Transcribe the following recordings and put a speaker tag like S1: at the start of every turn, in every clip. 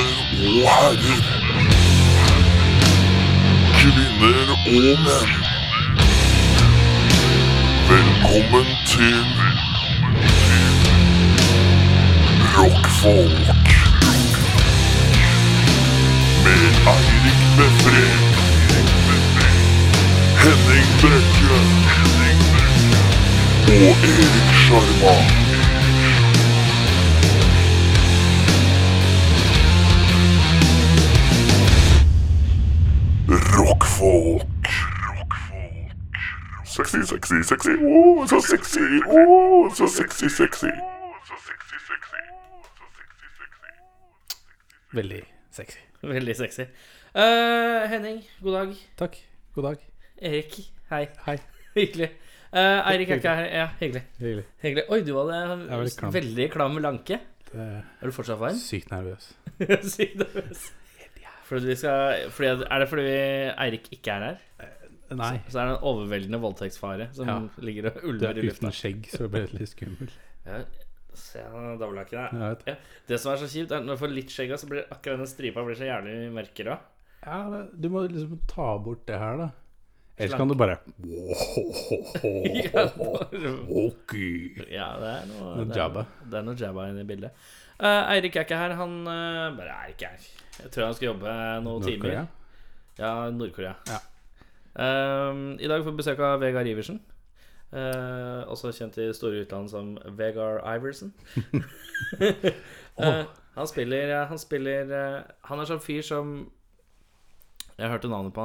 S1: og herrer. Kvinner og menn. Velkommen til Rockfolk. Med Eirik Befre. Henning Brekke. Og Erik Sjarma. Rockfolk. Sexy, sexy, sexy. Oh, så sexy. Oh, så sexy, sexy.
S2: Veldig sexy.
S3: Veldig sexy. Eh, Henning, god dag.
S2: Takk. God dag.
S3: Erik, hei.
S2: Hei.
S3: Hyggelig. Eh, Eirik er ikke her. Ja, hyggelig.
S2: Hyggelig.
S3: hyggelig. Oi, du hadde
S2: er veldig klam.
S3: veldig klam lanke.
S2: Det er
S3: Er du fortsatt varm?
S2: sykt nervøs.
S3: Sykt nervøs. Fordi vi skal, fordi, er det fordi vi- Eirik ikke er her?
S2: Nei.
S3: Så er det en overveldende voldtektsfare som
S2: Ja.
S3: ligger og
S2: Du
S3: ulmer
S2: er
S3: i lufta.
S2: uten skjegg, så det ble litt skummel.
S3: Ja, se den dobbelthaken der.
S2: Jeg vet.
S3: Ja. Det som er så kjipt, er at når du får litt skjegg av, så blir akkurat den stripa blir så jævlig mørkerød.
S2: Ja, men du må liksom ta bort det her, da. Ellers kan du bare
S3: Ja, bare-
S2: Ok.
S3: Ja, det er noe,
S2: Noe
S3: det er,
S2: jabba.
S3: Det er noe jabba inne i bildet. Eh, Eirik er ikke her. Han eh, bare er ikke her. Jeg tror han skal jobbe noen timer.
S2: Nord-Korea?
S3: Ja, Nord-Korea.
S2: Ja.
S3: Eh, I dag får vi besøk av Vegard Iversen. Eh, også kjent i store utland som Vegard Iversen. Eh, han spiller Han spiller eh, Han er sånn fyr som Jeg hørte navnet, på,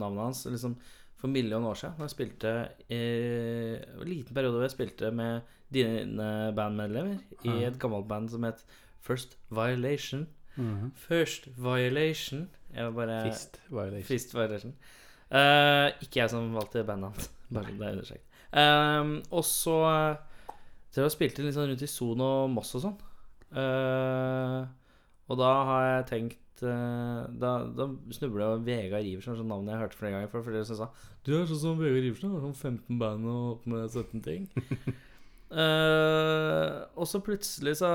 S3: navnet hans liksom, for en million år siden. Da jeg spilte eh, det var en liten periode hvor jeg spilte med dine bandmedlemmer i et gammelt band som het First Violation.
S2: Mhm.
S3: First Violation. Jeg var bare
S2: Fist violation.
S3: Fist Violation. Eh, ikke jeg som valgte bandet hans. Bare det er understreket. Ehm, og så Dere har spilt inn litt sånn rundt i Son og Moss og sånn. Eh, og da har jeg tenkt eh, da, da snubla Vegard Iversen, sånn navnet jeg hørte flere ganger. For flere som sa Du er sånn som Vegard Iversen, har sånn 15 band og holdt på med 17 ting. Eh, og så plutselig så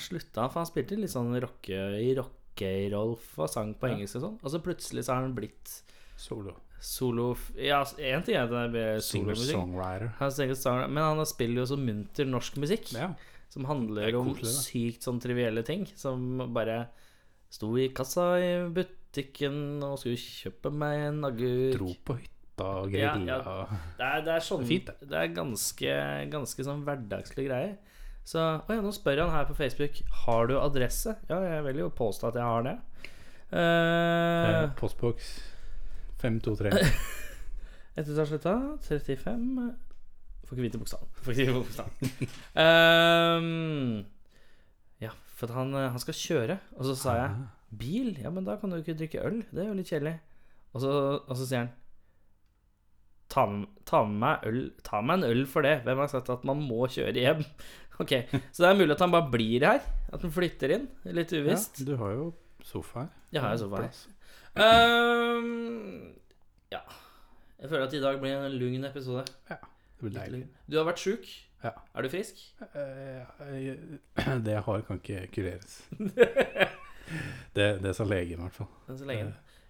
S3: slutta han, for han spilte litt sånn rocke i rocke-Rolf og sang på engelsk og sånn. Og så plutselig så har han blitt
S2: Solo.
S3: solo Ja, én ting er at det blir solomusikk.
S2: Singer-songwriter.
S3: Han synger sanger, Men han spiller jo så munter norsk musikk,
S2: Ja.
S3: som handler
S2: Det er
S3: om
S2: koselig, da.
S3: sykt sånn trivielle ting. Som bare sto i kassa i butikken og skulle kjøpe meg en agurk.
S2: Dro på hytta og
S3: Ja,
S2: grilla.
S3: ja. Det er, det er sånn
S2: Fint,
S3: det. er ganske, ganske sånn hverdagslige greier. Så å ja, nå spør han her på Facebook Har du adresse. Ja, jeg vil jo påstå at jeg har det.
S2: Eh,
S3: Uh,
S2: Postboks 523.
S3: Ettertallet 35 eh, Får ikke vite bokstaven. Får ikke vite bokstaven. Ehm, ja, for at han, eh, han skal kjøre. Og så sa jeg Bil? Ja, men da kan du ikke drikke øl. Det er jo litt kjedelig. Og så, og så sier han ta med, ta, med meg øl. ta med en øl for det. Hvem har sagt at man må kjøre hjem? Ok, Så det er mulig at han bare blir her? At han flytter inn? Litt
S2: Ja,
S3: uvisst.
S2: du har jo sofa her.
S3: Jeg har jo sofa her.
S2: Plass.
S3: Ehm, ja. Jeg føler at i dag blir en lugn episode.
S2: Det blir deilig.
S3: Du har vært sjuk.
S2: Ja.
S3: Er du frisk?
S2: Eh, eh, Det jeg har, kan ikke kureres. Det, det sa legen, i hvert fall.
S3: Enn så lenge.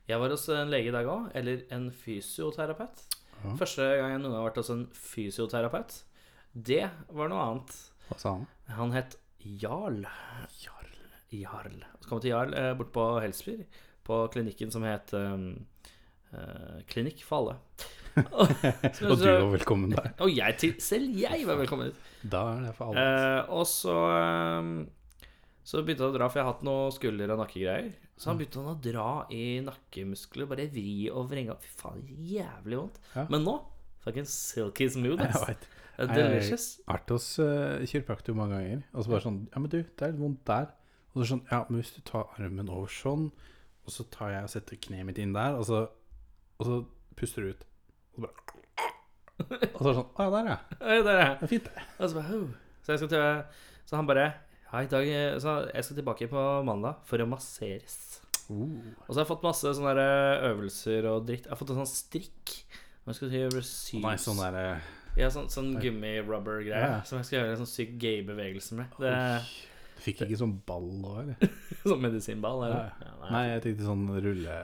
S3: Jeg var hos en lege i dag òg. Eller en fysioterapeut.
S2: Ja.
S3: Første gang jeg noen gang har vært hos en fysioterapeut. Det var noe annet.
S2: Hva sa han?
S3: Han het Jarl. Jarl. Så kom vi til Jarl eh, bort på Helsfyr, på klinikken som het ehm, eh, Klinikk for alle. Og,
S2: Og du var velkommen der.
S3: Og jeg til, selv jeg var velkommen dit.
S2: Da er det for alle.
S3: Eh, og så ehm, Så begynte han å dra, for jeg har hatt noe skulder- og nakkegreier. Så
S2: Mm.
S3: han begynte han å dra i nakkemuskler, bare vri og vrenge. Fy faen, jævlig vondt.
S2: Ja.
S3: Men nå fucking silky smooth,
S2: Jeg
S3: ass.
S2: vet.
S3: Det er
S2: Jeg-
S3: Delicious.
S2: Vært hos uh, kiropraktor mange ganger. Og så bare sånn Ja, men du, det er litt vondt der. Og så sånn Ja, men hvis du tar armen over sånn, og så tar jeg og setter kneet mitt inn der, og så, og så puster du ut. Og så bare Og så er det sånn Å ja, der, ja.
S3: Oi, der er jeg.
S2: Det er fint, det.
S3: Og så bare, «Hau». Så jeg skal til, så han bare ja, i dag, eh», så jeg skal tilbake på mandag for å masseres.
S2: Uh.
S3: Og så har jeg fått masse sånne der eh, øvelser og dritt. Jeg har fått en sånn strikk. Nå skal jeg gjøre sy-
S2: Nei, sånn der eh,
S3: Ja, sånn, sånn gummi-rubber-greie
S2: Ja.
S3: som jeg skal gjøre en sånn syk gay-bevegelse med. Det,
S2: Oi. Du fikk ikke sånn ball òg, eller?
S3: Sånn medisinball. Eller? Ja,
S2: Nei, jeg tenkte sånn rulle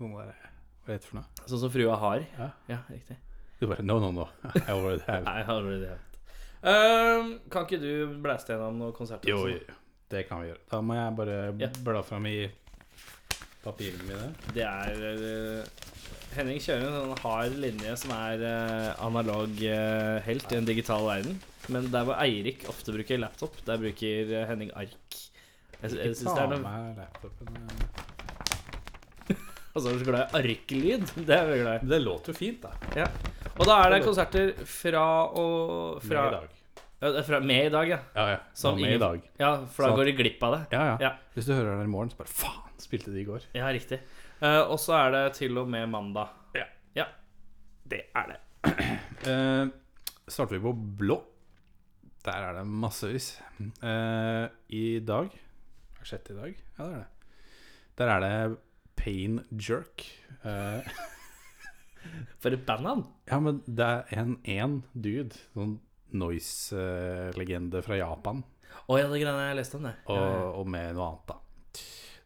S2: Noen der Hva heter det for noe?
S3: Sånn som frua har.
S2: Ja.
S3: Ja, riktig.
S2: Du bare No, no, no. I already have.
S3: Nei, jeg har allerede hørt. Ehm, kan ikke du blæste gjennom noen konserter?
S2: Jo,
S3: også?
S2: jo, jo. det sånn. kan vi gjøre. Da må jeg bare
S3: Ja.
S2: bla fram i papirene mine.
S3: Det er eh, Henning kjører en sånn hard linje som er eh, analog eh, helt i en digital verden. Men der hvor Eirik ofte bruker laptop, der bruker eh, Henning ark. Jeg, jeg synes det er noe
S2: med laptopen.
S3: Og så Altså, er du så glad i arklyd. Det er vi glad i.
S2: Det låter jo fint, da.
S3: Og da er det konserter fra og fra,
S2: Med i dag.
S3: Ja, det er fra med i dag, ja.
S2: Ja, ja.
S3: Som
S2: Nå med i
S3: ingen-
S2: dag.
S3: ja for da
S2: Så-
S3: går de glipp av det.
S2: Ja, ja,
S3: Ja.
S2: Hvis du hører den i morgen, så bare faen, spilte de i går?
S3: Ja, riktig. Eh, og så er det til og med mandag.
S2: Ja.
S3: ja. Det er det.
S2: Eh, starter vi på blå. Der er det massevis. Eh, I dag Er det sjette i dag? Ja, det er det. Der er det Pain Jerk. Eh,
S3: For et bandnavn!
S2: ja, men det er en, en dude, sånn noise-legende fra Japan,
S3: Å ja, det greiene jeg leste om det.
S2: og, og med noe annet, da.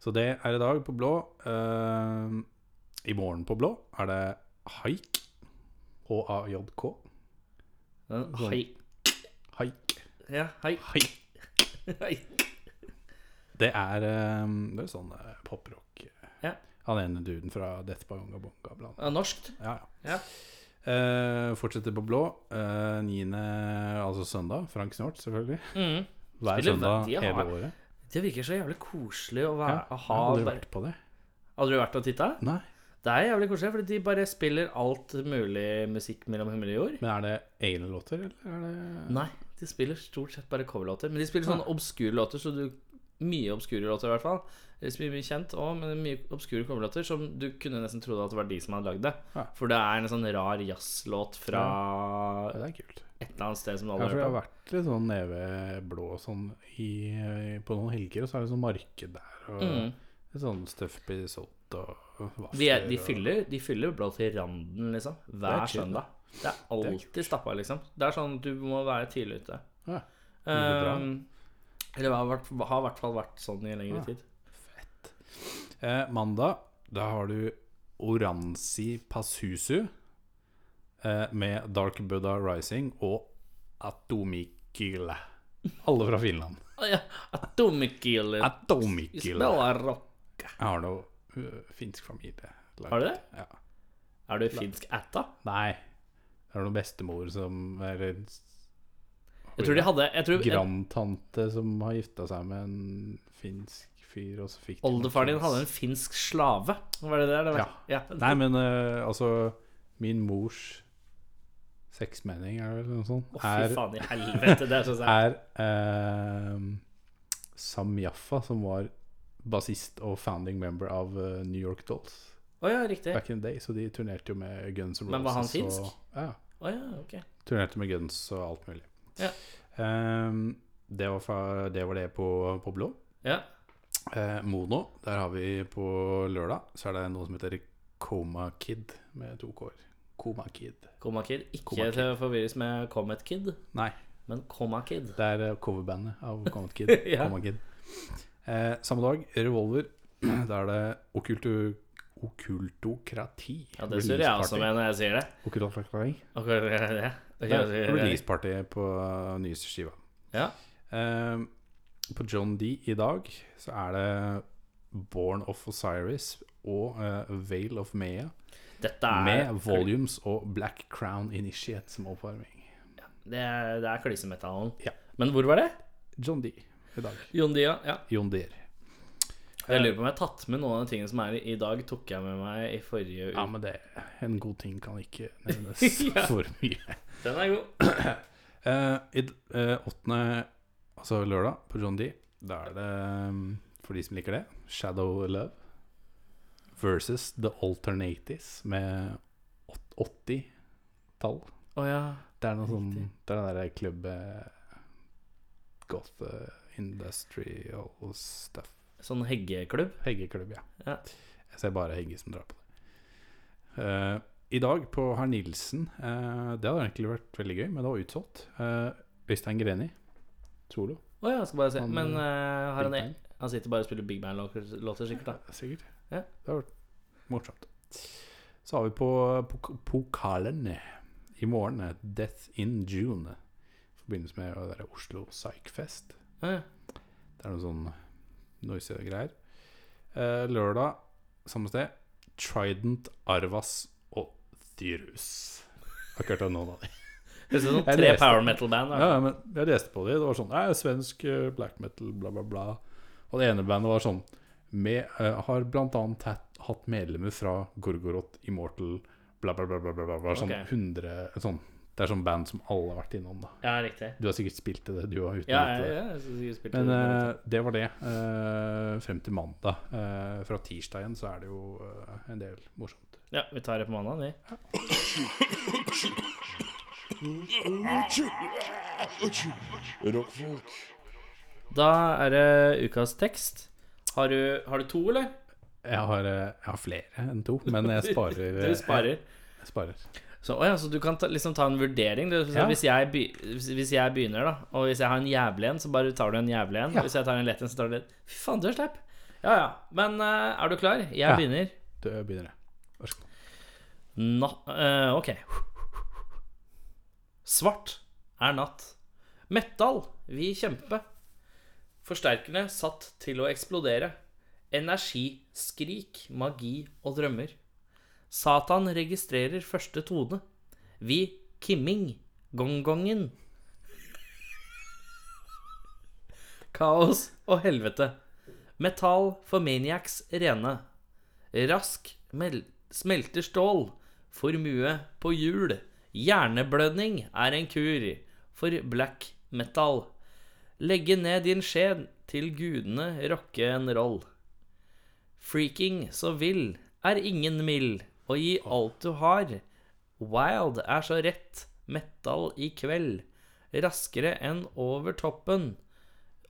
S2: Så det er i dag på blå. Eh, I morgen på blå er det Haik. H-a-j-k.
S3: Ja, ja. Hei.
S2: Haik.
S3: Ja, hei.
S2: Haik.
S3: hei.
S2: Det er, eh, det er sånn eh, poprock.
S3: Ja.
S2: Han ene duden fra Death by Unga Bunga. Blant.
S3: Ja, norskt.
S2: Ja,
S3: Ja.
S2: Eh, fortsetter på blå. Eh, 9. altså søndag. Frank Snort, selvfølgelig.
S3: Mm.
S2: Hver
S3: Spiller
S2: søndag
S3: veldig
S2: hele
S3: hard.
S2: året.
S3: Det virker så jævlig koselig å være,
S2: Ja,
S3: å
S2: jeg
S3: ha
S2: har aldri
S3: bare-
S2: vært på det.
S3: Hadde du vært og titta?
S2: Nei.
S3: Det er jævlig koselig, fordi de bare spiller alt mulig musikk mellom himmel og jord.
S2: Men er det egne låter, eller er det
S3: Nei, de spiller stort sett bare coverlåter. Men de spiller sånne obskure låter, så du Mye obskure låter, i hvert fall. Eller så mye, mye kjent òg, men mye obskure coverlåter som du kunne nesten trodd at det var de som hadde lagd det.
S2: Ja.
S3: For det er en sånn rar jazzlåt fra
S2: Ja, Det er kult.
S3: et eller annet sted som alle
S2: Kanskje vi har
S3: har hørt om.
S2: vært litt sånn neveblå og sånn i, eh, på noen helger, og så er det sånn marked der, og
S3: Mm.
S2: litt sånn stuff risotto og vafler.
S3: De, er, de,
S2: og-
S3: fyller, de fyller blå til randen, liksom.
S2: Det
S3: Hver
S2: er chill,
S3: søndag. Det er alltid stappa, liksom. Det er sånn at du må være tidlig ute.
S2: Ja. bra.
S3: Um, eller har vært- har i hvert fall vært sånn i en lengre
S2: Ja.
S3: tid.
S2: Eh, mandag, da har du Oransi Passusu eh, med Dark Buddha Rising og Atomikyle. Alle fra Finland.
S3: Å ja, Atomikil.
S2: Atomikyle.
S3: Spiller rock.
S2: Jeg har noe øh, finsk familie.
S3: Har du det?
S2: Ja.
S3: Er du finsk ætta?
S2: Nei. Det er noen bestemor som Eller
S3: Jeg tror de hadde jeg tror, jeg,
S2: grandtante som har gifta seg med en finsk fyr, og så fikk de
S3: Oldefaren din
S2: noe
S3: hadde en finsk slave. Var det det? eller?
S2: Ja.
S3: ja.
S2: Nei, men eh, altså Min mors sexmening, er det vel noe sånt?
S3: Å, fy
S2: er
S3: faen i helvete. Det er så sært.
S2: er eh, Sam Jaffa, som var bassist og founding member av eh, New York Dolls
S3: Å ja, riktig.
S2: back in the day. Så de turnerte jo med Guns N' Roses.
S3: Men var han
S2: Og,
S3: finsk?
S2: ja.
S3: Å ja, ok.
S2: Turnerte med Guns og alt mulig.
S3: Ja.
S2: Eh, det, var fra, det var det på, på blå.
S3: Ja.
S2: Eh, Mono, der har vi på lørdag, så er det noe som heter Coma Kid med to k-er. Coma Kid.
S3: Komakid. Ikke
S2: Komakid.
S3: til å forvirres med Comet Kid,
S2: Nei,
S3: men Komakid.
S2: det er eh, coverbandet av Comet Kid.
S3: Ja.
S2: Coma Kid. Eh, samme dag, Revolver. Da er det okkultu, okkultokrati.
S3: Ja, det surrer jeg også
S2: Releaseparty.
S3: med når jeg sier det.
S2: Okkultokrati.
S3: Ok, det er det. Ok,
S2: Det
S3: det
S2: er
S3: er det.
S2: Releaseparty på eh, nyeste skiva.
S3: Ja.
S2: Eh, på John D i dag så er det Born of Osiris og eh, Veil of Mea.
S3: Dette er
S2: Med volumes og Black Crown Initiate som oppvarming.
S3: Det er, det er klysemetallen.
S2: Ja.
S3: Men hvor var det?
S2: John D i dag.
S3: Jon Dia. Ja.
S2: John Deere.
S3: Jeg
S2: Eh.
S3: lurer på om jeg har tatt med noen av de tingene som er i dag, tok jeg med meg i forrige uke.
S2: Ja, men det En god ting kan ikke nevnes
S3: Ja.
S2: for mye.
S3: Den er god.
S2: Eh, I d- eh, åttende, altså lørdag, på John D, da er det, mm, for de som liker det, Shadow Love versus The Alternatives med åt- 80-tall.
S3: Å ja.
S2: Det er noe sånn
S3: Riktig.
S2: Det er den derre klubb eh, Goth eh, Industrial Stuff.
S3: Sånn heggeklubb.
S2: Heggeklubb, ja.
S3: Ja.
S2: Jeg ser bare Hegge som drar på det. Eh, I dag på Herr Nilsen eh, Det hadde egentlig vært veldig gøy, men det var utsolgt. Eh, Øystein Greni, solo.
S3: Å ja, jeg skal bare se.
S2: Han,
S3: Men eh, har han,
S2: Big Bang.
S3: han sitter bare og spiller Big Band-låter, sikkert. da
S2: Sikkert.
S3: Ja.
S2: Det har vært morsomt. Så har vi på pok- pokalen i morgen eh, Death in June. I forbindelse med det der Oslo Psych-fest.
S3: Ja, ja.
S2: Det er noe sånn noise greier. Eh, lørdag, samme sted, Trident, Arvas og Thyrus. Akkurat nå, da.
S3: Høres ut som
S2: Jeg
S3: tre
S2: leste.
S3: power metal-band.
S2: Ja, ja, men jeg leste på det. Det var sånn «Nei, Svensk eh, black metal, bla, bla, bla. Og det ene bandet var sånn med, eh, Har blant annet hatt, hatt medlemmer fra Gorgoroth, Immortal, bla, bla, bla. bla, bla, bla, bla sånn
S3: Ok.
S2: 100 sånn. Det er sånn band som alle har vært innom. da
S3: ja riktig.
S2: Du har sikkert spilt det, du har uten
S3: Ja,
S2: å
S3: ja,
S2: vite det.
S3: ja, jeg skal sikkert spille
S2: Men
S3: det.
S2: eh, det var det. eh, frem til mandag. Eh, fra tirsdag igjen så er det jo eh, en del morsomt.
S3: Ja, vi tar det på mandag, vi.
S1: Rockfolk.
S3: Da er det ukas tekst. Har du, har du to, eller?
S2: Jeg har, eh, jeg har flere enn to, men jeg sparer. eh,
S3: Du sparer.
S2: Jeg sparer.
S3: Så, å ja, så du kan ta, liksom ta en vurdering. Du, så
S2: Ja.
S3: hvis, jeg be, hvis, hvis jeg begynner, da, og hvis jeg har en jævlig en, så bare tar du en jævlig en.
S2: Ja.
S3: Og hvis jeg tar en lett en, så tar du en Fy faen, du er sleip. Ja ja. Men eh, er du klar? Jeg
S2: Ja.
S3: begynner.
S2: Du begynner, jeg. Vær så god.
S3: Na eh, ok. Svart er natt. Metal vil kjempe. Forsterkerne satt til å eksplodere. Energi, skrik, magi og drømmer. Satan registrerer første tone. Vi kimming. Gongongen. Kaos og helvete. Metall for maniacs rene. Rask mel smelter stål. Formue på hjul. Hjerneblødning er en kur for black metal. Legge ned din skjed til gudene rocke en roll. Freaking så vill er ingen mild, og gi alt du har. Wild er så rett, metal i kveld. Raskere enn over toppen.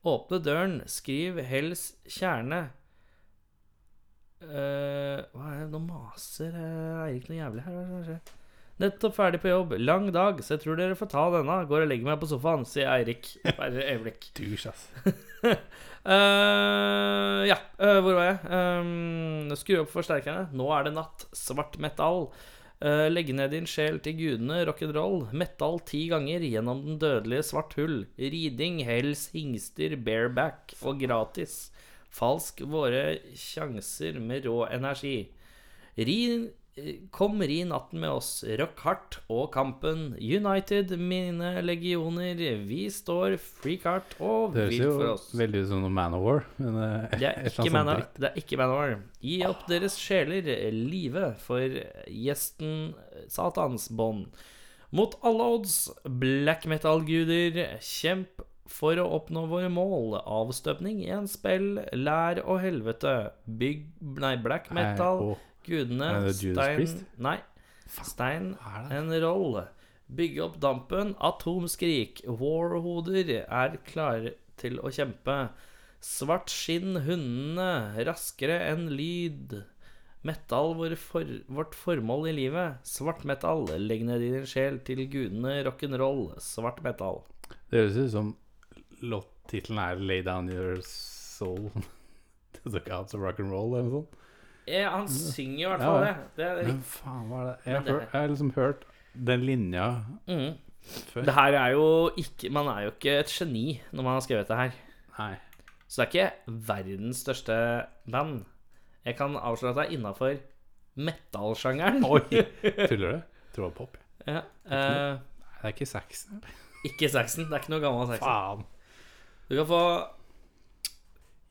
S3: Åpne døren, skriv hells kjerne. Eh, hva er det? Nå maser eh, Eirik noe jævlig her. Hva er det som skjer? Nettopp ferdig på jobb. Lang dag, så jeg tror dere får ta denne. Går og legger meg på sofaen, sier Eirik. Bare øyeblikk.
S2: Dusj, ass.
S3: Eh, ja, eh, hvor var jeg? Eh, skru opp forsterkerne. Nå er det natt. Svart metall. Eh, legge ned din sjel til gudene, rock'n'roll. Metal ti ganger gjennom den dødelige svart hull. Riding, hells, hingster, bareback og gratis. Falsk våre sjanser med rå energi. Ri, eh, kom, ri natten med oss. Rock hardt og kampen. United, mine legioner. Vi står freak hardt og
S2: Det høres
S3: vilt for oss.
S2: jo veldig ut som noe Man of War. Men eh, et
S3: Det er
S2: eller
S3: ikke
S2: annet
S3: Man
S2: sånt
S3: of-
S2: dritt.
S3: det er ikke Man of War. Gi opp deres sjeler, live, for gjesten Satans bånd. Mot alle odds, black metal-guder, kjemp for å oppnå våre mål. Avstøpning, en spill, lær og helvete. Bygg Nei, black
S2: Nei,
S3: metal,
S2: og
S3: gudene,
S2: Er det Judas
S3: stein
S2: Priest?
S3: Nei. Stein
S2: Hva er det?
S3: en roll. Bygge opp dampen, atomskrik, warhoder er klare til å kjempe. Svart skinn, hundene, raskere enn lyd. Metal, vår for, vårt formål i livet. Svart metal, legg ned din sjel til gudene, rock'n'roll. Svart metal.
S2: Det høres ut som låttittelen er 'Lay Down Your Soul'. Det står ikke out of rock and roll eller noe sånt.
S3: Eh, han synger i
S2: Mm.
S3: hvert
S2: Ja, ja.
S3: fall det. det er
S2: Men faen, hva er det? Jeg har,
S3: Men det-
S2: hør, jeg har liksom hørt den linja
S3: Mm.
S2: før.
S3: Det her er jo ikke Man er jo ikke et geni når man har skrevet det her.
S2: Nei.
S3: Så det er ikke verdens største band. Jeg kan avsløre at det er innafor metal-sjangeren.
S2: Oi! Tuller du? Tror det var pop.
S3: Ja. eh,
S2: Nei, det er ikke Saxon. eller?
S3: ikke Saxon. Det er ikke noe gammel Saxon.
S2: Faen.
S3: Du kan få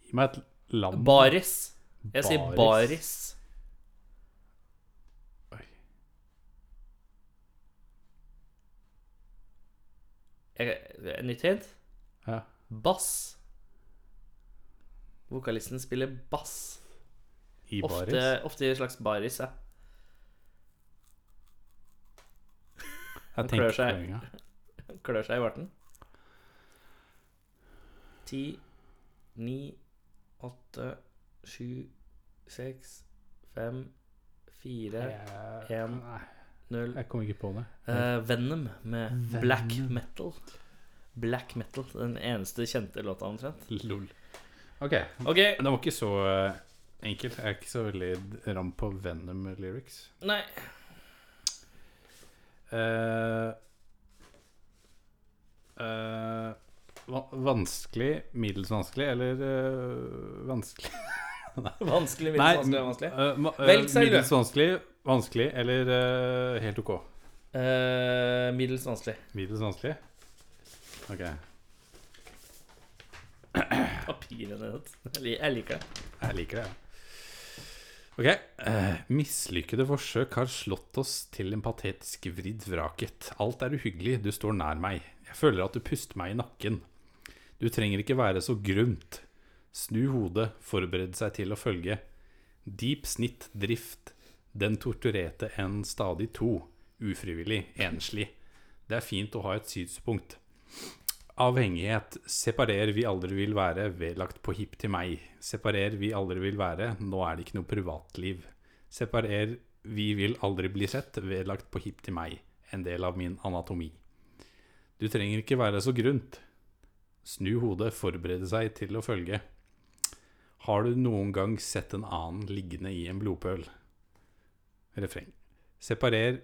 S2: Gi meg et land.
S3: Baris. Jeg sier
S2: Baris.
S3: Baris.
S2: Oi.
S3: Jeg, eh, nytt hint.
S2: Ja.
S3: Bass. Vokalisten spiller bass.
S2: I
S3: Ofte,
S2: baris.
S3: ofte i en slags baris. Ja.
S2: Jeg
S3: klør
S2: tenker
S3: seg.
S2: på
S3: klør seg i barten. Ti, ni, åtte, sju, seks, fem, fire,
S2: Eh,
S3: En.
S2: Nei,
S3: null
S2: jeg kom ikke på det.
S3: Eh, Venom med black metal. Black metal. Den eneste kjente låta, omtrent.
S2: Lol. Ok.
S3: Ok,
S2: Men det var ikke så eh, enkelt. Jeg er ikke så veldig ram på Venom-lyrics.
S3: nei.
S2: Eh, eh, va- vanskelig, middels vanskelig, eller eh, vanskelig
S3: Vanskelig,
S2: Nei,
S3: middels vanskelig, vanskelig.
S2: eh, ma- eh,
S3: Velg selv, du.
S2: middels vanskelig, vanskelig eller eh, helt ok?
S3: Eh, middels vanskelig.
S2: Middels vanskelig? Ok.
S3: Papirene ditt. Jeg lik- Jeg liker det.
S2: Jeg liker det. ja. Ok. Eh, mislykkede forsøk har slått oss til en patetisk vridd vraket. Alt er uhyggelig, du står nær meg. Jeg føler at du puster meg i nakken. Du trenger ikke være så grumt. Snu hodet, forbered seg til å følge. Deep snitt drift. Den torturerte en stadig to. Ufrivillig, enslig. Det er fint å ha et synspunkt. Avhengighet. Separer vi aldri vil være, vedlagt på hipp til meg. Separer vi aldri vil være, nå er det ikke noe privatliv. Separer vi vil aldri bli sett, vedlagt på hipp til meg. En del av min anatomi. Du trenger ikke være så grunt. Snu hodet, forberede seg til å følge. Har du noen gang sett en annen liggende i en blodpøl? Refreng. Separer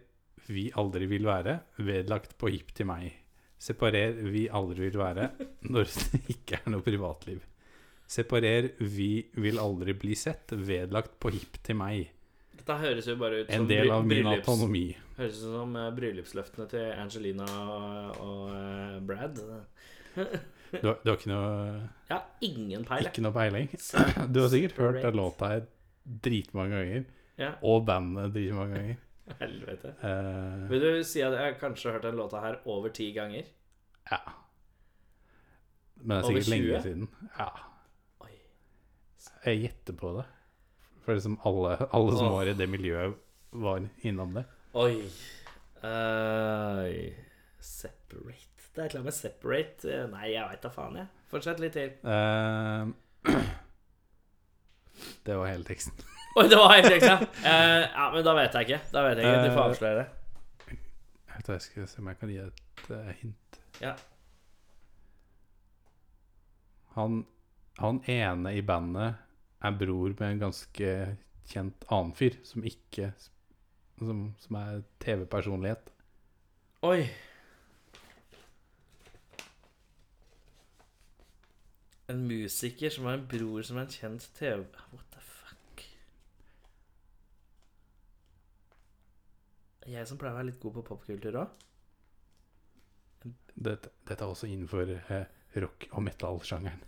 S2: vi aldri vil være, vedlagt på hipp til meg. Separer vi aldri vil være når det ikke er noe privatliv. Separer vi vil aldri bli sett, vedlagt på hipp til meg.
S3: Dette høres jo bare ut
S2: En
S3: som
S2: del
S3: Sånn bry-
S2: av min
S3: bryllups-
S2: autonomi.
S3: Høres ut som eh, bryllupsløftene til Angelina og, og eh, Brad.
S2: Du, har- du har ikke noe,
S3: Jeg har ingen peil, jeg.
S2: ikke noe peiling?
S3: Så-
S2: Du har sikkert hørt
S3: Right.
S2: den låta her dritmange ganger,
S3: Ja,
S2: og bandet dritmange ganger.
S3: helvete.
S2: Eh,
S3: Vil du si at jeg har kanskje hørt den låta her over ti ganger?
S2: ja. Men det er
S3: Over
S2: sikkert lenge
S3: 20?
S2: siden. Ja.
S3: Oi.
S2: Jeg gjetter på det. For liksom alle, alle som
S3: Åh.
S2: var i det miljøet, var innom det.
S3: Oi. Oi. Separate. Det er et eller annet med separate Eh, Nei, jeg veit da faen, jeg. Fortsett litt til.
S2: Eh, det var hele teksten.
S3: Oi, det var helt riktig. Eh, ja, men da vet jeg ikke. Da vet jeg ikke. Du får avsløre det.
S2: Jeg vet hva, jeg skal se om jeg kan gi et eh, hint.
S3: Ja.
S2: Han, han ene i bandet er bror med en ganske kjent annen fyr, som ikke Som, som er TV-personlighet.
S3: Oi. En musiker som har en bror som er en kjent TV What the fuck? Jeg som pleier å være litt god på popkultur òg.
S2: Dette, dette er også innenfor eh, rock- og metal-sjangeren.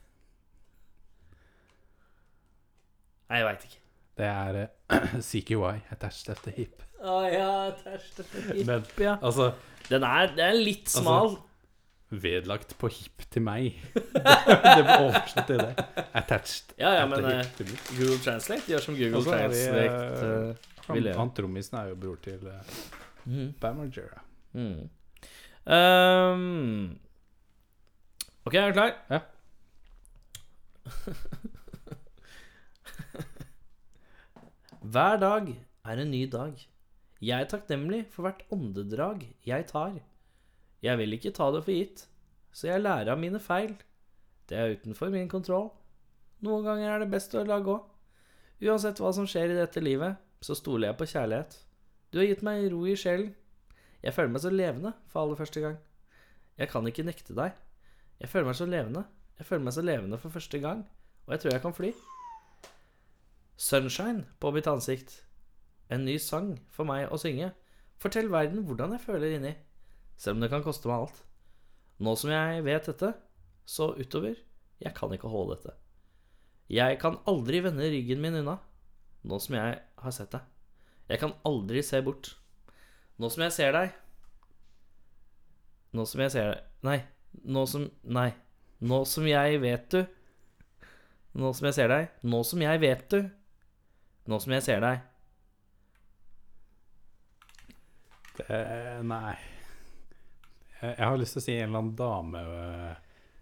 S3: Nei, jeg veit ikke.
S2: Det er eh, CQY, Attached After Hip.
S3: Å ja, tæsj.
S2: Men altså
S3: Den er, den er litt smal.
S2: Vedlagt på hip til meg. det ble oversatt til det. Attached.
S3: ja, ja,
S2: after
S3: men eh,
S2: hip til meg.
S3: Google Translate gjør som Google
S2: Og så Altså, er vi,
S3: Translate.
S2: eh,
S3: vi
S2: Han,
S3: lever.
S2: han trommisen er jo bror til uh,
S3: eh, mhm.
S2: Bam Margera.
S3: Mm. Ehm, ok, er du klar?
S2: Ja.
S3: Hver dag er en ny dag. Jeg er takknemlig for hvert åndedrag jeg tar. Jeg vil ikke ta det for gitt, så jeg lærer av mine feil. Det er utenfor min kontroll. Noen ganger er det best å la gå. Uansett hva som skjer i dette livet, så stoler jeg på kjærlighet. Du har gitt meg ro i sjelen. Jeg føler meg så levende for aller første gang. Jeg kan ikke nekte deg. Jeg føler meg så levende. Jeg føler meg så levende for første gang, og jeg tror jeg kan fly. Sunshine på mitt ansikt. En ny sang for meg å synge. Fortell verden hvordan jeg føler inni, selv om det kan koste meg alt. Nå som jeg vet dette, så utover, jeg kan ikke holde dette. Jeg kan aldri vende ryggen min unna, nå som jeg har sett deg. Jeg kan aldri se bort. Nå som jeg ser deg Nå som jeg ser deg Nei. Nå som Nei. Nå som jeg vet du Nå som jeg ser deg Nå som jeg vet du Nå som jeg ser deg
S2: Det- Nei jeg, jeg har lyst til å si en eller annen dame eh,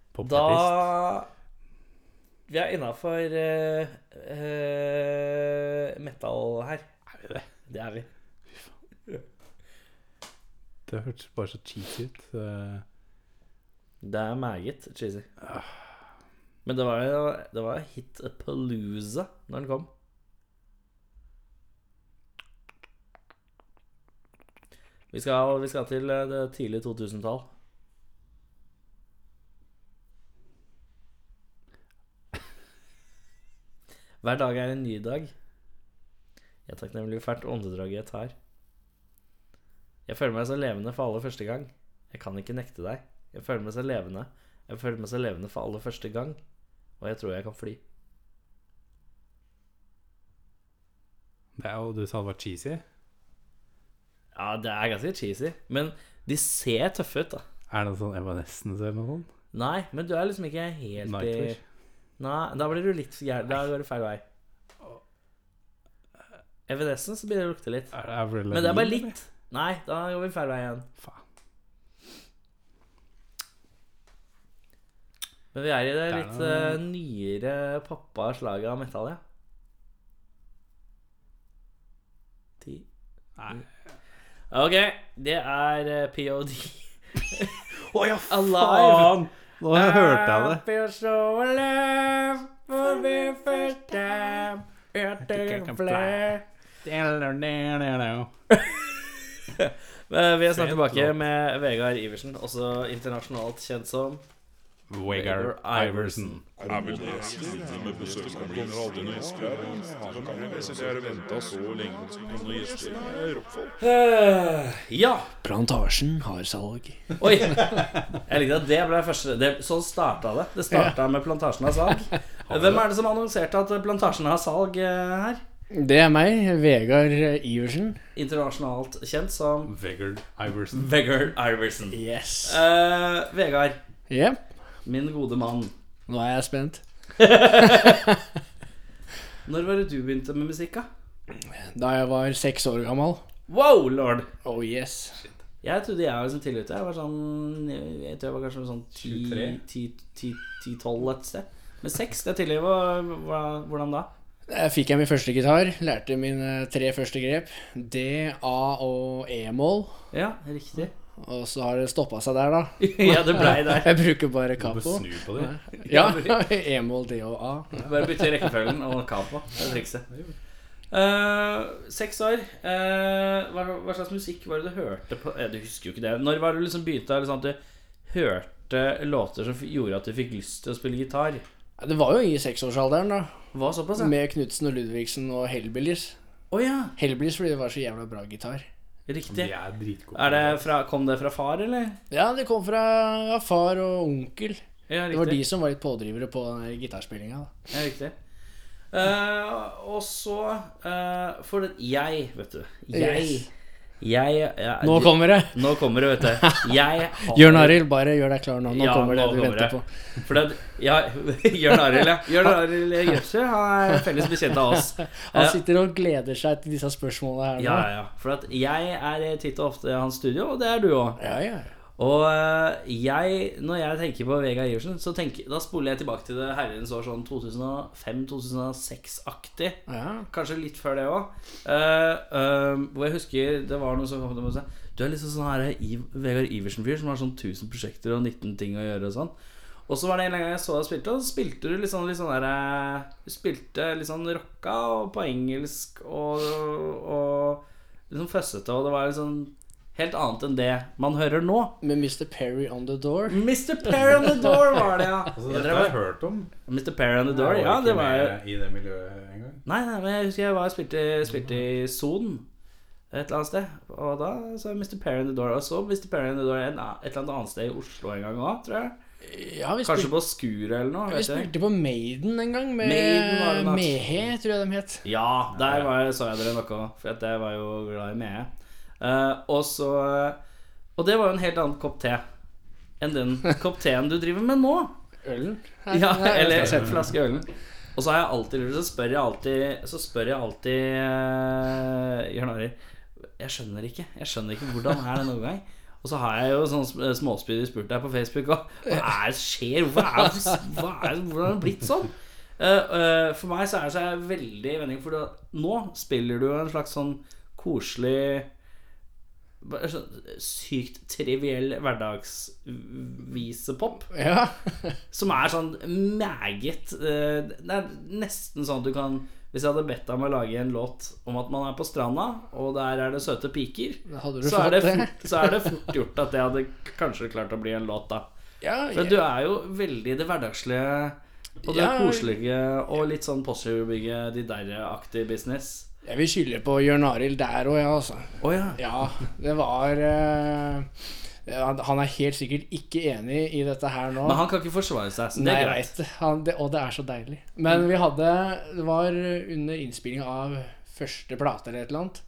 S2: popartist.
S3: Da Vi er innafor uh, metal her.
S2: Er vi det?
S3: Det er vi.
S2: Det hørtes bare så cheesy ut. eh.
S3: Det er meget cheesy. Men det var jo Det var hit a palooza når den kom. Vi skal, vi skal til eh, det tidlige 2000-tall. Hver dag er en ny dag. Jeg er takknemlig for hvert åndedrag jeg tar. Jeg føler meg så levende for aller første gang. Jeg kan ikke nekte deg. Jeg føler meg så levende. Jeg føler meg så levende for aller første gang. Og jeg tror jeg kan fly.
S2: Det er jo, Du sa det var cheesy.
S3: Ja, det er ganske cheesy. Men de ser tøffe ut, da.
S2: Er det sånn Evanescence eller noe sånt?
S3: Nei, men du er liksom ikke helt eh,
S2: Nightwish?
S3: i Nei, da blir du litt gæren. Da går det feil vei. Evanescence begynner å lukte litt.
S2: Er det Avril
S3: Men det er bare
S2: Lavigne,
S3: litt. Nei, da går vi feil vei igjen.
S2: eller? Faen.
S3: Men vi er i det
S2: Det er
S3: litt
S2: noe-
S3: eh, nyere pappa slaget av metal, ja. Ti.
S2: Nei.
S3: Ok, det er eh, POD.
S2: Å ja,
S3: Alive!
S2: Nå hørte jeg det.
S3: I feel so alive for the first time. I
S2: think I
S3: can
S2: can
S3: fly.
S2: fly.
S3: Ah,
S2: Nei,
S3: Eh, Vi er snart
S2: Fet
S3: tilbake
S2: låt.
S3: med Vegard Iversen, også internasjonalt kjent som
S2: Vegard Iversen.
S3: Eh, Ja!
S4: Plantasjen har salg.
S3: Oi! Jeg likte at det ble første det, Sånn starta det. Det starta med Plantasjen har salg. Hvem er det som annonserte at Plantasjen har salg eh, her?
S4: Det er meg, Vegard Iversen.
S3: Internasjonalt kjent som
S2: Vegard Iversen.
S3: Vegard Iversen.
S4: Yes.
S3: Eh, Vegard,
S4: Jepp.
S3: min gode mann.
S4: Nå er jeg spent.
S3: Når var det du begynte med musikk, da?
S4: Da jeg var seks år gammel.
S3: Wow, lord!
S4: Oh yes.
S3: Jeg trodde jeg var liksom tidlig ute. Jeg var sånn Jeg tror jeg var kanskje sånn
S2: 23?
S3: 10-12 et sted. Men seks, det er tidlig. Hva- hva- Hvordan da?
S4: Der fikk jeg min første gitar. Lærte mine tre første grep. D, A og E-mål.
S3: Ja, riktig.
S4: Og så har det stoppa seg der, da.
S3: ja, det blei der.
S4: Jeg bruker bare
S2: Du må
S4: capo.
S2: snu på det.
S4: Ja, E-mål, D og A.
S3: Bare bytte rekkefølgen og capo. Det er trikset. Eh, seks år. Eh, hva, hva slags musikk var det du hørte på eh, Du husker jo ikke det. Når var det du liksom begynte liksom, at du hørte låter som f- gjorde at du fikk lyst til å spille gitar?
S4: Det var jo i seksårsalderen, da.
S3: Hva såpass, ja? Å
S4: Med Knutsen og Ludvigsen og Hellbillies.
S3: ja,
S4: Hellbillies fordi det var så jævla bra gitar.
S2: De
S3: riktig.
S2: er dritgode.
S3: Er det fra, kom det fra far, eller?
S4: Ja, det kom fra ja, far og onkel.
S3: Ja,
S4: Det var de som var litt pådrivere på den der gitarspillinga. da.
S3: Ja, riktig. Eh, og så eh, For det, jeg, vet du. Jeg.
S4: Yes.
S3: Jeg, jeg-
S4: Nå kommer det!
S3: Nå kommer det, vet du. Jeg har
S4: Jørn Arild, bare gjør deg klar nå. Nå
S3: Ja,
S4: kommer det
S3: nå
S4: du
S3: kommer det.
S4: venter på.
S3: For det, ja, Jørn Arild, ja. Jørn Arild Gjørsø han er felles bekjent av oss.
S4: Han
S3: Eh,
S4: sitter og gleder seg til disse spørsmålene her nå.
S3: ja, ja, ja. For at jeg er titt og ofte i hans studio, og det er du òg.
S4: Ja, ja.
S3: Og eh, jeg, når jeg tenker på Vegard Iversen, så tenker, da spoler jeg tilbake til det herrens år sånn 2005-2006-aktig.
S4: ja.
S3: Kanskje litt før det òg. hvor jeg husker det var noen som kom til meg og sa Du er liksom sånn her Iv Vegard Iversen-fyr som har sånn 1000 prosjekter og 19 ting å gjøre og sånn. Og så var det en gang jeg så deg spilte, og så spilte du litt sånn, litt sånn der eh, Du spilte litt sånn rocka og på engelsk og, og liksom føssete, og det var liksom helt annet enn det man hører nå.
S4: Med Mr. Perry on the door.
S3: Mr. Pair on the Door var det, ja.
S2: Altså,
S3: Jeg
S2: dette har jeg
S3: drev,
S2: hørt om.
S3: Mr. Pair on the Door,
S2: Jeg
S3: ja,
S2: ikke
S3: det var jo
S2: med I det miljøet engang.
S3: Nei, nei, men jeg husker jeg var og spilte, spilte i Son et eller annet sted. Og da så jeg Mr. Perry in the Door. Og så Mr. Perry in the Door en, et eller annet sted i Oslo en gang òg, tror jeg.
S4: Ja, vi
S3: Kanskje
S4: spilte,
S3: på Skuret eller noe.
S4: vi
S3: vet jeg.
S4: spilte på Maiden en gang, med
S3: Maiden var det nok.
S4: Mehe, tror jeg de het.
S3: Ja, der var jeg, så jeg dere noe, for at jeg var jo glad i Mehe. Eh, og så Og det var jo en helt annen kopp te enn den kopp teen du driver med nå.
S4: Ølen?
S3: Ja,
S4: Nei, jeg
S3: eller
S4: skal
S3: en
S4: se.
S3: flaske ølen. Og så har jeg alltid lurt, så spør jeg alltid Så spør jeg alltid eh, Jørn Arild Jeg skjønner ikke. Jeg skjønner ikke hvordan er den overgang. Og så har jeg jo sånn sm- småspydig spurt deg på Facebook òg. Hva er det skjer? Hvorfor er, hva er, hvordan har det blitt sånn? Eh, eh, for meg så er det så er jeg veldig i vending, for da- nå spiller du jo en slags sånn koselig Bare sånn sykt triviell hverdagsvisepop.
S4: Ja.
S3: Som er sånn meget eh, Det er nesten sånn at du kan Hvis jeg hadde bedt deg om å lage en låt om at man er på stranda, og der er det søte piker,
S4: Da hadde du
S3: så er,
S4: fått
S3: det
S4: det.
S3: fort, så er det fort gjort at det hadde kanskje klart å bli en låt, da.
S4: Ja,
S3: For
S4: ja.
S3: du er jo veldig det hverdagslige og det
S4: Ja.
S3: koselige og litt sånn postgirobygge de derre-aktig business.
S4: Jeg vil skylde på Jørn Arild der òg, ja, altså.
S3: Å ja.
S4: Ja, det var eh, han- Han er helt sikkert ikke enig i dette her nå.
S3: Men han kan ikke forsvare seg, så det
S4: Nei,
S3: er
S4: jeg
S3: greit.
S4: vet det. Han, det. Og det er så deilig. Men vi hadde Det var under innspilling av første plate eller et eller annet,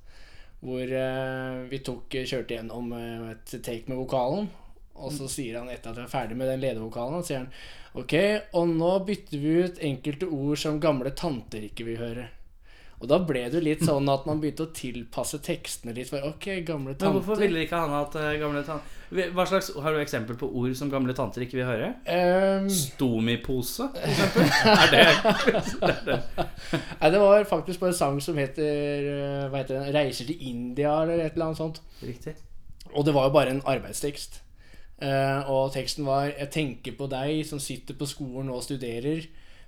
S4: hvor eh, vi tok, kjørte gjennom eh, et take med vokalen. Og så sier han etter at vi er ferdig med den ledevokalen, så sier han Ok, og nå bytter vi ut enkelte ord som gamle tanter ikke vil høre. Og da ble det jo litt sånn at man begynte å tilpasse tekstene litt. For, ok, gamle
S3: Men hvorfor
S4: tanter
S3: ville ikke han at eh, gamle tanter Hva slags, Har du eksempel på ord som gamle tanter ikke vil høre?
S4: Ehm,
S3: Stomipose, for eksempel? Er det, det, er det.
S4: Nei, det var faktisk på en sang som heter, eh, hva heter den, 'Reiser til India' eller et eller annet sånt.
S3: riktig?
S4: Og det var jo bare en arbeidstekst. Eh, og teksten var 'Jeg tenker på deg som sitter på skolen og studerer',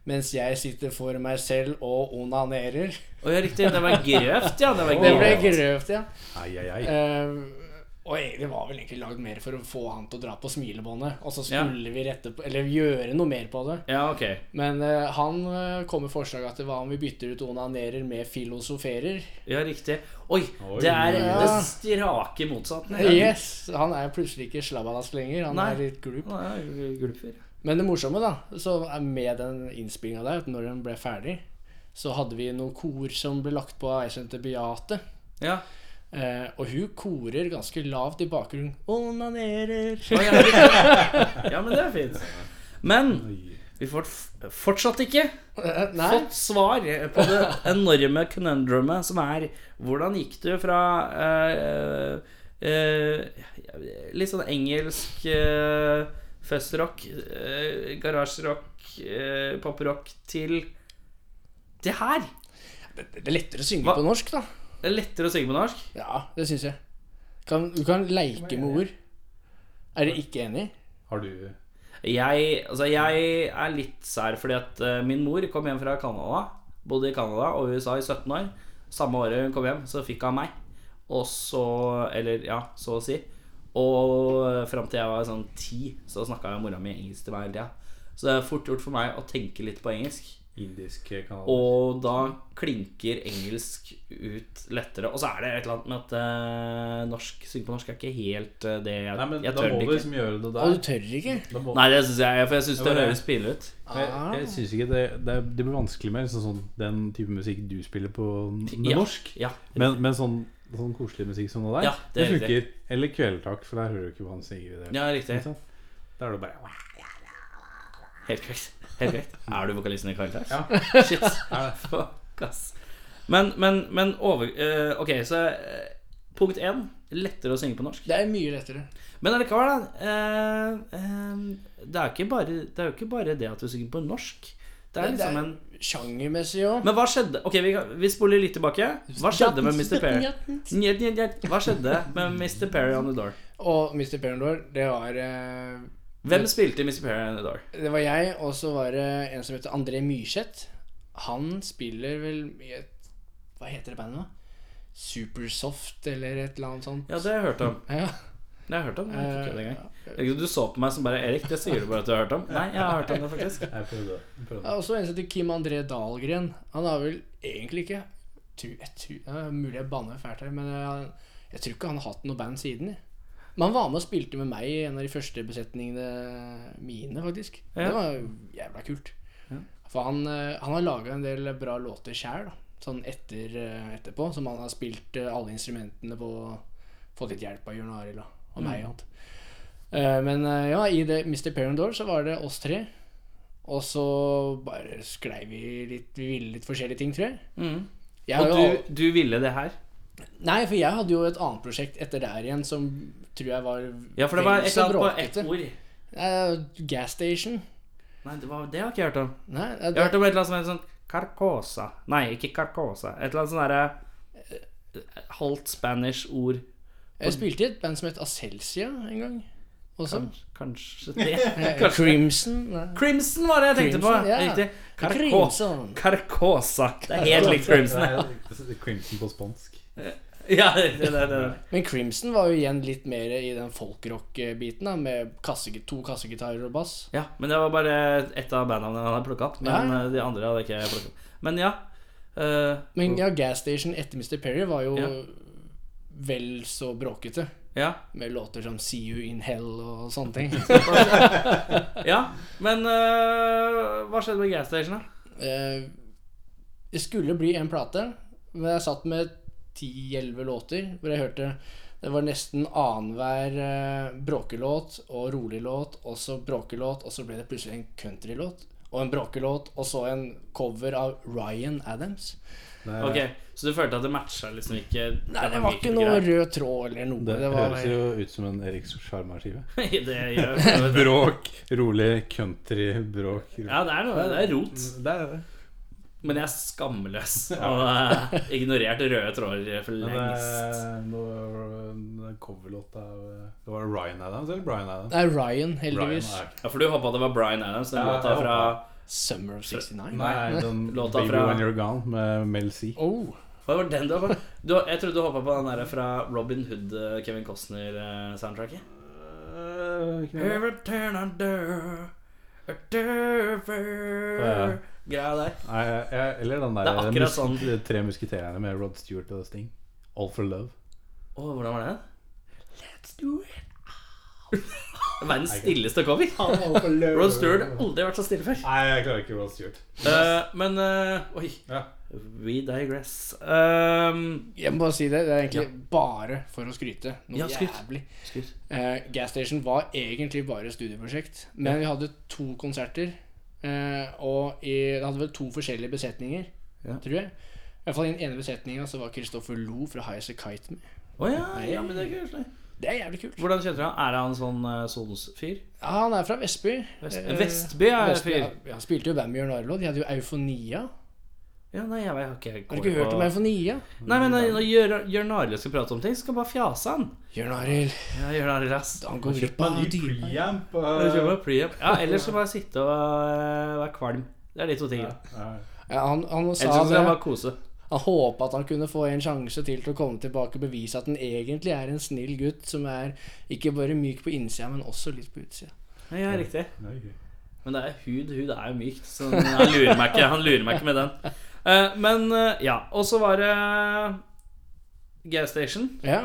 S4: 'mens jeg sitter for meg selv og onanerer'.
S3: Å ja, riktig. Det var grøft, ja. Det var
S4: Det ble
S3: grøft.
S4: grøvt, ja.
S2: Ai, ai, ai.
S4: Eh, og egentlig var vel egentlig lagd mer for å få han til å dra på smilebåndet, og så
S3: Ja.
S4: skulle vi rette på, eller gjøre noe mer på det.
S3: Ja, ok.
S4: Men eh, han eh, kom med forslag at det var om vi bytter ut onanerer med filosoferer.
S3: Ja, riktig. Oi,
S2: Oi.
S3: det er det
S4: Ja.
S3: strake motsatte.
S4: Yes, Han er plutselig ikke slabbadask lenger. Han
S3: Nei.
S4: er litt glup.
S3: Nå er jeg Gulper.
S4: Men det morsomme da, så er med den innspillinga der, at når den ble ferdig, så hadde vi noen kor som ble lagt på ei som heter Beate.
S3: Ja.
S4: Eh, og hun korer ganske lavt i bakgrunnen. Onanerer.
S3: Å, ja, riktig. ja, men det er fint. Men
S2: Oi.
S3: vi får f- fortsatt ikke
S4: Eh, nei.
S3: fått svar på det enorme conundrumet som er Hvordan gikk du fra eh, eh, litt sånn engelsk uh, festrock, eh, garasjerock, eh, poprock til det her?
S4: Det, det er lettere å synge
S3: Hva?
S4: på norsk, da.
S3: Det er lettere å synge på norsk.
S4: Ja, det syns jeg. Kan, du kan leike med ord. Er dere ikke enig?
S2: Har du
S3: Jeg, altså jeg er litt sær fordi at eh, min mor kom hjem fra Canada. Bodde i Canada og USA i 17 år. Samme året hun kom hjem, så fikk hun meg. Og så Eller ja, så å si. Og fram til jeg var sånn ti, så snakka mora mi engelsk til meg hele tida. Så det er fort gjort for meg å tenke litt på engelsk.
S2: indisk kanal?
S3: Og da klinker engelsk ut lettere. Og så er det et eller annet med at eh, norsk synge på norsk er ikke helt eh, det jeg,
S2: Nei, men
S3: jeg
S2: da
S3: tør
S2: må
S3: det
S2: du
S3: ikke.
S2: liksom gjøre det
S4: Å,
S2: der.
S4: du tør ikke?
S2: Da må,
S3: Nei, det syns jeg, for jeg syns det
S2: bare-
S3: høres pinlig ut.
S2: jeg jeg syns ikke det, det er- Det blir vanskelig med sånn, sånn, den type musikk du spiller på med
S3: Ja.
S2: norsk.
S3: Ja,
S2: Men, men sånn, sånn koselig musikk som det der,
S3: Ja, det
S2: det,
S3: er
S2: funker. Eller Kvelertak, for der hører du ikke hva han synger. i det.
S3: ja riktig.
S2: Ikke sant? Da er det bare
S3: Helt korrekt. Helt korrekt. Er du vokalisten i Karitas?
S2: Ja.
S3: Shit. Fuck, ass. Men, men, men over eh, Ok, så eh, punkt én lettere å synge på norsk.
S4: Det er mye lettere.
S3: Men allikevel, da. eh, eh, det, er jo ikke bare, det er jo ikke bare det at du synger på norsk. Det er
S4: Det
S3: liksom
S4: er
S3: en
S4: sjangermessig òg.
S3: Men hva skjedde? Ok, vi, vi spoler litt tilbake. Hva skjedde med Mr. Perry? Njet, njet, njet. Hva skjedde med Mr. Perry on the Door?
S4: Og Mr. Perendor, det var eh,
S3: Hvem spilte Mr. Perry on the Door?
S4: Det var jeg, og så var det en som heter André Myrseth. Han spiller vel i et Hva heter det bandet, da? Supersoft eller et eller annet sånt.
S3: Ja, det har jeg hørt om.
S4: Ja.
S3: Det har jeg hørt om. Jeg husker ikke det engang.
S4: Eh,
S3: Ikke sant, Du så på meg som bare Erik, det sier du bare at du har hørt om. Nei, jeg har hørt om det, faktisk.
S2: Jeg prøvde. Jeg prøvde.
S4: ja, Og så en som heter Kim André Dahlgren. Han har vel egentlig ikke tru, jeg tru, ja, Mulig jeg banner fælt her, men jeg, jeg tror ikke han har hatt noe band siden. jeg. Men han var med og spilte med meg i en av de første besetningene mine, faktisk.
S3: Ja.
S4: Det var jo jævla kult. For han, eh, han har laga en del bra låter sjæl, da. sånn etter, eh, etterpå, som han har spilt eh, alle instrumentene på. Fått litt hjelp av Jørn Arild og og
S3: Mm.
S4: meg og alt. Eh, Men eh, ja, i det Mr. Parent Door så var det oss tre. Og så bare sklei vi litt Vi ville litt forskjellige ting, tror jeg.
S3: Mm.
S4: jeg har
S3: Og
S4: jo al-
S3: du, du ville det her?
S4: Nei, for jeg hadde jo et annet prosjekt etter der igjen som tror jeg var
S3: Ja, for det var
S4: vel
S3: et
S4: så
S3: eller annet på
S4: bråkete.
S3: ett ord.
S4: Eh, gas station.
S3: Nei, det, var, det har ikke jeg hørt om.
S4: Nei, eh,
S3: Jeg har hørt om et eller annet som heter sånn Carcosa. Nei, ikke Carcosa. Et eller annet sånn derre eh, halvt spanish ord
S4: Jeg spilte i et band som het Acelsia en gang. Også.
S3: Kanskje, kanskje det.
S4: Eh,
S3: Kanskje.
S4: Crimson. Nei.
S3: Crimson var det jeg tenkte på.
S4: Crimson, ja.
S3: Riktig. Karkåsa.
S4: Crimson.
S3: Karkåsa. Det er helt likt Crimson. Ja,
S2: Crimson på spansk.
S3: ja det, det, det.
S4: Men Crimson var jo igjen litt mer i den folkrock-biten, da, med kassegi- to kassegitarer og bass.
S3: ja, men det var bare ett av bandnavnene han hadde plukka opp. Men
S4: Ja.
S3: eh, de andre hadde ikke jeg plukket opp. Men ja. eh,
S4: Men ja, Gas Station etter Mr. Perry var jo
S3: Ja.
S4: vel så bråkete.
S3: ja.
S4: Med låter som See You In Hell og sånne ting.
S3: ja. Men eh, hva skjedde med Gas Station, da?
S4: Eh, Det skulle bli en plate, men jeg satt med 10-11 låter hvor jeg hørte det var nesten annenhver eh, bråkelåt og rolig låt, og så bråkelåt, og så ble det plutselig en countrylåt og en bråkelåt, og så en cover av Ryan Adams.
S2: Det, er-
S3: Ok, Så du følte at det matcha liksom ikke
S4: Nei, det var ikke noe rød tråd eller noe.
S2: det,
S4: Det var,
S2: høres jo ut som en Erik Sjarma-skive.
S3: greit. Det gjør det.
S2: Bråk, rolig country-bråk.
S3: Ja, det er noe. Det er rot.
S2: Det er det.
S3: Men jeg er skamløs og eh, ignorerte røde tråder for
S2: Men
S3: lengst.
S2: eh, nå- den coverlåta av, eh, Det var Ryan Adams eller Brian Adams?
S4: det er Ryan,
S2: Brian,
S4: heldigvis.
S2: er-
S3: Ja, For du håpa det var Bryan Adams, den
S2: Ja,
S3: låta
S2: jeg
S3: fra
S4: Summer of 69.
S2: Nei, den
S3: Låta
S2: Baby
S3: fra-
S2: When You're Gone med Mel C.
S4: Oh,
S3: Hva var den du håpa du, Jeg trodde du håpa på den der fra Robin Hood, eh, Kevin øh, Costner-soundtracket. Every turn I do, a
S2: Ja.
S3: dover Greia der.
S2: Nei, jeg- eller den der
S3: Det er akkurat
S2: mus-
S3: sånn.
S2: de Tre musketerene med Rod Stewart og Sting. All for love.
S3: Å, hvordan var det? Let's do it. Verdens stilleste cover. Rod Stewart har aldri vært så stille før.
S2: Nei, jeg klarer ikke Rod Stewart.
S3: Eh, men eh, Oi.
S2: Ja.
S3: We digress. Um,
S4: jeg må bare si det. Det er egentlig bare for å skryte. Noe
S3: Ja, skryt.
S4: jævlig.
S3: Skryt.
S4: Eh, Gas Station var egentlig bare et studieprosjekt, men vi hadde to konserter. eh, og i, det hadde vel to forskjellige besetninger,
S3: Ja.
S4: tror jeg. I hvert fall i den ene besetninga så var Kristoffer Lo fra High As A Kite med.
S3: Å ja, ja, men det er koselig.
S4: Det er jævlig kult.
S3: Hvordan kjente du han? Er han sånn uh, Sons-fyr?
S4: Ja, han er fra Vestby.
S3: Vest
S4: Eh,
S3: Vestby er
S4: Vestby,
S3: fyr.
S4: ja. Ja, Han spilte jo band med Jørn Arlo. De hadde jo Eufonia.
S3: Ja, nei, jeg vet- jeg har ikke
S4: Har du ikke hørt om Eufonia?
S3: Nei, men eh, nei, når Jør- Jørn Arild skal prate om ting, så skal han bare fjase han.
S4: Jørn Arild,
S3: Ja, Jørn Arild, ass.
S4: han går glipp av dyre
S2: preamp.
S3: Jeg kjøper meg pre-up. Ja, ellers så bare sitte og eh, være kvalm. Det er de to tingene.
S4: ja, han, han
S3: Ellers
S4: sa
S3: så skal
S4: det.
S3: han bare kose.
S4: Han håpa at han kunne få en sjanse til til å komme tilbake og bevise at han egentlig er en snill gutt som er ikke bare myk på innsida, men også litt på utsida.
S3: Ja, ja, riktig. Men det er hud. Hud er jo mykt, så han lurer meg ikke, han lurer meg ikke med den. Eh, men eh, ja. Og så var det Gas Station.
S4: Ja.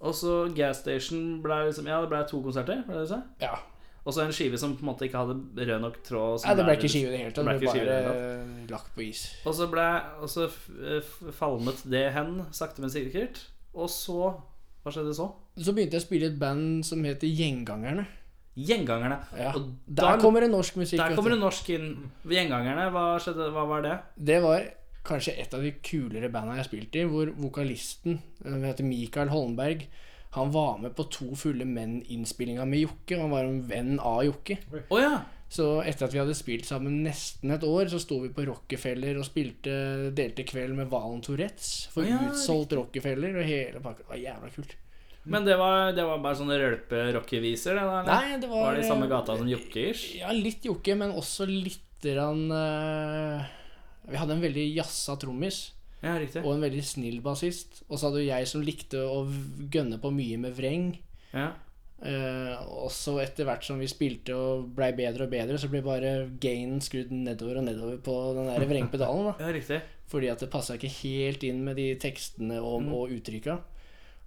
S3: Og så Gas Station ble liksom Ja, det ble to konserter, ble det du sa?
S4: ja.
S3: Og så en skive som på en måte ikke hadde rød nok tråd. som
S4: Nei, det ble ikke skive i det hele tatt.
S3: ble
S4: Det
S3: ikke
S4: ble
S3: skive i det
S4: bare
S3: hele
S4: eh, lagt på is.
S3: Og så ble Og så f- eh, f- falmet det hen, sakte, men sikkert. Og så Hva skjedde så?
S4: Så begynte jeg å spille i et band som heter Gjengangerne.
S3: Gjengangerne.
S4: Ja.
S3: Og
S4: Der
S3: da-
S4: kommer det norsk musikk.
S3: Der
S4: vet
S3: kommer
S4: du.
S3: det norsk inn. Gjengangerne, hva skjedde? Hva var det?
S4: Det var kanskje et av de kulere bandene jeg har spilt i, hvor vokalisten, eh, han heter Mikael Holmberg, han var med på To fulle menn-innspillinga med Jokke. Han var en venn av Jokke.
S3: Å ja!
S4: Så etter at vi hadde spilt sammen nesten et år, så sto vi på Rockefeller og spilte delte kveld med Valen Tourettes for
S3: Å ja,
S4: utsolgt Rockefeller og hele pakka. Det var jævla kult.
S3: Men det var, det var bare sånne rølpe-rockeviser? det da, eller?
S4: Nei, det var, eh,
S3: Var det i samme gata som Jokkers?
S4: Ja, litt jokke, men også lite grann eh, Vi hadde en veldig jazza trommis
S3: Ja, riktig.
S4: og en veldig snill bassist. Og så hadde jo jeg som likte å v- gønne på mye med vreng.
S3: Ja.
S4: Eh, og så etter hvert som vi spilte og blei bedre og bedre, så ble bare gainen skrudd nedover og nedover på den der vrengpedalen. da
S3: ja, riktig.
S4: Fordi at det passa ikke helt inn med de tekstene og, og uttrykka.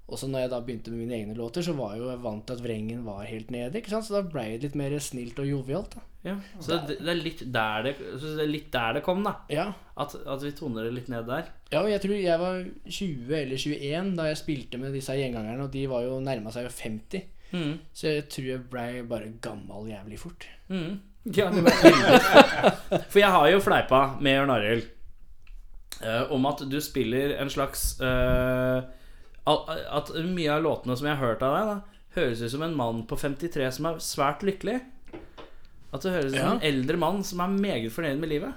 S4: Og så når jeg da begynte med mine egne låter, så var jeg jo jeg vant til at vrengen var helt nede. ikke sant? Så da blei det litt mer snilt og jovialt. da.
S3: Ja. Så det, det, er litt der det, så det er litt der det kom, da.
S4: Ja.
S3: At, at vi toner det litt ned der.
S4: ja, og jeg tror jeg var 20 eller 21 da jeg spilte med disse gjengangerne, og de var jo nærma seg jo 50.
S3: Mm.
S4: Så jeg tror jeg blei bare gammal jævlig fort.
S3: Mm. Ja, det var veldig. For jeg har jo fleipa med Jørn Arild eh, om at du spiller en slags eh, al- At mye av låtene som jeg har hørt av deg, da, høres ut som en mann på 53 som er svært lykkelig. At det høres ut som
S4: Ja.
S3: en eldre mann som er meget fornøyd med livet.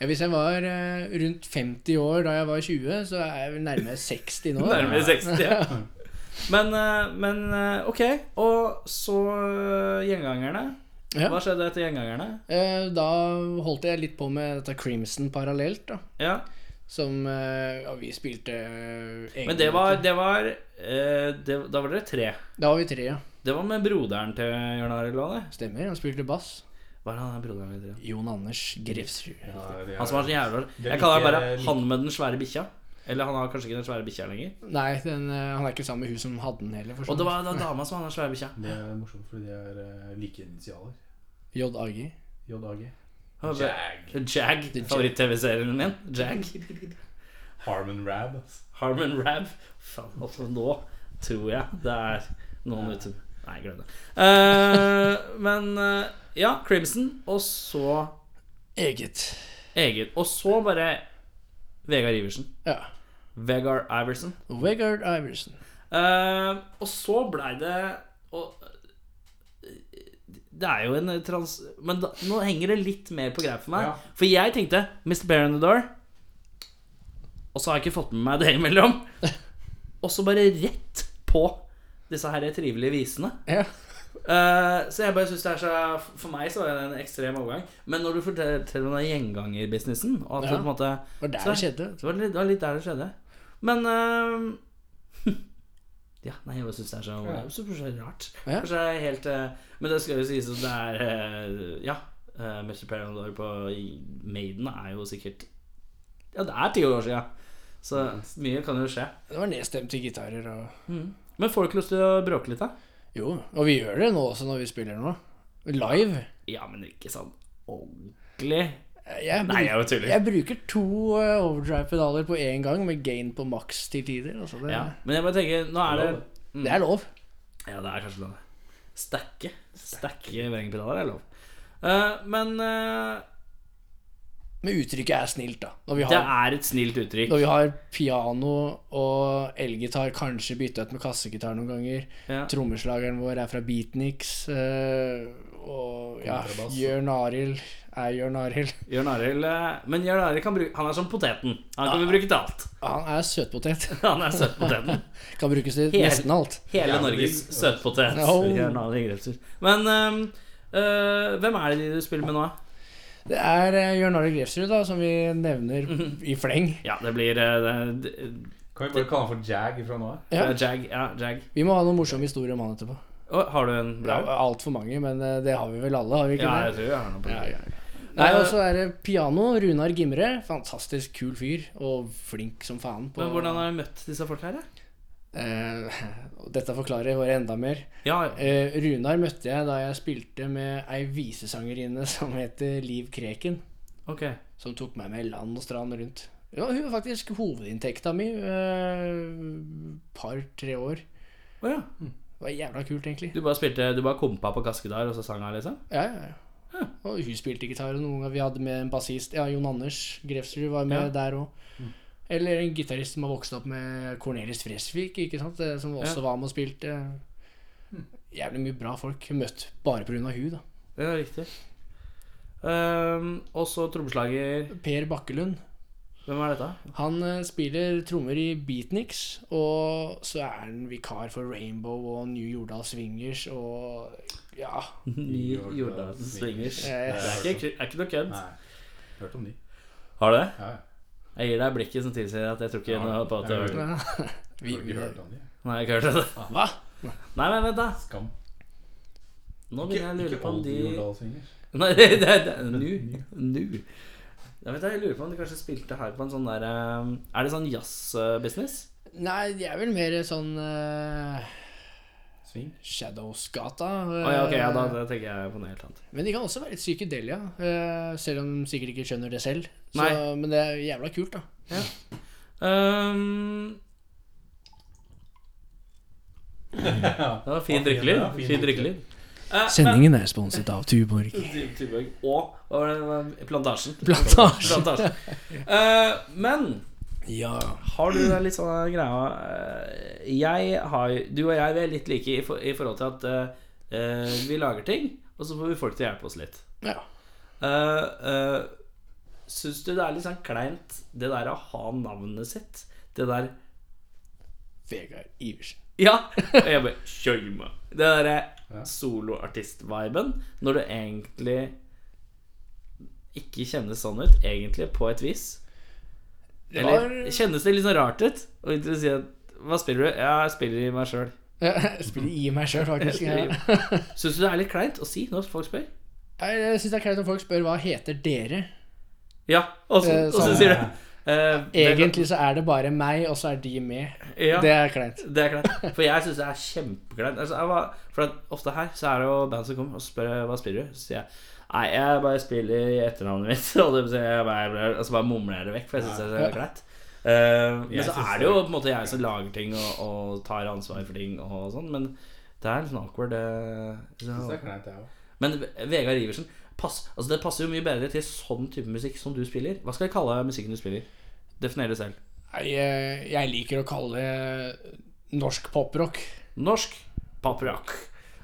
S4: Ja, hvis jeg var eh, rundt 50 år da jeg var 20, så er jeg vel nærmere 60 nå. da.
S3: Nærmere 60. Men, eh, men eh, OK. Og så eh, Gjengangerne.
S4: Ja.
S3: Hva skjedde etter Gjengangerne?
S4: Eh, Da holdt jeg litt på med dette Crimson parallelt, da.
S3: Ja.
S4: Som eh, Ja, vi spilte eh, egne
S3: Men det var,
S4: låter.
S3: det var, eh, det, Da var dere tre.
S4: Da var vi tre, ja.
S3: Det var med broderen til Jørn Arild Lane.
S4: Stemmer. Han spilte bass.
S3: Hva er han der broderen til?
S4: Jon Anders Grefsrud.
S3: Han som har sånn jævla
S5: er
S3: Jeg kaller
S5: like-
S3: ham bare
S5: like-
S3: 'han med den svære bikkja'. Eller han har kanskje ikke den svære bikkja lenger.
S4: Nei, den, eh, han er ikke sammen med hun som hadde den heller. for
S3: Og
S4: sånn.
S3: det var, det var dama som hadde den svære bikkja.
S5: Det er morsomt, fordi det er eh, like initialer.
S4: JAG.
S5: JAG.
S3: Han var bare-
S5: Jag.
S3: Jag. Favoritt-TV-serien min. Jag.
S5: Harmon Rab. ass.
S3: Harmon Rab. Faen, altså nå tror jeg det er noen ute Nei, glem det. Eh, men eh, ja, Crimson, og så
S4: Eget.
S3: Egil. Og så bare Vegard Iversen.
S4: Ja.
S3: Vegard Iversen.
S4: Vegard Iversen.
S3: Eh, og så blei det og, Det er jo en trans... Men da, nå henger det litt mer på greip for meg.
S5: Ja.
S3: For jeg tenkte Mr. Bear on the Door. Og så har jeg ikke fått med meg det imellom. Og så bare rett på disse her trivelige visene.
S4: Ja.
S3: Eh, så jeg bare synes det er så For meg så var det en ekstrem overgang. Men når du forteller om den gjengangerbusinessen og at
S4: Ja.
S3: det på en måte
S4: Det var der
S3: Så-
S4: det skjedde.
S3: det var litt, det var litt der det skjedde. Men eh, Ja, nei, jeg bare syns det er så, det er så, så rart.
S4: Ja.
S3: Kanskje det er helt eh, Men det skal jo sies at det er eh, Ja, uh, Mr. Parandor på Maiden er jo sikkert Ja, det er ti år siden. Så mye kan jo skje.
S4: Det var nedstemte gitarer og
S3: Men får du ikke lyst til å bråke litt, da?
S4: Jo, og vi gjør det nå også når vi spiller nå. Live.
S3: Ja, men ikke sånn ordentlig. Nei, jeg
S4: Jeg, bruker,
S3: er jo tuller.
S4: jeg bruker to eh, overdrive-pedaler på én gang, med gain på maks til tider. Altså det,
S3: Ja, men jeg bare tenker Nå er det
S4: det er lov.
S3: Ja, det er kanskje lov. Stacke. Stacke vrengpedaler er lov. Eh, men eh,
S4: Men uttrykket er snilt, da. Når vi
S3: det
S4: har,
S3: er et snilt uttrykk.
S4: når vi har piano og elgitar, kanskje bytta ut med kassegitar noen ganger.
S3: Ja.
S4: Trommeslageren vår er fra Beatniks. eh, og ja,
S5: Kontrabass.
S4: Jørn Arild er Jørn Arild.
S3: Jørn Arild eh, Men Jørn Arild kan bruke Han er som poteten. Han kan vi bruke til alt.
S4: Han er søtpotet.
S3: Han er søtpoteten.
S4: Kan brukes til
S3: Helt-
S4: nesten alt.
S3: Hele
S5: Jævlig.
S3: Norges søtpotet.
S4: Oh.
S3: Jørn Arild Grefser. Men eh, eh, hvem er det du spiller med nå?
S4: Det er eh, Jørn Arild Grefsrud, da, som vi nevner
S3: Mhm.
S4: i fleng.
S3: Ja, det blir eh, det,
S5: Kan vi bare kalle han for Jag fra nå av?
S3: ja.
S4: Ja.
S3: Jag. Ja, Jag.
S4: Vi må ha noen morsomme historier om han etterpå.
S3: Å, har du en
S4: Ja,
S3: bra?
S4: Altfor mange, men eh, det har vi vel alle, har vi ikke
S3: Ja, jeg
S4: det?
S3: tror jeg har noe på
S4: Ja,
S3: det.
S4: ja, ja. Nei,
S3: Eh,
S4: og så er det piano. Runar Gimre. Fantastisk kul fyr, og flink som faen. På,
S3: Men hvordan har du møtt disse folka her? da?
S4: Eh, og dette forklarer bare enda mer.
S3: Ja,
S4: Eh, Runar møtte jeg da jeg spilte med ei visesangerinne som heter Liv Kreken.
S3: ok.
S4: Som tok meg med land og strand rundt. Ja, hun var faktisk hovedinntekta mi. Eh, Par-tre år.
S3: Å ja.
S4: Det var jævla kult, egentlig.
S3: Du bare spilte Du bare kompa på kaskegitar, og så sang han, liksom?
S4: Ja, ja, ja. Og hun spilte gitar, og noen ganger vi hadde med en bassist. Ja, Jon Anders Grefsrud var med
S3: Ja. Mm.
S4: der òg. Eller en gitarist som har vokst opp med Cornelis Fresvik, ikke sant? eh, som også
S3: Ja. Hm.
S4: var med og spilte. Jævlig mye bra folk. Møtt bare pga. hun da.
S3: Det er riktig. Ehm, og så trommeslager
S4: Per Bakkelund.
S3: Hvem er dette?
S4: Han eh, spiller trommer i Beatniks, og så er han vikar for Rainbow og New Jordal Swingers og ja.
S3: Ny Jordal Swingers. Det
S4: Eh,
S3: er ikke, er ikke noe kødd.
S5: Nei. Hørt om de.
S3: Har du det?
S5: Ja, ja.
S3: Jeg gir deg blikket som tilsier at jeg tror ikke
S5: Ja,
S3: noe på at
S5: jeg hører det.
S3: du
S4: Vi,
S5: Har du
S4: vi,
S5: ikke hørt om de?
S3: Nei, jeg har ikke hørt det.
S4: hva?
S3: Nei, men vent, da.
S5: Skam.
S3: Nå begynner jeg å lure på om de
S5: Jordalsvingers.
S3: Nei, det det- det- nu. Nu. Jeg vet, jeg lurer på om de kanskje spilte her på en sånn der ehm, Er det sånn jazz-business?
S4: Nei, det er vel mer sånn eh,
S5: Sving.
S4: Shadows-gata. Eh,
S3: Å ja, ok, ja, da, da tenker jeg på noe helt annet.
S4: Men de kan også være litt psykedelia, eh, selv om de sikkert ikke skjønner det selv. Så,
S3: Nei.
S4: men det er jævla kult, da.
S3: Ehm. det var fin drikkelyd.
S5: Ja, fin
S3: Fin drikkelyd. Eh,
S4: Sendingen er sponset av Tuborg.
S3: Typ- Tyborg og hva var det, hva var det? Plantasjen.
S4: Plantasje.
S3: Plantasjen. Eh, men
S4: Ja.
S3: har du den litt sånn greia eh, Jeg har Du og jeg vi er litt like i, for, i forhold til at eh, eh, vi lager ting, og så får vi folk til å hjelpe oss litt.
S4: ja.
S3: Eh, eh, Syns du det er litt sånn kleint, det der å ha navnet sitt? Det der
S4: Vegard Iversen.
S3: Ja. Og jeg bare Kjør meg. Det
S5: Ja.
S3: derre soloartist-viben, når det egentlig ikke kjennes sånn ut, egentlig, på et vis.
S4: Det
S3: Eller
S4: var-
S3: kjennes det litt sånn rart ut? Og ikke si at Hva spiller du? Ja, jeg spiller i meg sjøl.
S4: Jeg spiller i meg sjøl, faktisk. Ja.
S3: Syns du det er litt kleint å si når folk spør?
S4: Jeg syns det er greit om folk spør hva heter dere.
S3: Ja, og så,
S4: Eh,
S3: og så
S4: sånn.
S3: sier du eh, det er-
S4: Egentlig så er det bare meg, og så er de med.
S3: Ja.
S4: Det er kleint.
S3: Det er kleint. For jeg syns det er kjempekleint. Altså, jeg var- for at ofte her så er det jo band som kommer og spør eh, hva spiller du Så sier jeg nei, jeg bare spiller i etternavnet mitt. Og det, vil si, jeg bare, altså, bare mumler jeg det vekk, for jeg syns det er så kleint. Eh, men
S5: Jeg
S3: så
S5: synes
S3: er det jo på en måte jeg som lager ting og, og tar ansvar for ting og sånn. Men det er litt sånn awkward. eh,
S5: Synes det
S3: så.
S5: er kleint, jeg òg.
S3: Men Ve- Vegard Iversen pass, altså, Det passer jo mye bedre til sånn type musikk som du spiller. Hva skal jeg kalle musikken du spiller? Definer det selv.
S4: Nei, eh, Jeg liker å kalle det norsk poprock.
S3: Norsk papriak.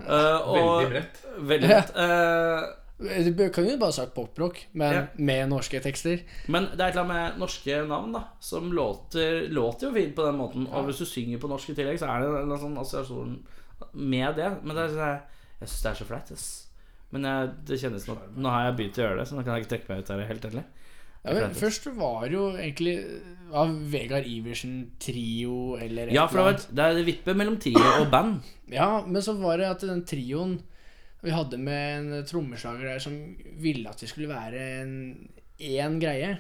S5: Veldig bredt.
S3: Veldig lett. Eh,
S4: Du bør- kan jo bare sagt poprock, men
S3: Ja.
S4: med norske tekster.
S3: men det er et eller annet med norske navn da som låter, låter jo fint på den måten. Og hvis du synger på norsk i tillegg, så er det en eller annen sånn assosiasjon med det. Men det er, sånn- jeg syns det er så flaut. ass. Men jeg, det kjennes som at nå har jeg begynt å gjøre det, så nå kan jeg ikke trekke meg ut av det helt endelig.
S4: Ja, men
S3: Kleint.
S4: først var det jo egentlig av Vegard Iversen trio eller et
S3: Ja, for det,
S4: eller
S3: var, det er det vippe mellom trio og band.
S4: Ja, men så var det at den trioen vi hadde med en trommeslager der som ville at det skulle være en én greie.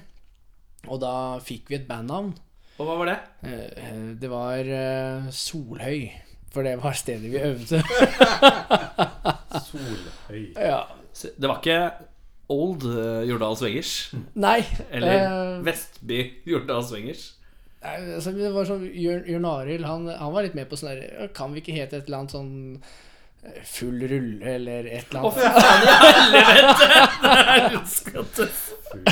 S4: Og da fikk vi et bandnavn.
S3: Og hva var det?
S4: Eh, eh, Det var eh, Solhøy, for det var stedet vi øvde.
S5: Solhøy.
S4: ja.
S3: Så Det var ikke Old eh, Jordals Vengers.
S4: Nei.
S3: Eller
S4: eh,
S3: Vestby Jordals Vengers.
S4: nei, altså, det var sånn Jørn Jørn Arild, han, han var litt med på sånn der «Ja, Kan vi ikke hete et eller annet sånn eh, Full rulle, eller et eller annet.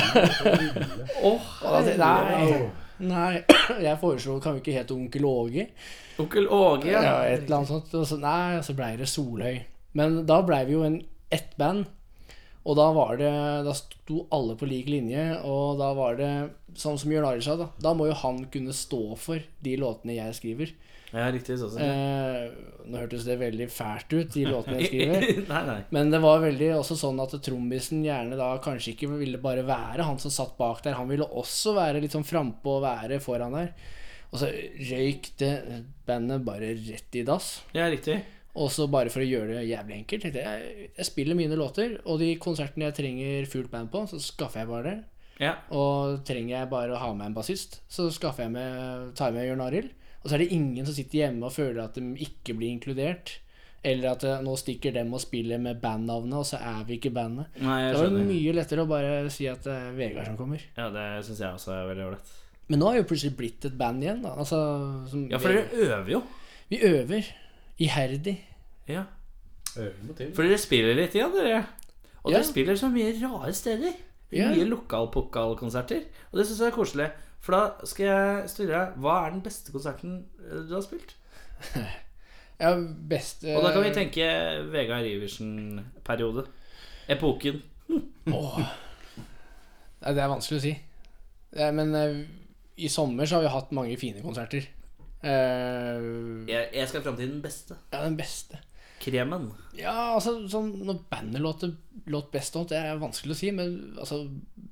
S4: Og da tenkte jeg, nei, nei, jeg foreslo Kan vi ikke hete Onkel Åge?
S3: Onkel Åge.
S4: Ja, et eller annet sånt. Og så, nei, så blei det Solhøy. Men da blei vi jo en ett band. Og da var det Da sto alle på lik linje, og da var det sånn som Jørn Arild sa, da. Da må jo han kunne stå for de låtene jeg skriver.
S3: Ja, riktig sånn sett.
S4: Eh, nå hørtes det veldig fælt ut, de låtene jeg skriver.
S3: nei, nei.
S4: Men det var veldig også sånn at trommisen gjerne da kanskje ikke ville bare være han som satt bak der. Han ville også være litt sånn frampå og være foran der. Og så røyk det bandet bare rett i dass.
S3: Ja, riktig.
S4: Og så bare for å gjøre det jævlig enkelt, tenkte jeg jeg spiller mine låter, og de konsertene jeg trenger fullt band på, så skaffer jeg bare det.
S3: Ja.
S4: Og trenger jeg bare å ha med en bassist, så skaffer jeg med, tar jeg med Jørn Arild. Og så er det ingen som sitter hjemme og føler at de ikke blir inkludert. Eller at eh, nå stikker dem og spiller med bandnavnet, og så er vi ikke bandet.
S3: Nei,
S4: Det
S3: jeg
S4: var jo
S3: skjønner.
S4: mye lettere å bare si at det er Vegard som kommer.
S3: Ja, det syns jeg også er veldig ålreit.
S4: Men nå er jo plutselig blitt et band igjen, da. Altså, som
S3: Ja, for dere øver jo.
S4: vi, vi øver iherdig.
S3: Ja.
S5: Øving må til.
S3: For dere spiller litt igjen, dere. Og
S4: Ja.
S3: dere spiller så mye rare steder.
S4: Ja.
S3: Mye lokalpokalkonserter. Og det syns jeg er koselig. For da skal jeg stille deg Hva er den beste konserten eh, du har spilt?
S4: Ja, best
S3: Og da kan vi tenke Vegard Iversen-periode. Epoken.
S4: Åh. Nei, det er vanskelig å si. Eh, Men eh, i sommer så har vi hatt mange fine konserter. Eh,
S3: Jeg, jeg skal fram til den beste.
S4: ja, den beste.
S3: Kremen.
S4: Ja, altså sånn Når bandet låter, låt best og sånt, det er vanskelig å si, men altså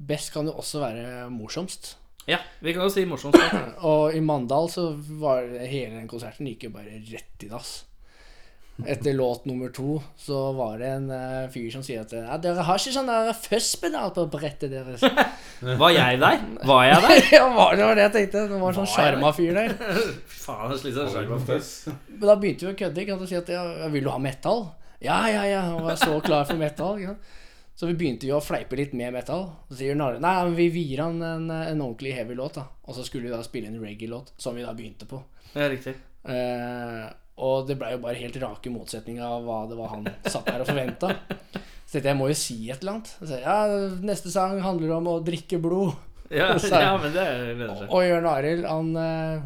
S4: Best kan jo også være morsomst.
S3: Ja, vi kan jo si morsomst. da.
S4: Og i Mandal så var det- hele den konserten gikk jo bare rett i dass. Etter låt nummer to så var det en eh, fyr som sier at «Nei, 'Dere har ikke sånn der fuzzpedal på brettet deres'.
S3: Var jeg der? Var jeg der?
S4: ja, var det var det jeg tenkte. Det var en sånn
S3: Var jeg
S4: sjarma fyr der.
S3: Faen, jeg sliter
S5: Skjerm og føss.
S4: Men da begynte vi å kødde. Ikke sant? Og si at ja, vil du ha metal? Ja, ja, ja. Han var så klar for metal. Ikke sant? Så vi begynte jo å fleipe litt med metal. Så sier Narve nei, men vi vier han en, en ordentlig heavy låt. da Og så skulle vi da spille en reggae-låt, som vi da begynte på.
S3: Ja, riktig.
S4: Eh, og det blei jo bare helt rake motsetninger av hva det var han satt der og forventa. Så tenkte jeg, jeg må jo si et eller annet. Så, jeg, ja, neste sang handler om å drikke blod.
S3: Ja,
S4: Så-
S3: ja men det lønner seg.
S4: Og Jørn Arild, han eh,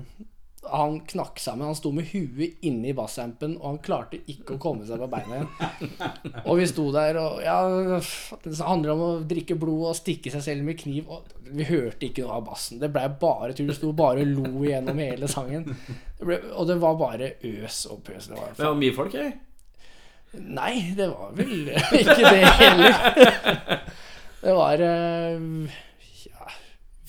S4: han knakk sammen. Han sto med huet inni bassampen, og han klarte ikke å komme seg på beina igjen. Og vi sto der, og ja Det handler om å drikke blod og stikke seg selv med kniv. Og vi hørte ikke noe av bassen. Det blei bare tull. Vi sto bare og lo igjennom hele sangen. Det ble, og det var bare øs og pøs. Det var
S3: Men det var mye folk, jeg.
S4: Nei, det var vel ikke det heller. Det var eh, ja,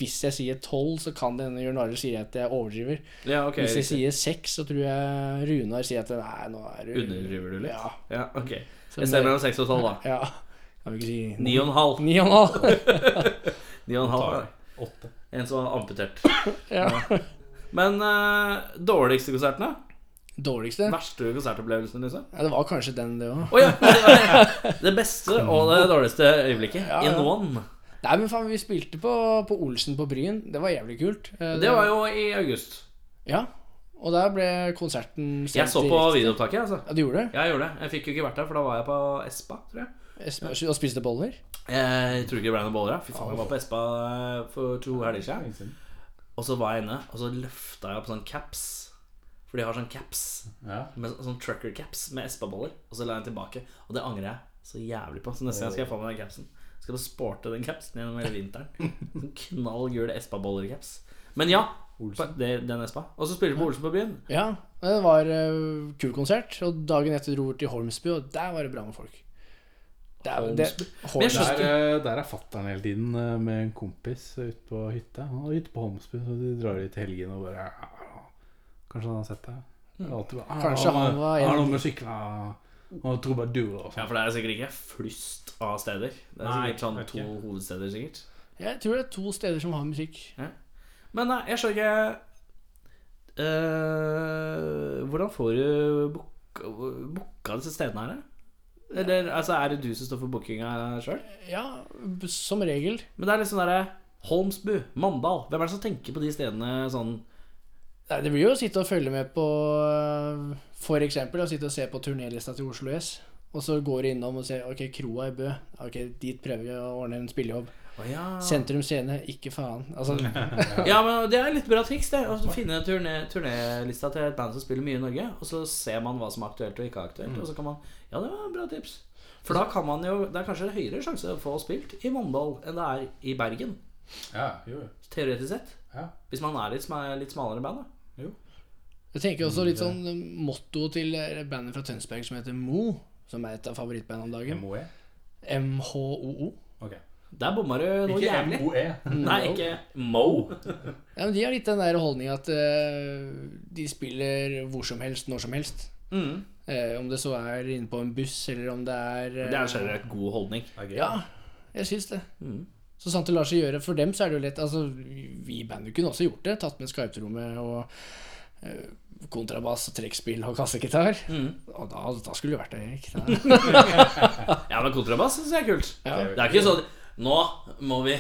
S4: Hvis jeg sier tolv, så kan det hende Jørn Arild sier at jeg overdriver.
S3: Ja, ok.
S4: Hvis jeg
S3: riktig.
S4: sier seks, så tror jeg Runar sier at Nei, nå er du
S3: Underdriver du litt?
S4: Ja.
S3: Ja, ok.
S4: Så
S3: Jeg ser mellom seks og tolv, da.
S4: ja. Kan vi ikke si
S3: Ni og en halv.
S4: Ni og en halv.
S3: Ni og en halv. da.
S5: Åtte.
S3: En som var amputert.
S4: Ja.
S3: Men eh, dårligste konsertene?
S4: Dårligste?
S3: Verste konsertopplevelsen, liksom?
S4: Ja, det var kanskje den, det òg.
S3: Å ja! Det beste og det dårligste øyeblikket.
S4: Ja, ja.
S3: In one.
S4: Nei, men faen, vi spilte på, på Olsen på Bryen. Det var jævlig kult. Eh,
S3: Det var jo i august.
S4: Ja. Og der ble konserten
S3: Jeg så på
S4: direkte.
S3: videoopptaket, jeg, altså.
S4: Ja, du gjorde det?
S3: Jeg gjorde det. Jeg fikk jo ikke vært der, for da var jeg på Espa, tror jeg.
S4: Jeg sp- Og spiste boller?
S3: Jeg tror ikke det ble noen boller. da. Fy faen, jeg var på Espa eh, for to helger siden. Og så var jeg inne, og så løfta jeg opp sånn caps. For de har sånn caps,
S5: Ja.
S3: med, sånn trucker-caps med Espa-boller. Og så la jeg den tilbake, og det angrer jeg så jævlig på. Så neste gang skal jeg få meg den capsen. Skal bare sporte den capsen gjennom hele vinteren. Sånn knall gul Espa-boller-caps. Men ja, det, den Espa. Og så spiller du på Olsen på byen.
S4: Ja, det var eh, kul konsert. Og dagen etter dro vi til Holmsby, og der var det bra med folk. Det er, det,
S3: Men jeg skjønner-
S4: Holmsby.
S2: Der, eh, der er fatter'n hele tiden eh, med en kompis ute på hytta. Han er ute på Holmsby, så de drar dit i helgen og bare «Ah, Kanskje han har sett deg?
S5: Mm.
S2: Det er alltid bare, «Ah,
S4: Kanskje han var en-
S2: Han har noe med sykla og trubadur og
S3: Ja,
S2: sånn.
S3: for det er sikkert ikke flust av steder. Det er
S2: Nei,
S3: sikkert sånn
S2: jeg vet
S3: to
S2: ikke.
S3: hovedsteder, sikkert.
S4: Jeg tror det er to steder som har musikk.
S3: Men nei, jeg skjønner ikke eh, Hvordan får du book- booka disse stedene her? da? Eller altså, er det du som står for bookinga sjøl?
S4: Ja, b- som regel.
S3: Men det er liksom derre Holmsbu, Mandal Hvem er det som tenker på de stedene sånn
S4: Nei, det blir jo å sitte og følge med på eh, For eksempel å sitte og se på turnélista til Oslo S. Og så går du innom og ser Ok, kroa i Bø. Ok, dit prøver vi å ordne en spillejobb.
S3: Å ja.
S4: Sentrum scene, ikke faen. Altså,
S3: ja, men det er litt bra triks, det. Å finne turné- turnélista til et band som spiller mye i Norge. Og så ser man hva som er aktuelt og ikke aktuelt. Og så kan man Ja, det var et bra tips. For da kan man jo Det er kanskje høyere sjanse å få spilt i Mandal enn det er i Bergen.
S5: ja, jo, jo.
S3: Teoretisk sett.
S5: Ja.
S3: Hvis man er litt, sma- litt smalere band, da.
S4: Jeg tenker også litt sånn motto til eh, bandet fra Tønsberg som heter Mo, som er et av favorittbandene om dagen.
S5: MOE.
S4: MHOO.
S5: Ok.
S3: Der bomma du noe
S5: Ikke E.
S3: jævlig.
S5: MOE.
S3: Nei, ikke Mo.
S4: Ja, men De har litt den der holdninga at eh, de spiller hvor som helst, når som helst.
S3: Mm.
S4: Eh, om det så er inne på en buss, eller om det er eh,
S3: Det er en generelt god holdning.
S5: Det er gøy.
S4: Ja, jeg syns det.
S3: Mm.
S4: Så sant det lar seg gjøre. For dem så er det jo lett Altså, vi i bandet kunne også gjort det. Tatt med Skype-rommet og eh, kontrabass, trekkspill og kassegitar.
S3: Mm.
S4: Og da, da skulle det vært det, Erik. Da-
S3: Ja, men kontrabass syns jeg er kult.
S4: Ja.
S3: Det er ikke sånn Nå må vi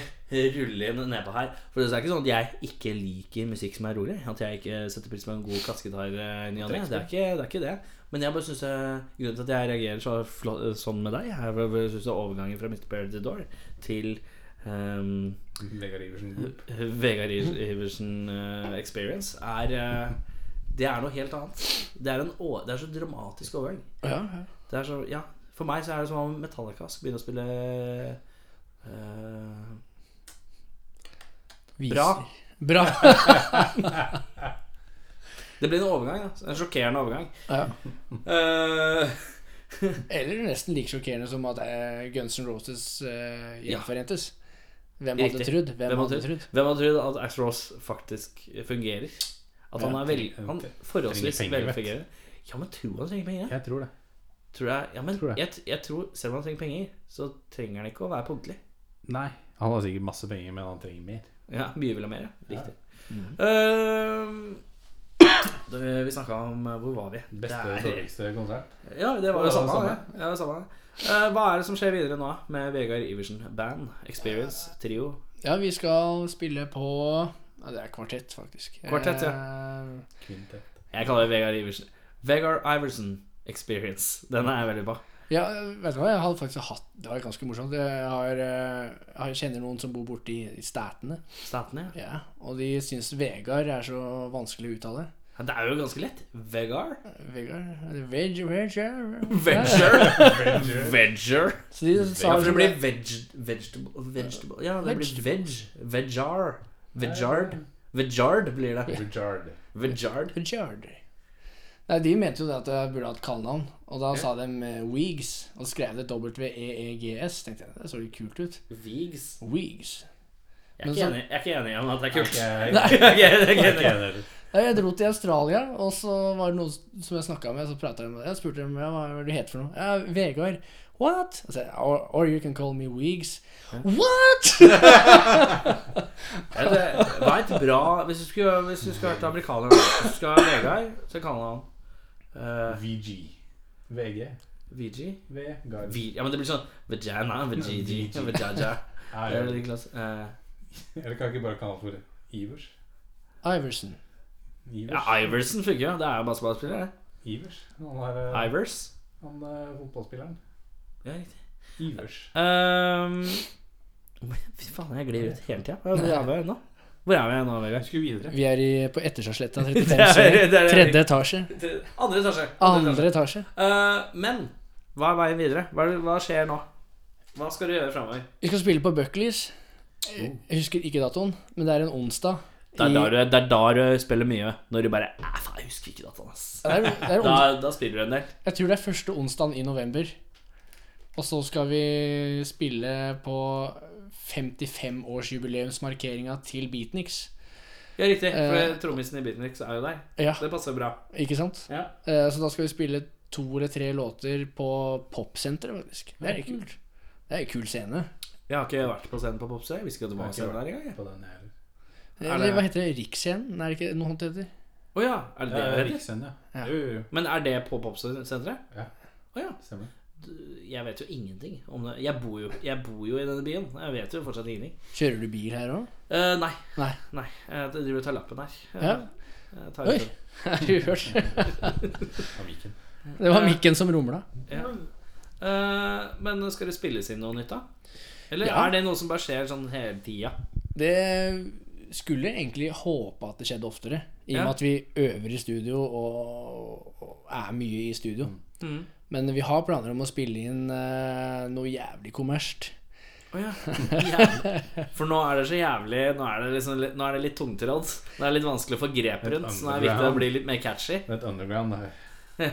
S3: rulle inn nedpå her. For det er ikke sånn at jeg ikke liker musikk som er rolig. At jeg ikke setter pris på en god kassegitar eh, i ny og ne. Det, er ikke- det er ikke det. Men jeg bare synes jeg, grunnen til at jeg reagerer så flå- sånn med deg, er for jeg synes det er overgangen fra Mr. Bear the Door til ehm,
S5: Vegard Iversen Group.
S3: Vegard Iversen eh, Experience er eh, Det er noe helt annet. Det er, en, å- det er så dramatisk overgang.
S4: Ja, ja.
S3: Det er så, ja, For meg så er det som om Metallica skal begynne å spille eh,
S4: Viser.
S3: bra.
S4: Bra.
S3: Det blir en overgang. da. En sjokkerende overgang.
S4: Ja.
S3: Eh,
S4: Eller nesten like sjokkerende som at eh, Guns N' Roses eh,
S3: Ja.
S4: gjenforentes. Hvem hadde
S3: Riktig.
S4: trodd? Hvem,
S3: Hvem hadde
S4: hadde trodd?
S3: hvem hadde trodd at Axl Rose faktisk fungerer? At han
S4: Ja,
S3: er vel, han forholdsvis
S2: trenger penger, vet du.
S3: velfungerende? Ja, men tror han trenger penger?
S2: Jeg tror det.
S3: Tror jeg, ja, men
S2: Tror
S3: jeg.
S2: det.
S3: Jeg, tror, selv om han trenger penger, så trenger han ikke å være punktlig.
S2: Nei. Han har sikkert masse penger, men han trenger mer.
S3: Ja, mye vil ha mer. ja. Riktig.
S2: Mm.
S3: Eh, da vi vi snakka om eh, Hvor var vi?
S5: Beste og
S3: Der.
S5: dårligste konsert.
S3: Ja, det var
S5: Det
S3: jo
S5: var det
S3: samme.
S5: samme.
S3: det. Ja, det var samme. Eh, hva er det som skjer videre nå med Vegard Iversen Band? Experience? Trio?
S4: Ja, vi skal spille på ja, Det er kvartett, faktisk. Eh,
S3: Kvartett,
S4: ja.
S5: Kvintett.
S3: Jeg kaller det Vegard Iversen. Vegard Iversen Experience. Den er jeg veldig på.
S4: ja, vet du hva, jeg hadde faktisk hatt Det var ganske morsomt. Jeg, har, eh, jeg kjenner noen som bor borte i, i Statene.
S3: Statene, ja.
S4: Ja, og de syns Vegard er så vanskelig å uttale.
S3: Ja, Men det er jo ganske lett. Vegar.
S4: Vegard eller Veg, veg, ja.
S3: Venture.
S5: Venger.
S3: Veger.
S4: Så de sa
S3: Ja, for det
S4: liksom
S3: blir veg, vegetable, vegetable Ja, det blir veg. Vegar. Vegard. Vegard blir det.
S5: Richard.
S3: Vegard.
S4: Vegard. Nei, De mente jo det at jeg burde hatt kallenavn, og da sa de eh, Weegs, og skrev det E W-E-E-G-S. Tenkte jeg, Det så litt kult ut.
S3: Vigs.
S4: Weegs.
S3: Jeg
S4: Men
S3: er ikke
S4: så-
S3: enig- jeg er ikke enig i at det er kult.
S5: Jeg
S4: Nei.
S5: er
S3: Jeg er ikke enig- jeg er
S5: ikke
S3: ikke enig.
S5: enig.
S4: Nei, Jeg dro til Australia, og så var det noen som jeg snakka med. Så pratet jeg med Jeg spurte dem ja, hva er det du heter for noe. Ja, Vegard. What? Og så, sa jeg, or, or you can call me Weegs. What?!
S3: Ja, det var et bra Hvis du skulle, hvis du skulle vært amerikaner Hvis du skal ha Vegard, så kaller han uh,
S5: VG. VG.
S3: VG.
S5: Vegard.
S3: V, ja, men det blir sånn Vagina, Vagigi,
S5: Ja,
S3: Vajaja.
S5: Nei,
S3: Det er veldig klasse. Eh,
S5: Eller kan jeg ikke bare kalle han for Ivers?
S4: Iverson.
S5: Ivers?
S3: ja, Iversen funker jo. Det er jo basketballspiller, det.
S5: Ivers. Han er eh,
S3: Ivers.
S5: han er fotballspilleren.
S3: Ja, riktig.
S5: Ivers.
S3: Ehm, fy faen, jeg glir ut hele tida. Hvor er vi nå? Hvor er vi nå,
S5: Jeg
S3: Vegard?
S5: skulle videre.
S4: Vi er i, på Etterstadsletta
S3: Det er-
S4: 35
S3: det er-
S4: sør.
S3: det er-
S4: Tredje etasje.
S3: Andre etasje.
S4: Andre etasje.
S3: Eh, men hva er veien videre? Hva, er det- hva skjer nå? Hva skal du gjøre framover?
S4: Vi skal spille på Buckleys.
S3: Oh.
S4: Jeg husker ikke datoen, men det er en onsdag.
S3: Det er
S4: i-
S3: da du, det er da du spiller mye. Når du bare "Æ, faen, jeg husker ikke dataen, ass.
S4: Ja, det er, det er
S3: Da,
S4: ons-
S3: da spiller du en del.
S4: jeg tror det er første onsdagen i november. Og så skal vi spille på 55-årsjubileumsmarkeringa til Beatniks.
S3: Ja, riktig. For
S4: Eh,
S3: trommisen i Beatniks er jo der.
S4: Ja,
S3: Det passer bra.
S4: ikke sant?
S3: Ja.
S4: Eh, Så da skal vi spille to eller tre låter på Popsenteret, faktisk. Det er litt kult. Det er en kul scene.
S3: Jeg har ikke vært på scenen på Popsøy. Jeg Visste ikke at det var en
S5: Jeg
S3: scene
S5: har
S3: der engang. jeg.
S5: På den her.
S3: det-
S4: Eller hva heter det? Riksscenen? Er det ikke noe sånt det heter?
S3: Å ja, er det det
S5: Ja,
S3: det heter?
S5: Riksen,
S4: Ja.
S5: ja. Jo, jo, jo.
S3: Men er det på Popsenteret?
S5: Ja.
S3: Å ja.
S5: Stemmer.
S3: Du- Jeg vet jo ingenting om det. Jeg bor jo, jeg bor jo i denne byen. Jeg vet jo fortsatt ingenting.
S4: Kjører du bil her òg?
S3: Eh, nei.
S4: Nei.
S3: nei. Jeg driver og tar lappen her. Eh,
S4: Ja.
S3: jeg tar
S4: Oi.
S3: ut den.
S4: Har du hørt?
S5: Av Viken.
S4: Det var mikken som rumla.
S3: Ja. Eh, men skal det spilles inn noe nytt, da? Eller
S4: Ja.
S3: er det noe som bare skjer sånn hele tida?
S4: Det skulle jeg egentlig håpe at det skjedde oftere. I og med
S3: Ja.
S4: at vi øver i studio og, og er mye i studio.
S3: Mm.
S4: Men vi har planer om å spille inn eh, noe jævlig kommersielt.
S3: Å ja. Jævlig. For nå er det så jævlig Nå er det, liksom, litt- nå er det litt tungtrådd. Det er litt vanskelig å få grep rundt, så nå er det viktig å bli litt mer catchy.
S5: Det er et underground her.
S4: Nei,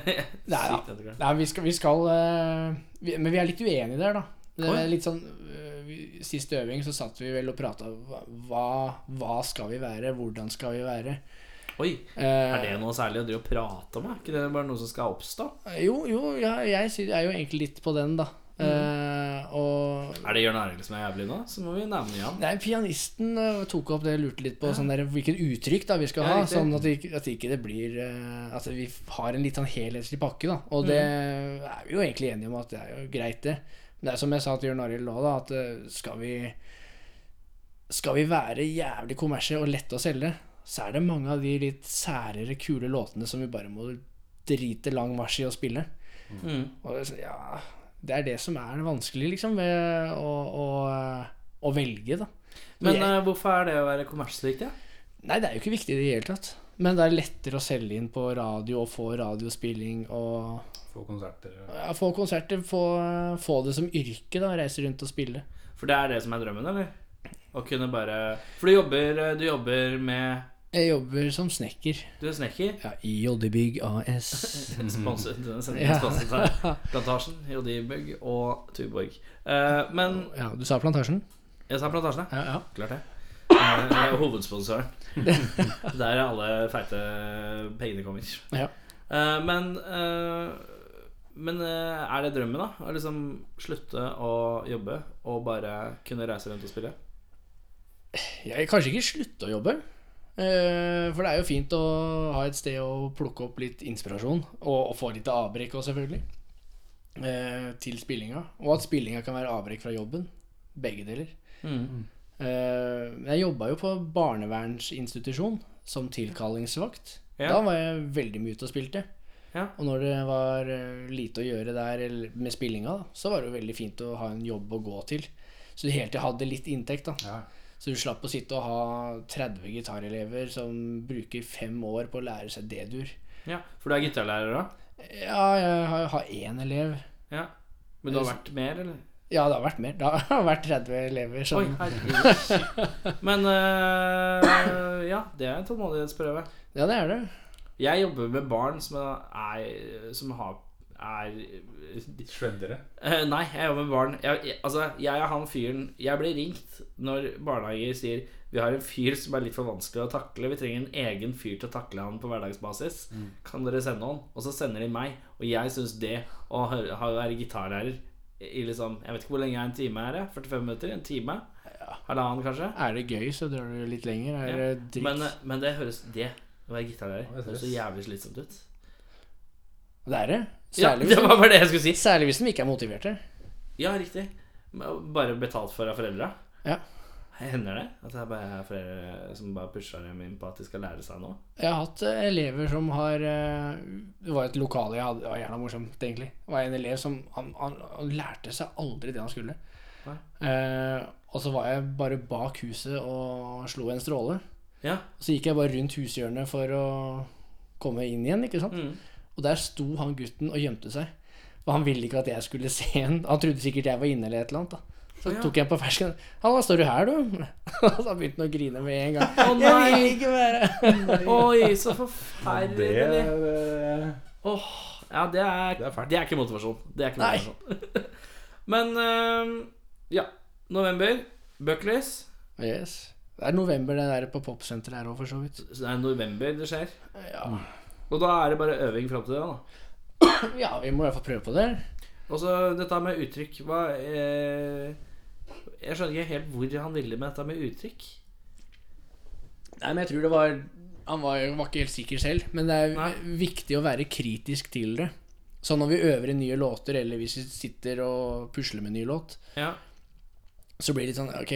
S4: ja.
S3: Sykt underground.
S4: Nei, vi skal, vi skal eh, vi, Men vi er litt uenige der, da. Det
S3: Oi.
S4: er litt sånn eh, vi- Siste øving så satt vi vel og prata hva, hva skal vi være, hvordan skal vi være?
S3: Oi,
S4: Eh,
S3: er det noe særlig å drive og prate om? Er ikke det bare noe som skal oppstå?
S4: Eh, Jo, jo, ja, jeg, sy- er jo egentlig litt på den, da.
S3: Mm.
S4: Eh, og
S3: Er det Jørn Arild som er jævlig nå, så må vi nevne Jan.
S4: Nei, pianisten eh, tok opp det, lurte litt på sånn der, hvilket uttrykk da vi skal
S3: Ja,
S4: ha.
S3: riktig.
S4: Sånn at, det, ikke- at det ikke det blir eh, At vi har en litt sånn helhetlig pakke, da. Og det
S3: Mm.
S4: er vi jo egentlig enige om at det er jo greit, det. Men det er som jeg sa til Jørn Arild nå, da, at eh, skal vi Skal vi være jævlig kommersielle og lette å selge, så er det mange av de litt særere, kule låtene som vi bare må drite lang marsj i å spille.
S3: Mm.
S4: Og det, er sånn, ja, det er det som er det vanskelige, liksom, ved å, å, eh, å velge, da.
S3: Men
S4: jeg-
S3: eh, hvorfor er det å være kommersielt viktig?
S4: Nei, det er jo ikke viktig i det hele tatt. Men det er lettere å selge inn på radio og få radiospilling og
S5: Få konserter. og-
S4: ja, Få konserter, få, få det som yrke, da. Reise rundt og spille.
S3: For det er det som er drømmen, eller? Å kunne bare For du jobber, eh, du jobber med
S4: Jeg jobber som snekker
S3: Du er snekker.
S4: ja, i Joddebygg AS.
S3: Sponset
S4: Ja.
S3: sponset av Plantasjen, Jodibug og Tuborg. Eh, men
S4: Ja, du sa Plantasjen?
S3: jeg sa Plantasjen, ja.
S4: Ja, ja.
S3: Klart det. Eh, det er hovedsponsoren. Der alle feite pengene kommer.
S4: Ja.
S3: Eh, men eh, men eh, er det drømmen, da? Å liksom slutte å jobbe og bare kunne reise rundt og spille?
S4: Jeg vil kanskje ikke slutte å jobbe. eh, For det er jo fint å ha et sted å plukke opp litt inspirasjon, og, og få litt avbrekk òg, selvfølgelig. eh, Til spillinga. Og at spillinga kan være avbrekk fra jobben. Begge deler.
S3: Mm.
S4: Eh, Jeg jobba jo på barnevernsinstitusjon som tilkallingsvakt.
S3: Ja.
S4: Da var jeg veldig mye ute og spilte.
S3: Ja.
S4: Og når det var eh, lite å gjøre der eller med spillinga, da, så var det jo veldig fint å ha en jobb å gå til. Så du hele tiden hadde litt inntekt. da
S5: Ja.
S4: Så du slapp å sitte og ha 30 gitarelever som bruker fem år på å lære seg D-dur.
S3: Ja, For du er gitarlærer da?
S4: Ja, jeg har- har én elev.
S3: Ja. Men du har vært mer, eller?
S4: Ja, det har vært mer. Det har vært 30 elever.
S3: Oi,
S4: Som,
S3: herregud. Men eh, ja, det er en tålmodighetsprøve.
S4: ja, det er det.
S3: Jeg jobber med barn som er Som har er
S5: Shreddere.
S3: Eh, nei, jeg jobber med barn. Jeg, jeg, altså, jeg er han fyren Jeg blir ringt når barnehager sier vi har en fyr som er litt for vanskelig å takle. Vi trenger en egen fyr til å takle han på hverdagsbasis. Kan dere sende han? Og så sender de meg. Og jeg syns det å høre- ha- være gitarlærer i liksom Jeg vet ikke hvor lenge er en time her? jeg? 45 minutter? En time? Halvannen, kanskje?
S4: Er det gøy, så drar du litt lenger. Er det dritt?
S3: Men, eh, men det høres Det å være
S5: Ja, det
S3: gitarlærer høres så jævlig slitsomt ut.
S4: det er det.
S3: Ja,
S4: Særlig,
S3: det
S4: hvis,
S3: var bare det jeg skulle si.
S4: særlig hvis de ikke er motiverte.
S3: Ja, riktig. Men Bare betalt for av foreldra?
S4: Ja.
S3: Hender det at det er bare foreldre som bare pusher dem inn på at de skal lære seg noe?
S4: Jeg har hatt eh, elever som har eh, Det var et lokale jeg hadde, det var gjerne morsomt, egentlig. Det var en elev som han, han, han lærte seg aldri det han skulle.
S3: Nei.
S4: Eh, og så var jeg bare bak huset og slo en stråle.
S3: Ja.
S4: Og så gikk jeg bare rundt hushjørnet for å komme inn igjen, ikke sant.
S3: Mm.
S4: Og der sto han gutten og gjemte seg. For han ville ikke at jeg skulle se han. Han trodde sikkert jeg var inne eller et eller annet. da. Så
S3: Ja.
S4: tok jeg ham på fersken. 'Halla, står du her, du?' Og så begynte han å grine med en gang.
S3: Å
S4: Jeg
S3: nei!
S4: vil ikke være
S3: Oi, så
S5: det,
S3: forferdelig.
S5: er, eh,
S3: Åh, ja, det er,
S5: det er fælt.
S3: det er ikke motivasjon. Det er ikke
S4: Nei.
S3: motivasjon. Men øhm, ja. November. Buckleys.
S4: Yes. Det er november det der på popsenteret her òg, for så vidt.
S3: Så det er november det skjer.
S4: Ja.
S3: Og da er det bare øving fram til det, da.
S4: ja, vi må i hvert fall prøve på det.
S3: Og så dette med uttrykk Hva eh, Jeg skjønner ikke helt hvor han ville med dette med uttrykk.
S4: Nei, men jeg tror det var Han var, var ikke helt sikker selv, men det er
S3: Nei.
S4: viktig å være kritisk til det. Så når vi øver inn nye låter, eller hvis vi sitter og pusler med en ny låt,
S3: Ja.
S4: så blir det litt sånn Ok,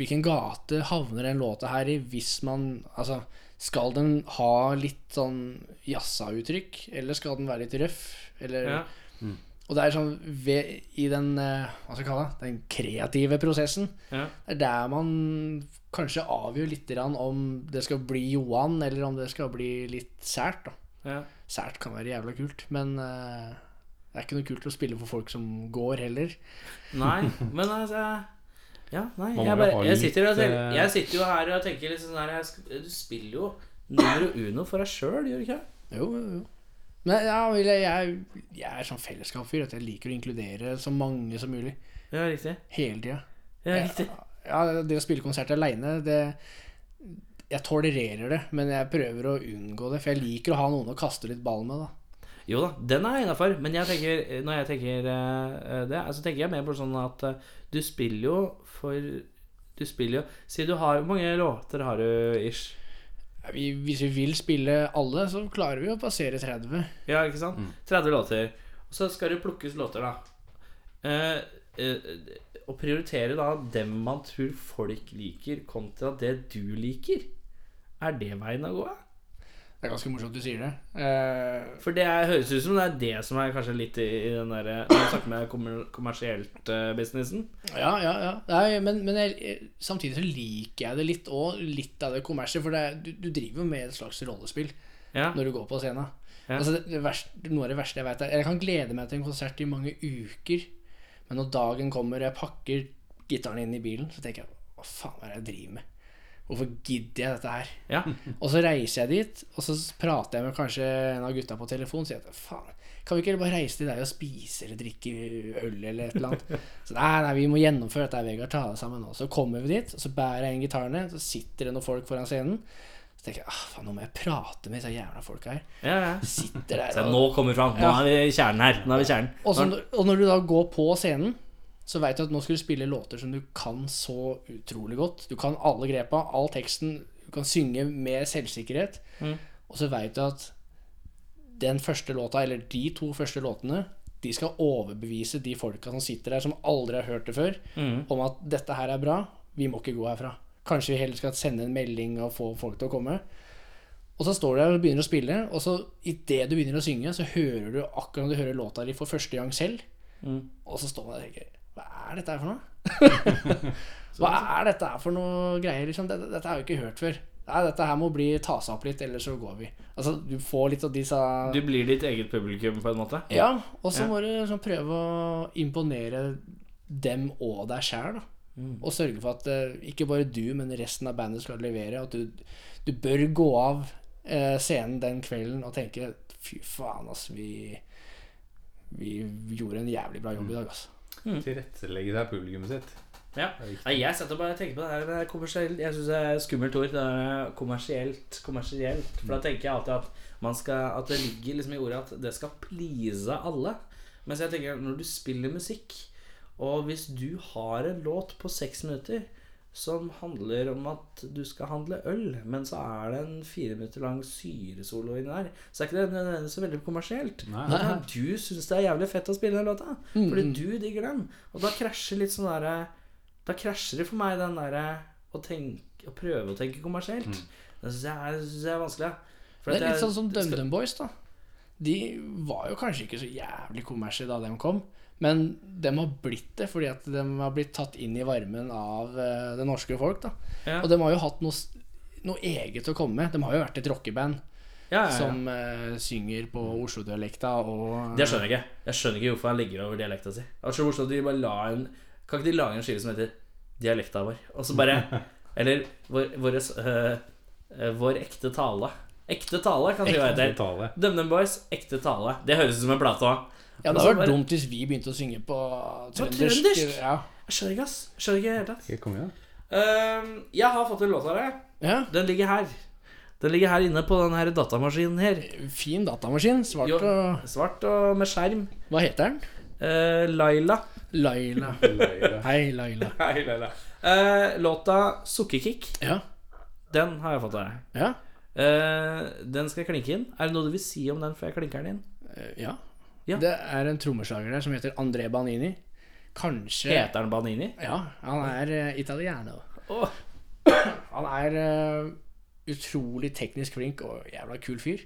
S4: hvilken gate havner den låta her i hvis man Altså, skal den ha litt sånn jazza-uttrykk, eller skal den være litt røff? Eller
S3: Ja.
S4: Og det er sånn ved, I den eh, Hva skal jeg kalle det? Den kreative prosessen.
S3: Ja.
S4: Det er der man kanskje avgjør litt grann om det skal bli Johan, eller om det skal bli litt sært. Da.
S3: Ja.
S4: Sært kan være jævla kult, men eh, det er ikke noe kult å spille for folk som går heller.
S3: Nei, men altså Ja, nei.
S5: Man må
S3: Jeg,
S5: jo
S3: bare,
S5: ha
S3: jeg, sitter, og
S5: litt,
S3: tenker,
S5: eh,
S3: jeg sitter jo her og tenker litt sånn her jeg, sk- Du spiller jo numero uno for deg sjøl, gjør du ikke? det?
S4: Jo, jo, jo. Men ja, vil jeg, jeg, jeg er sånn fellesskapsfyr. at Jeg liker å inkludere så mange som mulig.
S3: Ja, riktig.
S4: Hele tida.
S3: Ja, riktig.
S4: Ja, det å spille konsert aleine, det Jeg tolererer det, men jeg prøver å unngå det. For jeg liker å ha noen å kaste litt ball med, da.
S3: Jo da, den er jeg innafor. Men jeg tenker, når jeg tenker eh, det, så tenker jeg mer på sånn at eh, du spiller jo for Du spiller jo Si du har Hvor mange låter har du, ish?
S4: Ja, Vi, hvis vi vil spille alle, så klarer vi å passere 30.
S3: Ja, ikke sant? 30 låter. Og så skal det plukkes låter, da. Eh, eh, å prioritere da dem man tror folk liker, kontra det du liker. Er det veien å gå? ja?
S4: Det er ganske morsomt du sier det. Eh,
S3: For det er, høres ut som det er det som er kanskje litt i, i den derre Når du snakker med kommer- kommersielt eh, businessen.
S4: ja, ja, ja. Nei, men men jeg, samtidig så liker jeg det litt òg. Litt av det kommersielle. For det, er- du, du driver jo med et slags rollespill
S3: Ja.
S4: når du går på scenen.
S3: Ja.
S4: Altså, det, det verste, noe av det verste jeg vet er Jeg kan glede meg til en konsert i mange uker, men når dagen kommer og jeg pakker gitaren inn i bilen, så tenker jeg Hva faen er det jeg driver med? Hvorfor gidder jeg dette her?
S3: ja.
S4: Og så reiser jeg dit, og så prater jeg med kanskje en av gutta på telefon og sier at faen, kan vi ikke bare reise til deg og spise eller drikke øl eller et eller annet? Så nei, nei, vi må gjennomføre dette, Vegard, ta deg sammen nå. Så kommer vi dit, og så bærer jeg inn gitarene, så sitter det noen folk foran scenen. Så tenker jeg ah, faen, nå må jeg prate med disse jævla folka her.
S3: ja, ja.
S4: Sitter der
S3: Se,
S4: og
S3: nå kommer vi fram. Nå
S4: Ja.
S3: er vi i kjernen her. Nå er vi i kjernen.
S4: og, så, og når du da går på scenen, så veit du at nå skal du spille låter som du kan så utrolig godt. Du kan alle grepa, all teksten. Du kan synge med selvsikkerhet.
S3: Mhm.
S4: Og så veit du at den første låta, eller de to første låtene, de skal overbevise de folka som sitter der, som aldri har hørt det før,
S3: Mhm.
S4: om at dette her er bra. Vi må ikke gå herfra. Kanskje vi heller skal sende en melding og få folk til å komme. Og så står du der og begynner å spille, og så idet du begynner å synge, så hører du akkurat som du hører låta di for første gang selv.
S3: Mm.
S4: Og så står man der og tenker Hva er dette her for noe? Hva er dette her for noe greier? Liksom? Dette, dette har jeg jo ikke hørt før. Nei, dette her må bli ta seg opp litt, ellers så går vi. Altså, du får litt av disse
S3: Du blir ditt eget publikum, på en måte?
S4: Ja, og så
S3: Ja.
S4: må du liksom prøve å imponere dem og deg sjæl, da.
S3: Mm.
S4: Og sørge for at eh, ikke bare du, men resten av bandet skal levere. At du, du bør gå av eh, scenen den kvelden og tenke Fy faen, ass, vi Vi gjorde en jævlig bra
S3: Mm.
S4: jobb i dag, altså.
S5: Tilrettelegge seg publikummet sitt.
S3: Ja.
S5: Det er viktig.
S3: Nei, jeg satt og bare tenkte på det her det er kommersielt. Jeg syns det er et skummelt ord. Det er kommersielt, kommersielt. For da tenker jeg alltid at, man skal, at det ligger liksom i ordet at det skal please alle. Mens jeg tenker når du spiller musikk, og hvis du har en låt på seks minutter som handler om at du skal handle øl, men så er det en fire minutter lang syresolo inni der, så er ikke det nødvendigvis så veldig kommersielt.
S5: Nei.
S3: Da kan du synes det er jævlig fett å spille den låta, fordi du digger den. Og da krasjer litt sånn derre Da krasjer det for meg den derre å, tenke- å prøve å tenke kommersielt. Det syns jeg, er- det synes jeg er vanskelig. For
S4: Mm. Det
S3: at
S4: er litt
S3: jeg-
S4: sånn som DumDum Boys, da. De var jo kanskje ikke så jævlig kommersielle da de kom, men de har blitt det fordi at de har blitt tatt inn i varmen av eh, det norske folk, da.
S3: Ja.
S4: Og de har jo hatt noe, s- noe eget å komme med. De har jo vært et rockeband
S3: ja, ja, ja.
S4: som eh, synger på Oslo-dialekta og
S3: Det skjønner jeg ikke. Jeg skjønner ikke hvorfor han legger over dialekta si. Jeg tror at de bare la en, Kan ikke de lage en skive som heter 'Dialekta vår'? Og så bare Eller vår, våres, øh, øh, vår ekte tale. Ekte tale kan det jo hete.
S5: Tale.
S3: DumDum Boys, ekte tale. Det høres ut som en plate òg.
S4: Ja, det
S3: Og så
S4: hadde
S3: bare-
S4: vært dumt hvis vi begynte å synge på
S3: trøndersk?
S4: trøndersk. Ja.
S3: Jeg skjønner ikke, ass. Jeg Skjønner ikke i det hele tatt.
S5: Helt konge, da.
S3: Ehm, jeg har fått en låt av deg.
S4: ja.
S3: Den ligger her. Den ligger her inne på den her datamaskinen her.
S4: Fin datamaskin. Svart
S3: Jo.
S4: og
S3: Svart og med skjerm.
S4: Hva heter den?
S3: Eh, Laila.
S4: Laila.
S5: Løyre.
S4: Hei, Laila.
S3: Hei, Laila. Eh, låta 'Sukkerkick'.
S4: Ja.
S3: Den har jeg fått av deg.
S4: Ja.
S3: Eh, den skal jeg klinke inn. Er det noe du vil si om den før jeg klinker den inn?
S4: Eh, Ja.
S3: Ja.
S4: Det er en trommeslager der som heter André Banini. Kanskje
S3: Heter den Banini?
S4: Ja, han er eh, italiener.
S3: Åh.
S4: Han er eh, utrolig teknisk flink og jævla kul fyr.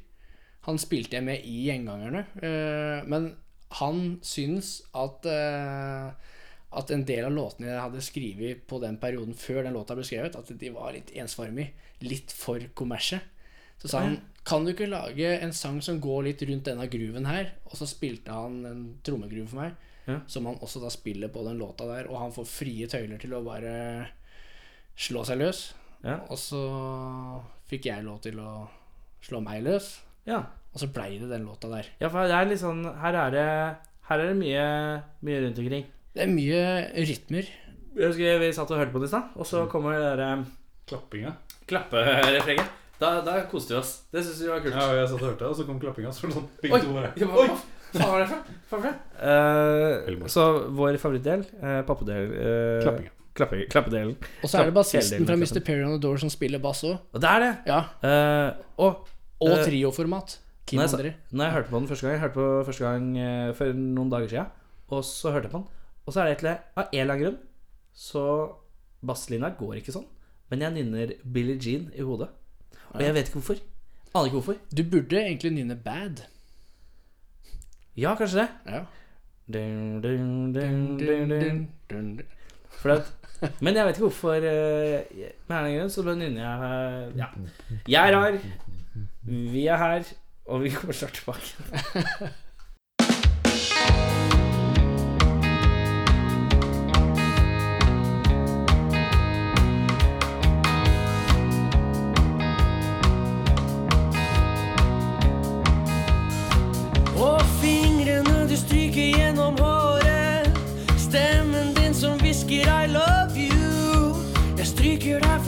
S4: Han spilte jeg med i Gjengangerne, eh, men han syns at eh, at en del av låtene jeg hadde skrevet på den perioden før den låta ble skrevet, at de var litt ensformige. Litt for kommersie. Så sa han kan du ikke lage en sang som går litt rundt denne grooven her? Og så spilte han en trommegroove for meg,
S3: Ja.
S4: som han også da spiller på den låta der. Og han får frie tøyler til å bare slå seg løs.
S3: Ja.
S4: Og så fikk jeg lov til å slå meg løs,
S3: Ja.
S4: og så blei det den låta der.
S3: ja, for det er litt sånn Her er det, her er det mye, mye rundt omkring.
S4: Det er mye rytmer.
S3: Jeg husker Vi satt og hørte på den i stad, og så kommer det der eh,
S5: Klappinga.
S3: klapperefrenget. Da, da koste vi oss. Det syns vi var kult.
S5: Ja, og jeg satt og hørte, det, og så kom klappinga. Så var det sånn, begge
S3: Oi.
S5: to bare
S3: Ja, hva- hva faen var det fra? Hva var det fra? Eh,
S5: Veldig
S3: så vår favorittdel, eh, pappedel eh,
S5: Klappinga.
S3: klappe- Klappedelen.
S4: Og så er det bassisten fra
S3: Kjeller'n,
S4: Mr. Perry on the Door som spiller bass òg.
S3: Og det er det!
S4: Ja,
S3: Eh, og
S4: og
S3: Eh,
S4: trioformat. Kim
S3: nei, så-
S4: André.
S3: Når jeg hørte på den første gang Jeg hørte på den første gang eh, for noen dager siden Og så hørte jeg på den Og så er det egentlig Av en eller annen grunn Så basslinja går ikke sånn Men jeg nynner Billie Jean i hodet Og jeg vet ikke hvorfor Aner ikke hvorfor
S4: Du burde egentlig nynne Bad.
S3: Ja, kanskje det
S4: Ja.
S3: dun, dun, dun, dun, dun.
S4: Dun, dun, dun.
S3: For at men jeg vet ikke hvorfor eh, jeg- Med en eller annen grunn så bare nynner jeg eh, ja. Jeg er rar Vi er her Og vi kommer snart tilbake
S6: Og fingrene du stryker gjennom håret. Stemmen din som hvisker 'I love you'. Jeg stryker deg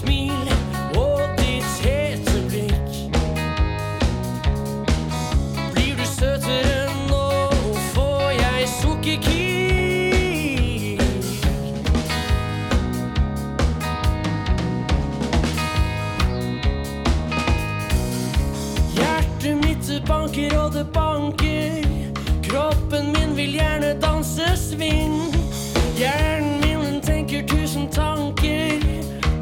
S6: smil og ditt hete blikk. Blir du søtere nå, får jeg sukkerkick. Hjertet mitt det banker og det banker. Kroppen min vil gjerne danse sving. Hjernen min den tenker tusen tanker,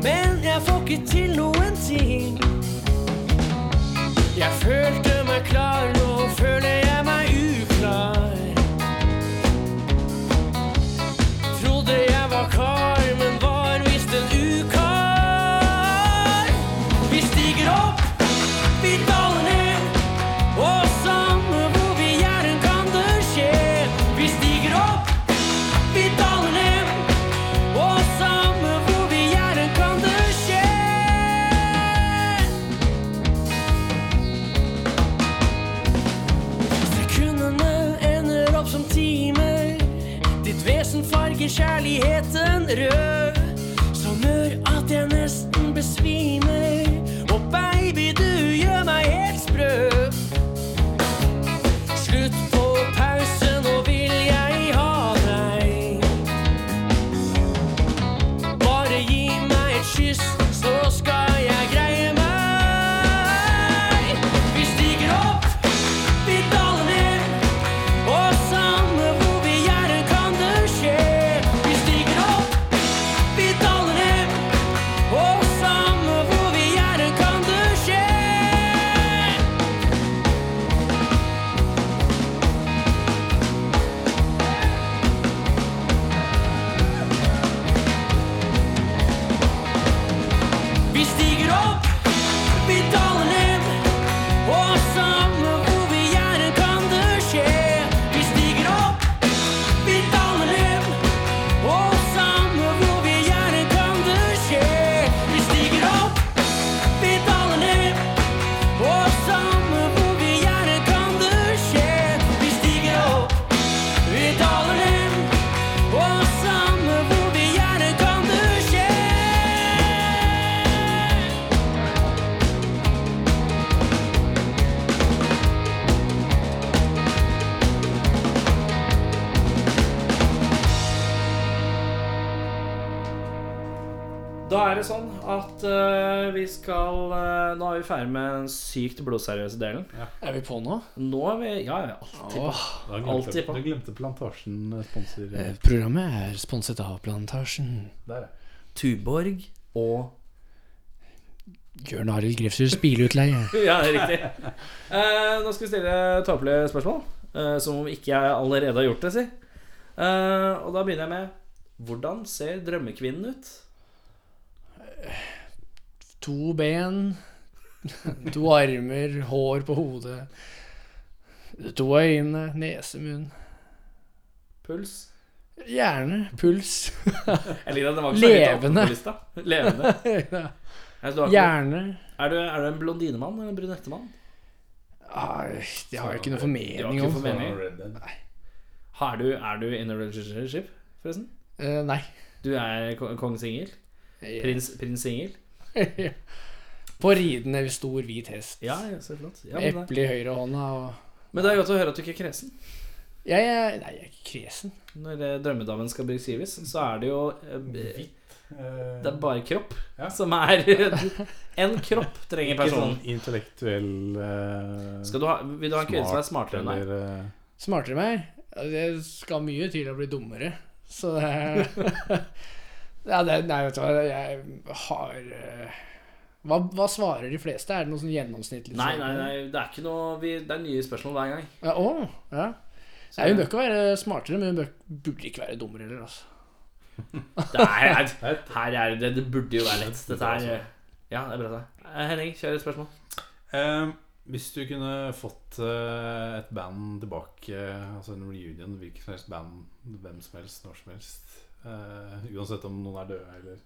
S6: men jeg får ikke til noen ting. Jeg føler
S4: vi daler ned. Og samme hvor vi er, en kan det skje. Vi stiger opp, vi daler ned. Og samme hvor vi er, en kan det skje. Sekundene ender opp som timer. Ditt vesen farger kjærligheten rød. Som gjør at jeg nesten besvimer. Og baby, du gjør meg helt sprø. Slutt på pause, nå vil jeg ha deg. Bare gi meg et kyss, så skal jeg greie meg. Vi stiger opp, vi daler ned, og samme hvor vi er, kan det skje. Vi stiger opp, vi daler ned, og samme hvor vi er, kan det skje. Vi stiger opp, vi daler ned, og samme hvor vi er, kan det skje. Vi stiger opp, vi daler ned, og samme hvor vi er, kan det skje. Vi stiger opp, vi daler ned, og samme hvor vi er, kan det skje. Vi stiger opp, vi daler ned, og samme hvor vi er, kan det skje.
S3: Da er det sånn at eh, vi skal eh, Nå er vi ferdig med den sykt blodseriøse delen.
S7: Er vi på nå?
S3: Nå er vi Ja, ja, alltid på.
S2: Da
S3: Alltid
S2: glemte,
S3: på.
S2: da glemte Plantasjen eh, sponsor. eh,
S7: Programmet er sponset av Plantasjen.
S2: Der,
S3: Tuborg og
S7: Jørn Arild Grefshus bilutleie.
S3: Ja, det er riktig. Eh, nå skal vi stille tåpelige spørsmål. eh, som om ikke jeg allerede har gjort det, si. Eh, og da begynner jeg med Hvordan ser drømmekvinnen ut?
S7: To ben, to armer, hår på hodet. To øyne, nese, munn.
S3: Puls?
S7: Hjerne, puls.
S3: Jeg liker at den var ikke så høyt oppe på
S7: Levende.
S3: lista. Levende. Jeg tror du har ikke-
S7: Hjerne.
S3: Er du, er du en blondinemann eller en brunettemann?
S7: Ai, det har jeg ikke noe
S3: Du har
S7: formening
S3: ikke
S7: om.
S3: formening.
S2: Red Dead. Eh,
S3: Er du, er du in a relationship, forresten?
S7: Eh, nei.
S3: Du er ko- kong singel? Prins, prins singel?
S7: På ridende stor hvit hest.
S3: Ja, ja, så flott. Ja,
S7: Med
S3: men, det,
S7: eple i høyrehånda og
S3: men det er godt å høre at du ikke er kresen.
S7: jeg, jeg, Nei, jeg er ikke kresen.
S3: Når eh, drømmedamen skal beskrives, så er det jo eh,
S2: Eh,
S3: Det er bare kropp
S2: Ja.
S3: som er En kropp trenger
S2: Ikke sånn
S3: personen.
S2: intellektuell eh,
S3: Skal du ha, vil du ha en kvinne som er smartere enn deg?
S2: eller, eh,
S7: Smartere enn meg? Ja, Det skal mye til å bli dummere. Så det er- ja, det, Nei, vet du hva, jeg har eh, hva, hva svarer de fleste? Er det noe sånn gjennomsnittlig
S3: Nei,
S7: svar?
S3: nei, nei, det er ikke noe vi, Det er nye spørsmål hver gang.
S7: Ja, å, ja.
S3: Så
S7: Nei, hun bør ikke være smartere, men hun bør, burde ikke være dummere heller, altså.
S3: det er, her er det Det burde jo være lett. Dette er Ja, det er bra. det. Eh, Henning, kjør et spørsmål.
S2: eh, Hvis du kunne fått eh, et band tilbake, eh, altså en reunion, hvilket som helst band, hvem som helst, når som helst eh, Uansett om noen er døde eller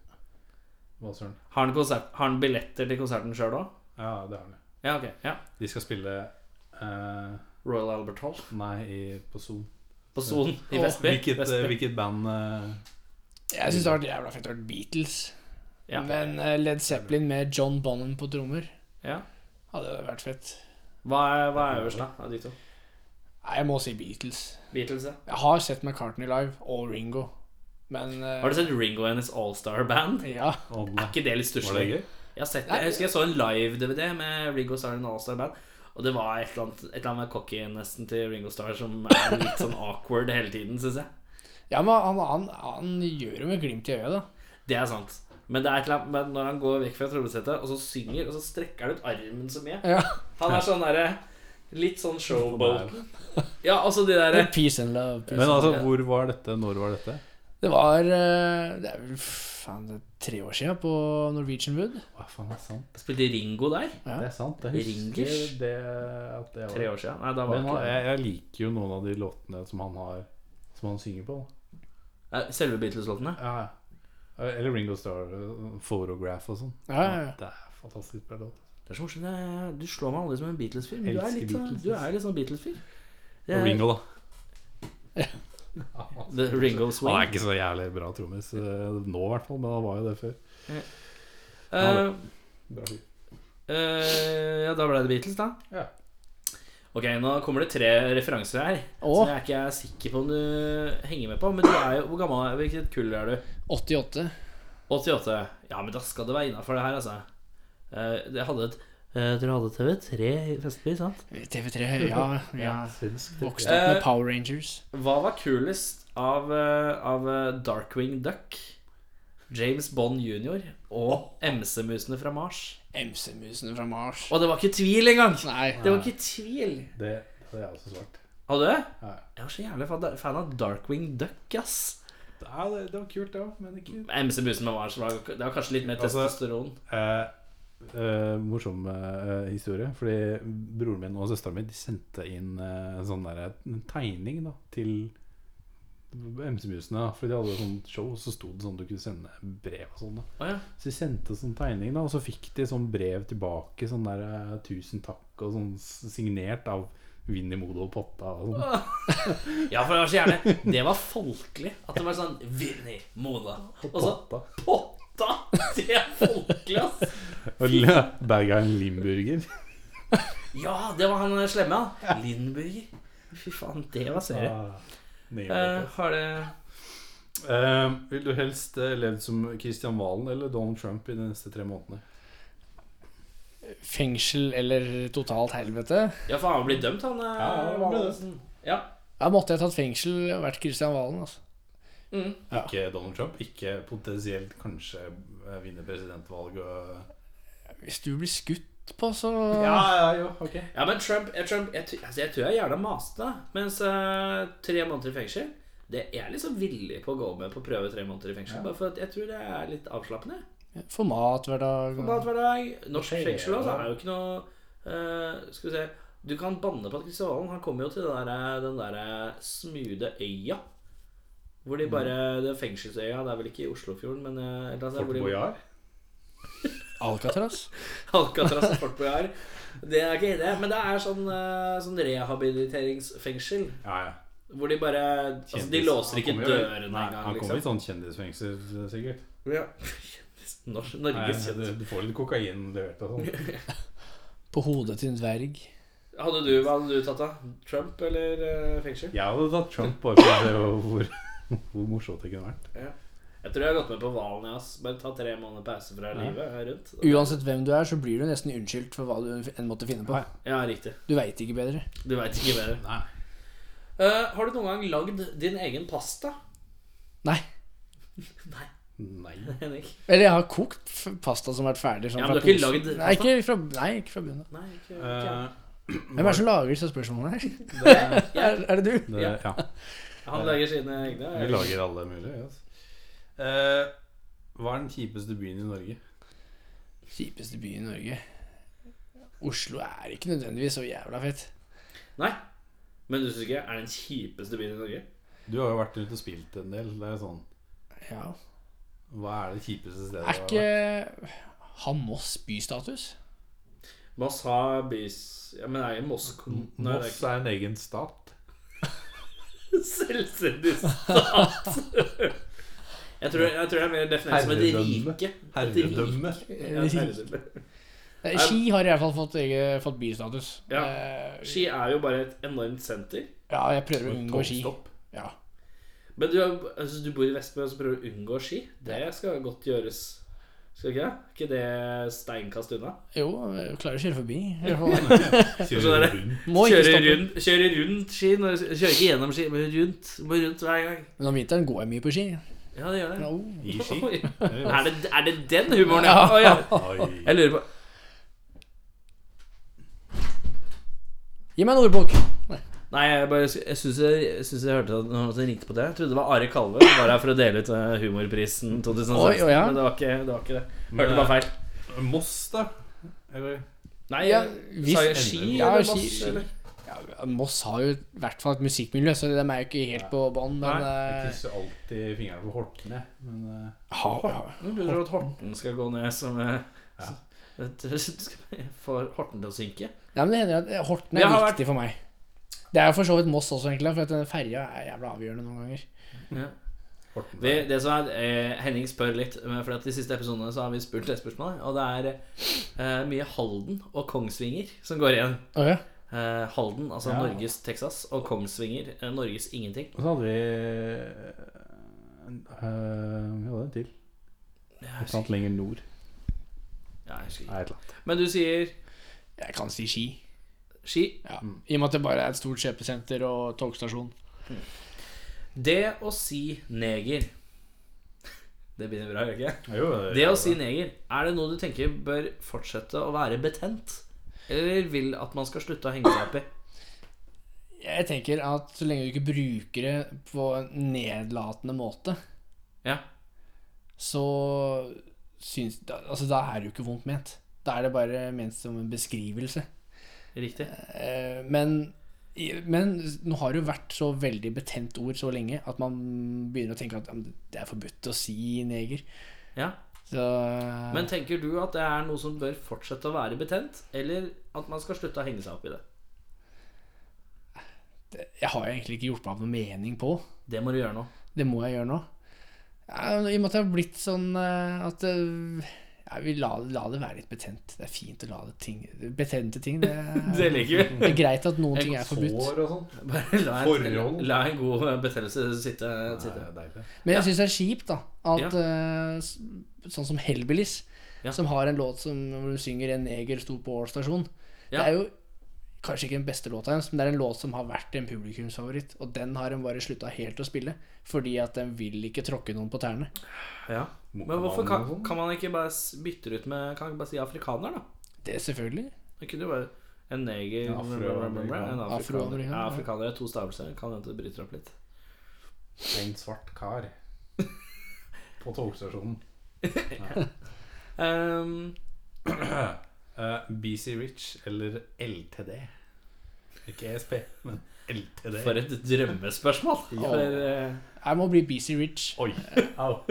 S2: hva søren.
S3: Har han, konsert, har han billetter til konserten sjøl òg?
S2: Ja, det har han jo.
S3: Ja, ok. Ja.
S2: De skal spille eh,
S3: Royal Albert Hall.
S2: Nei, i, på Zoom.
S3: På Son i
S7: Åh,
S3: Vestby.
S2: Hvilket, eh,
S3: Vestby.
S2: hvilket band eh,
S7: Jeg syns det hadde vært jævla fett å være Beatles.
S3: Ja.
S7: Men eh, Led Zeppelin med John Bonham på trommer
S3: Ja.
S7: hadde vært fett.
S3: Hva er, hva er øverst, da? Av de to?
S7: Nei, jeg må si Beatles.
S3: Beatles, ja.
S7: Jeg har sett McCartney live, og Ringo. Men eh,
S3: Har du sett Ringo and His All-Star Band?
S7: Ja.
S2: om-
S3: Er ikke det litt
S2: Var det
S3: stusslig?
S2: gøy?
S3: Jeg, har sett det. jeg husker jeg så en live-DVD med Ringo Starr og en All-Star Band. Og det var et eller annet, et eller annet med cocky nesten til Ringo Starr som er litt sånn awkward hele tiden, syns jeg.
S7: Ja, men han, han, han gjør det med glimt i øyet, da.
S3: Det er sant. Men det er et eller annet med når han går vekk fra trommesettet og så synger, og så strekker han ut armen så mye.
S7: Ja.
S3: Han er sånn derre Litt sånn showboat. Ja, altså de derre
S7: Peace and love. Peace.
S2: Men altså, hvor var dette? Når var dette?
S4: Det var eh, Det er vel faen, det er tre år siden på Norwegian Wood.
S2: Hva faen, det er sant.
S3: Spilte Ringo der?
S2: Det er sant. Jeg husker
S3: Ringers?
S2: det at det var
S3: Tre år siden. Nei, da var
S2: Men
S3: det
S2: han,
S3: ikke
S2: jeg, jeg liker jo noen av de låtene som han har Som han synger på.
S3: Eh, Selve Beatles-låtene?
S2: Da. Eller Ringo Starr, eh, 'Photograph' og sånn.
S4: Ja, ja, ja.
S2: Det er fantastisk bra låt.
S3: Det er så morsomt. det er- Du slår meg aldri som en Beatles-fyr. men Du, er
S2: Elsker
S3: litt sånn-
S2: Beatles.
S3: du er litt sånn Beatles-fyr. Det
S2: Og
S3: er-
S2: Ringo, da.
S3: The Ringo Swing.
S2: Han er ikke så jævlig bra trommis eh, nå, i hvert fall, men han var jo det før.
S3: Eh, eh, ja, da ble det Beatles, da.
S2: Ja.
S3: Ok, nå kommer det tre referanser her
S4: Og
S3: som jeg ikke er sikker på om du henger med på. Men du er jo, hvor gammel er Hvilket kull er du?
S4: 88.
S3: 88. Ja, men da skal det være innafor det her, altså. Eh, jeg hadde et eh, Dere hadde TV3 i Vestby, sant?
S4: TV3, ja. ja. Vokste opp med
S3: Eh,
S4: Power Rangers.
S3: Hva var kulest av, eh, av eh, Darkwing Duck, James Bond jr. og MC-musene fra Mars?
S4: MC-musene fra Mars.
S3: Og det var ikke tvil engang!
S4: Nei.
S3: Det var ikke tvil.
S2: Det hadde jeg også svart.
S3: Har du det?
S2: Ja.
S3: Jeg var så jævlig fan- fan av Darkwing Duck, ass.
S2: Ja, det, det var kult, det òg, men ikke
S3: MC-musene fra Mars var, det var kanskje litt mer
S2: Altså-
S3: testosteron.
S2: eh, eh, Morsom eh, historie. Fordi broren min og søsteren min de sendte inn eh, en sånn der, en tegning da til MC-musene. da, Fordi de hadde sånt show, så sto det sånn du kunne sende brev og sånn. da
S3: Å ja.
S2: Så de sendte sånn tegning, da og så fikk de sånn brev tilbake. Sånn der eh, 'tusen takk' og sånn signert av Vinni Modo og Potta og sånn.
S3: ja, for det var så jævlig. Det var folkelig. At det var sånn Vinni, Mona Og så
S2: Potta.
S3: Potta! Det er folkelig, ass.
S2: Og Bergein Limburger.
S3: Ja, det var han der slemme, ja. Lindberg. Fy faen, det var serie. Eh, har det
S2: Eh, vil du helst eh, levd som Kristian Valen eller Donald Trump i de neste tre månedene?
S4: Fengsel eller totalt helvete?
S3: Ja, for han ble dømt, han. eh,
S2: Ja, han ble
S3: Valensen. Ja.
S4: Da måtte jeg tatt fengsel og vært Kristian Valen, altså.
S3: Mm.
S4: Ja.
S2: Ikke Donald Trump, ikke potensielt kanskje eh, vinne presidentvalget og
S4: Hvis du blir skutt på, så
S2: ja, jo, ok.
S3: ja, men Trump, eh, Trump jeg, tr- altså, jeg tror jeg gjerne maste, da. mens eh, tre måneder i fengsel det Jeg er liksom villig på å gå med på å prøve tre måneder i fengsel. Bare for at jeg tror det er litt avslappende.
S4: Få mat hver dag.
S3: På mat hver dag. Norsk
S2: Ok,
S3: fengsel også,
S2: ja.
S3: er jo ikke noe eh, Skal vi se Du kan banne på at Kristian Valen Han kommer jo til den der, eh, den der smude øya. Hvor
S2: Mm.
S3: de bare Det er fengselsøya. Det er vel ikke i Oslofjorden, men eh, et eller annet sted
S2: Fort
S3: hvor de-
S2: Boyard?
S4: Alcatraz.
S3: Alcatraz og Fort Boyard. Det er ikke det. Men det er sånn, eh, sånn rehabiliteringsfengsel.
S2: Ja, ja.
S3: Hvor de bare Altså, de
S2: Kjendis.
S3: låser
S2: Han
S3: ikke
S2: kommer jo-
S3: dørene
S2: Nei,
S3: engang,
S2: Han kommer i
S3: liksom.
S2: sånn kjendisfengsel, s- sikkert.
S3: Ja. Kjendis- Nors- Norges
S2: Nei, du,
S3: kjendis.
S2: du får litt kokain levert og sånn.
S4: På hodet til en dverg.
S3: Hadde du, hva hadde du tatt, da? Trump eller eh, fengsel?
S2: Jeg hadde tatt Trump bare for å se hvor, hvor morsomt det kunne vært.
S3: Jeg tror jeg har gått med på hvalen, jeg, ass. Bare ta tre måneder pause fra livet her rundt.
S4: Uansett hvem du er, så blir du nesten unnskyldt for hva du enn måtte finne på.
S3: Ja, riktig.
S4: Du veit ikke bedre.
S3: Du veit ikke bedre.
S2: Nei.
S3: Eh, har du noen gang lagd din egen pasta,
S4: Nei.
S2: Nei.
S3: Henrik?
S4: Eller jeg har kokt f- pasta som har vært ferdig. Sånn
S3: Ja, men du
S4: fra
S3: har ikke
S4: posen.
S3: lagd
S4: Nei, ikke fra, nei, ikke fra bunnen av.
S3: Nei, ikke, ikke.
S2: Eh,
S4: Hvem er det som lager disse spørsmålene her?
S2: det,
S4: Er, er det du?
S2: det, ja.
S3: Han lager sine egne.
S2: Eh, Vi lager alle mulige. ja, Altså. Eh, hva er den kjipeste byen i Norge?
S4: Kjipeste by i Norge. Oslo er ikke nødvendigvis så jævla fett.
S3: Nei. Men du syns ikke er den kjipeste byen i Norge?
S2: Du har jo vært rundt og spilt en del. Det er sånn,
S4: Ja.
S2: Hva er det kjipeste stedet
S4: Er
S2: du
S4: ikke
S2: har vært?
S4: Har Moss bystatus?
S3: Moss har bys... Ja, men det er jo Moss kom- Nei, det er
S2: Moss
S3: ikke
S2: er en egen stat.
S3: Selvstendig stat. jeg, tror, jeg tror det er mer definert som et
S2: Herredømme.
S3: rike. Et rike.
S2: Herredømme.
S3: Ja, et herredømme.
S4: Eh, Ski har i hvert fall fått, egen- fått bystatus.
S3: Ja.
S4: Eh,
S3: Ski er jo bare et enormt senter.
S4: ja, jeg prøver å unngå ski.
S2: Togstopp.
S4: Ja.
S3: Men du, er- altså, du bor i Vestby og så prøver du å unngå ski. Det skal godt gjøres. Skal ikke det? ikke det steinkast unna?
S4: Jo, jeg klarer å kjøre forbi. i hvert fall.
S2: Kjører rundt.
S4: Må ikke
S3: Kjøre
S4: stoppe.
S3: rundt, kjøre rundt ski. når- Kjøre ikke gjennom ski, men rundt. Må rundt hver gang.
S4: Men om vinteren går jeg mye på ski.
S3: Ja, det gjør det.
S4: Ja, oh.
S2: I ski.
S3: Oi. Er det, er det den humoren?
S4: Ja.
S3: Ja. Å, ja.
S2: Oi.
S3: Jeg lurer på
S4: Gi meg en ordbok!
S3: Nei, jeg, bare, jeg syns jeg, jeg synes jeg hørte at noen som ringte på det. Jeg trodde det var Are Kalve som var her for å dele ut eh, humorprisen 2016.
S4: Oi, oi, ja.
S3: Men det var, ikke, det var ikke det.
S2: Men,
S3: Hørte bare feil.
S2: eh, Moss, da? Eller
S3: Nei,
S4: Ja,
S3: jeg
S4: hvis-
S3: sa jeg ski
S4: Ja,
S3: eller
S4: ski-
S3: Moss? eller?
S4: Ja, Moss har jo i hvert fall et musikkmiljø, så de er jo ikke helt på bånn. Men
S2: Jeg
S4: eh,
S2: krysser alltid fingrene på Hortene. Men eh,
S3: Nå lurer jeg på at Horten skal gå ned som eh,
S2: Ja.
S3: så- Får Horten til å synke?
S4: ja, men det hender at eh, Horten
S3: Jeg
S4: er
S3: har
S4: viktig for meg. Det er jo for så vidt Moss også, egentlig, for at den ferja er jævla avgjørende noen ganger.
S3: Ja.
S2: Horten
S3: Vi, det som er, eh, Henning spør litt, men fordi at de siste episodene så har vi spurt et spørsmål. Og det er eh, mye Halden og Kongsvinger som går igjen.
S4: Å, ja.
S3: Eh, Halden, altså
S2: Ja.
S3: Norges Texas, og Kongsvinger, eh, Norges ingenting.
S2: Og så hadde vi eh, Vi hadde en til. Et eller annet lenger nord.
S3: Ja, jeg husker ikke.
S2: Nei, et eller annet.
S3: Men du sier
S4: Jeg kan si Ski.
S3: ski.
S4: Ja. I og med at det bare er et stort kjøpesenter og togstasjon.
S3: Det å si neger Det begynner bra, gjør det ikke?
S2: Jo,
S3: Det å si neger, er det noe du tenker bør fortsette å være betent? Eller vil at man skal slutte å henge seg opp i?
S4: Jeg tenker at så lenge du ikke bruker det på en nedlatende måte,
S3: Ja.
S4: så syns da- Altså, da er det jo ikke vondt ment. Da er det bare ment som en beskrivelse.
S3: Riktig.
S4: Eh, Men, i- men nå har det jo vært så veldig betent ord så lenge at man begynner å tenke at ja, men det er forbudt å si neger.
S3: Ja.
S4: Så
S3: Men tenker du at det er noe som bør fortsette å være betent, eller at man skal slutte å henge seg opp i det?
S4: jeg har jo egentlig ikke gjort meg opp noen mening på.
S3: Det må du gjøre nå.
S4: Det må jeg gjøre nå. Ja, I og med at det har blitt sånn eh, at eh, ja, vi la, la det være litt betent. Det er fint å la det ting Betente ting. Det er,
S3: Det liker vi.
S4: det er greit at noen ting er forbudt.
S2: Sår og sånn.
S3: Bare la en,
S2: Forhold.
S3: la en god betennelse sitte. sitte.
S2: Det er deilig.
S4: Men jeg syns det er kjipt, da. At
S3: Ja.
S4: eh, s- sånn som Hellbillies,
S3: Ja.
S4: som har en låt som, hvor du synger 'En neger sto på Ål stasjon'. Det
S3: Ja.
S4: er jo kanskje ikke den beste låta hennes, men det er en låt som har vært en publikumsfavoritt. Og den har hun bare slutta helt å spille, fordi at den vil ikke tråkke noen på tærne.
S3: Ja. Men hvorfor kan, kan man ikke bare s- bytte det ut med Kan man ikke bare si afrikaner, da?
S4: Det er selvfølgelig.
S3: Det kunne jo være en neger
S2: En afroamerikaner.
S3: En afrikaner.
S4: Afroamerikaner,
S3: Ja,
S4: ja.
S3: afrikaner er to stavelser. Kan hende det bryter opp litt.
S2: En svart kar på togstasjonen.
S3: Ehm,
S2: Eh, BC Rich eller LTD? Ikke ESP, men LTD.
S3: for et drømmespørsmål! For, eh,
S4: Jeg må bli BC Rich.
S2: Oi! Au.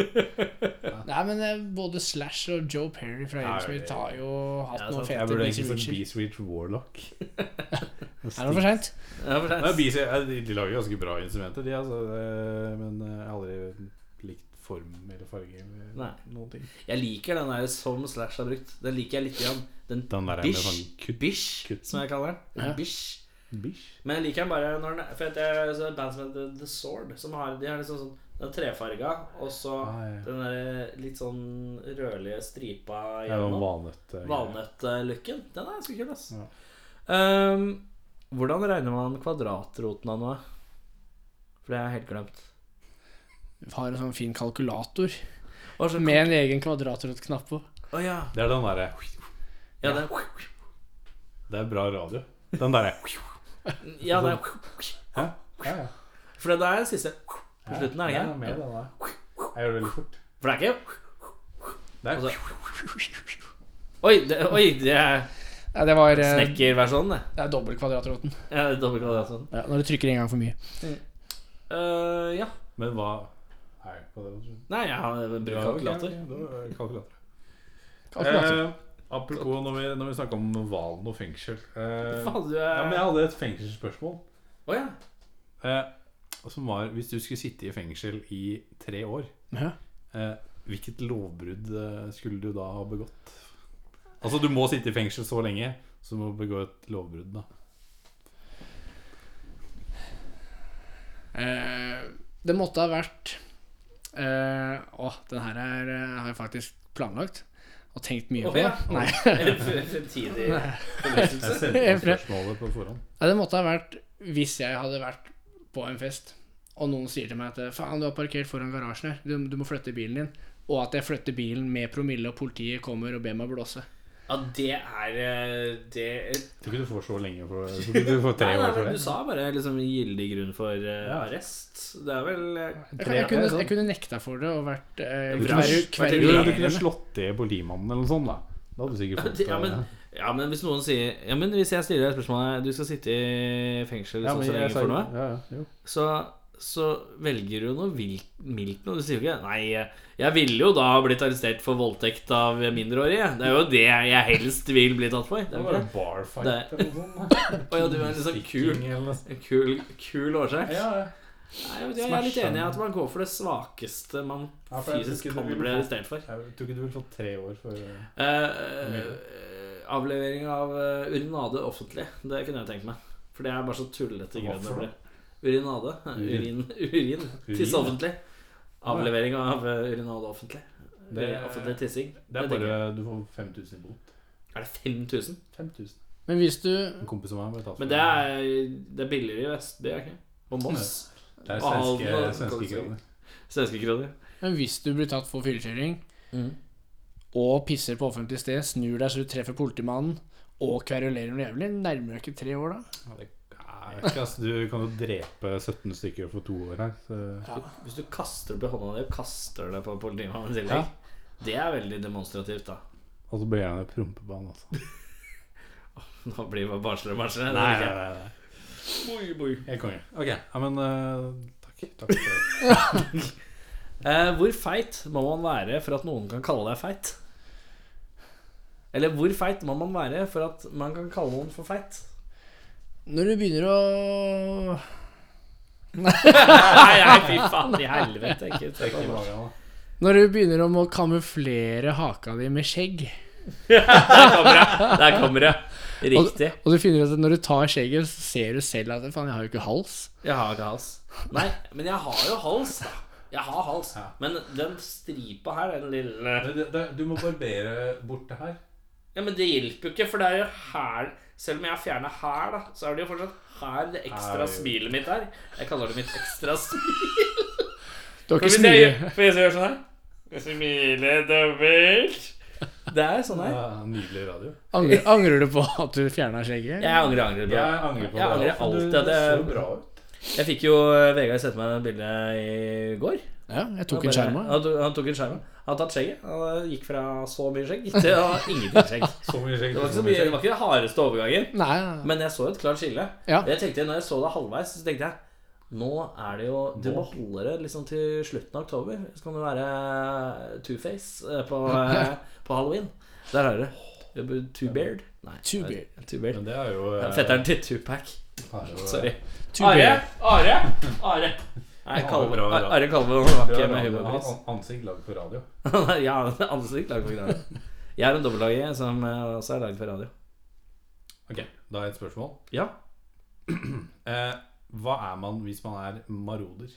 S4: Nei, men eh, både Slash og Joe Perry fra
S2: Ja,
S4: Aerosmith
S2: ja, ja.
S4: har jo hatt
S3: Ja,
S4: noen
S3: sant.
S4: fete
S2: Jeg burde egentlig
S4: Beastie
S2: sagt
S4: Ridger.
S2: BC Rich Warlock.
S4: Er det for seint?
S3: ja, for det er-
S2: Nei, BC, eh, de, de lager ganske bra instrumenter, de, altså. eh, Men eh, jeg har aldri likt form eller farge eller
S3: Nei.
S2: noen ting.
S3: Jeg liker den der som Slash har brukt. Den liker jeg litt igjen. Den
S2: Den der er med
S3: bish,
S2: sånn kutt-
S3: bish
S2: kutt.
S3: som jeg kaller den.
S4: Ja.
S3: Bish.
S2: Bish.
S3: Men jeg liker den bare når den er For at det er så et band som heter The Sword, som har De har liksom sånn Den er trefarga, og så
S2: Ah, ja.
S3: den der litt sånn rødlige stripa
S2: Det er noen
S3: gjennom.
S2: valnøtt. eh,
S3: Valnøttløkken. Den er ganske kul, ass.
S2: Ja.
S3: Ehm, hvordan regner man kvadratroten av noe? For det har jeg helt glemt.
S4: Har en sånn fin kalkulator
S3: Å, så-
S4: med en egen kvadratrotknapp på.
S3: Å, ja.
S2: Det er den derre
S3: Ja, det,
S2: Det er bra radio. Den derre
S3: ja, det
S2: Hæ? Ja, ja.
S3: For det er den siste på slutten, er det
S2: Ja, med
S3: ikke?
S2: den der. Jeg gjør det veldig fort.
S3: For det er ikke
S2: Det er,
S3: Altså- Oi, det, oi, det er
S4: Ja, det var eh, Det
S3: snekkerversjonen, det.
S4: er dobbel kvadratroten.
S3: Ja, det er dobbelt kvadratroten.
S4: Ja, når du trykker en gang for mye.
S3: Eh, ja.
S2: men hva Nei, hva det var
S3: Nei, jeg har brukt kalkulator.
S2: Ja, det var kalkulator.
S4: Kalkulator.
S2: Eh, apropos når vi, når vi snakker om hvalen og fengsel eh,
S3: Faen, du
S2: ja, men Jeg
S3: er Å
S2: hadde et fengselsspørsmål.
S3: ja.
S2: Eh, som var Hvis du skulle sitte i fengsel i tre år,
S4: Ja.
S2: eh, hvilket lovbrudd eh, skulle du da ha begått? Altså, du må sitte i fengsel så lenge, så du må begå et lovbrudd, da.
S4: Eh, det måtte ha vært eh, Å, den her er, eh, har jeg faktisk planlagt og tenkt mye
S3: Å,
S4: på.
S3: ja.
S4: Nei.
S3: Eller f- Fremtidig
S2: Jeg
S3: forlystelse.
S2: sendte deg spørsmålet på forhånd.
S4: Nei, det måtte ha vært hvis jeg hadde vært på en fest, og noen sier til meg at faen, du har parkert foran garasjen her, du, du må flytte bilen din, og at jeg flytter bilen med promille, og politiet kommer og ber meg blåse.
S3: Ja, det er eh, det
S2: Tror ikke du får så lenge for jeg Tror ikke du får tre
S3: Nei, nei,
S2: år for
S3: men Du
S2: det.
S3: sa bare liksom gyldig grunn for eh, arrest. Det er vel eh,
S4: Jeg, kan- jeg, kunne, jeg kunne nekta for det og vært eh,
S3: Vrasj.
S4: kveru-
S2: Jo,
S3: Vært en
S2: Du
S4: kverulerende.
S2: kunne slått det politimannen eller noe sånt, da. Da hadde du sikkert fått eh,
S3: ja, men, ja, men hvis noen sier Ja, men hvis jeg stiller deg spørsmålet Du skal sitte i fengsel sånn så lenge for noe.
S2: ja, ja, jo.
S3: så, så velger du noe vilt, mildt noe. Du sier jo ikke Nei, eh, jeg ville jo da ha blitt arrestert for voldtekt av mindreårige. Det er jo det jeg helst vil bli tatt for. Det
S2: Det
S3: er jo
S2: var
S3: ikke
S2: en
S3: det.
S2: barfight
S3: Det-
S2: eller noe sånt. da.
S3: Å ja, du er liksom kul.
S2: Stikking eller noe sånt.
S3: Kul, kul årsak.
S2: Ja, ja.
S3: Nei, jeg, vet ikke, jeg er litt enig i at man går for det svakeste man
S2: Ja, for jeg tror
S3: fysisk
S2: ikke du
S3: kan
S2: vil
S3: bli
S2: få-
S3: arrestert for.
S2: Jeg tror ikke du vil få tre år for Jeg
S3: Eh, eh, avlevering av eh, urinade offentlig. Det kunne jeg tenkt meg. For det er bare så tullete
S2: Hva
S3: grunn det
S2: for
S3: blir. Urinade. Urin.
S2: Urin.
S3: Urin. Tiss
S2: ja.
S3: offentlig. Avlevering av eh, urinade offentlig. Det
S2: Det-
S3: er offentlig tissing.
S2: Det er
S3: tenker
S2: bare Du får 5000 i bot.
S3: Er det 5000?
S2: 5000.
S4: Men hvis du
S2: En kompis av meg ble tatt for
S3: Men det er, det er billigere i Vestby, er det ikke? Og Moss.
S2: Det er
S3: Alva,
S2: svenske,
S3: kan du
S2: svenske
S3: si.
S2: kroner.
S3: Svenske kroner.
S4: Men hvis du blir tatt for fyllekjøring
S2: Mm.
S4: og pisser på offentlig sted, snur deg så du treffer politimannen og kverulerer noe jævlig, nærmer du deg ikke tre år da?
S2: Ja, det er ikke, altså, du kan jo drepe 17 stykker for to år her. Så.
S3: Hvis du kaster opp i hånda di og kaster det på politimannen i
S2: Ja.
S3: tillegg, det er veldig demonstrativt, da.
S2: Og så blir jeg en prompebane, altså.
S3: Nå blir det bare barnsligere og barnsligere.
S2: Nei, nei,
S3: det liker
S2: nei. nei.
S3: jeg. Boi, boi.
S2: Jeg er konge. Ok, ja, men eh, takk. takk for det.
S3: Eh, hvor feit må man være for at noen kan kalle deg feit? Eller hvor feit må man være for at man kan kalle noen for feit?
S4: Når du begynner å
S3: Nei, nei, fy faen i helvete. Ikke,
S2: Det er ikke
S3: bra.
S2: bra, da.
S4: Når du begynner om å kamuflere haka di med skjegg,
S3: Der kommer det. Der kommer det. Riktig.
S4: og du finner ut at når du tar skjegget, så ser du selv at faen, jeg har jo ikke hals.
S3: Jeg har ikke hals. Nei, men jeg har jo hals, da. Jeg har hals.
S2: Ja.
S3: Men den stripa her, den lille
S2: Men det- det- Du må barbere bort det her.
S3: Ja, men det hjelper jo ikke, for det er jo her Selv om jeg har fjerna her, da, så er det jo fortsatt her det ekstra
S2: Her.
S3: smilet mitt er. Jeg kaller det mitt ekstra smil.
S4: Du har ikke
S3: Hvis jeg,
S4: smil.
S3: gjør- hvis jeg gjør sånn her Jeg Smiler dobbelt Det er sånn her
S2: Ja, nydelig radio.
S4: Angrer, angrer du på at du fjerna skjegget?
S3: Jeg angrer, angrer bra
S2: Jeg angrer på
S3: Jeg angrer
S2: det. for
S3: alltid
S2: Du
S3: at
S2: ser
S3: jeg-
S2: jo bra ut.
S3: Jeg fikk jo eh, Vegard sette meg det bildet i går
S4: Ja,
S3: Han
S4: jeg tok en
S3: bare-
S4: skjerm av.
S3: han, tok- han tok en skjerm Han har tatt skjegget Han gikk fra så mye skjegg Til å ha ingenting skjegg Det
S2: Så mye skjegg.
S3: var ikke
S2: så
S3: så
S2: mye
S3: mye Det
S2: skjegg.
S3: var ikke den hardeste overgangen
S4: Nei, nei.
S3: Men jeg så et klart skille
S4: Ja.
S3: Jeg tenkte Når jeg så det halvveis Så tenkte jeg Nå er det jo Du må holde det liksom til slutten av oktober Så kan det være Two-Face eh, på, eh, på Halloween Der har du det Two-Beard Nei
S4: Two-Beard.
S3: Two-Beard
S2: Men det er jo eh,
S3: Fetteren til Tupac.
S2: er jo-
S3: Sorry. Are!
S4: Tuber.
S3: Are! Are! Nei, Kalve.
S2: Bra, bra.
S3: Are Kalve var ikke med
S2: Han har
S3: humorpris.
S2: an- Ansikt lagd for radio.
S3: ja, ansikt laget for radio. Jeg er en dobbeltlage som eh, også er laget for radio.
S2: Ok, Da har jeg et spørsmål.
S3: Ja.
S2: Eh, hva er man hvis man er maroder?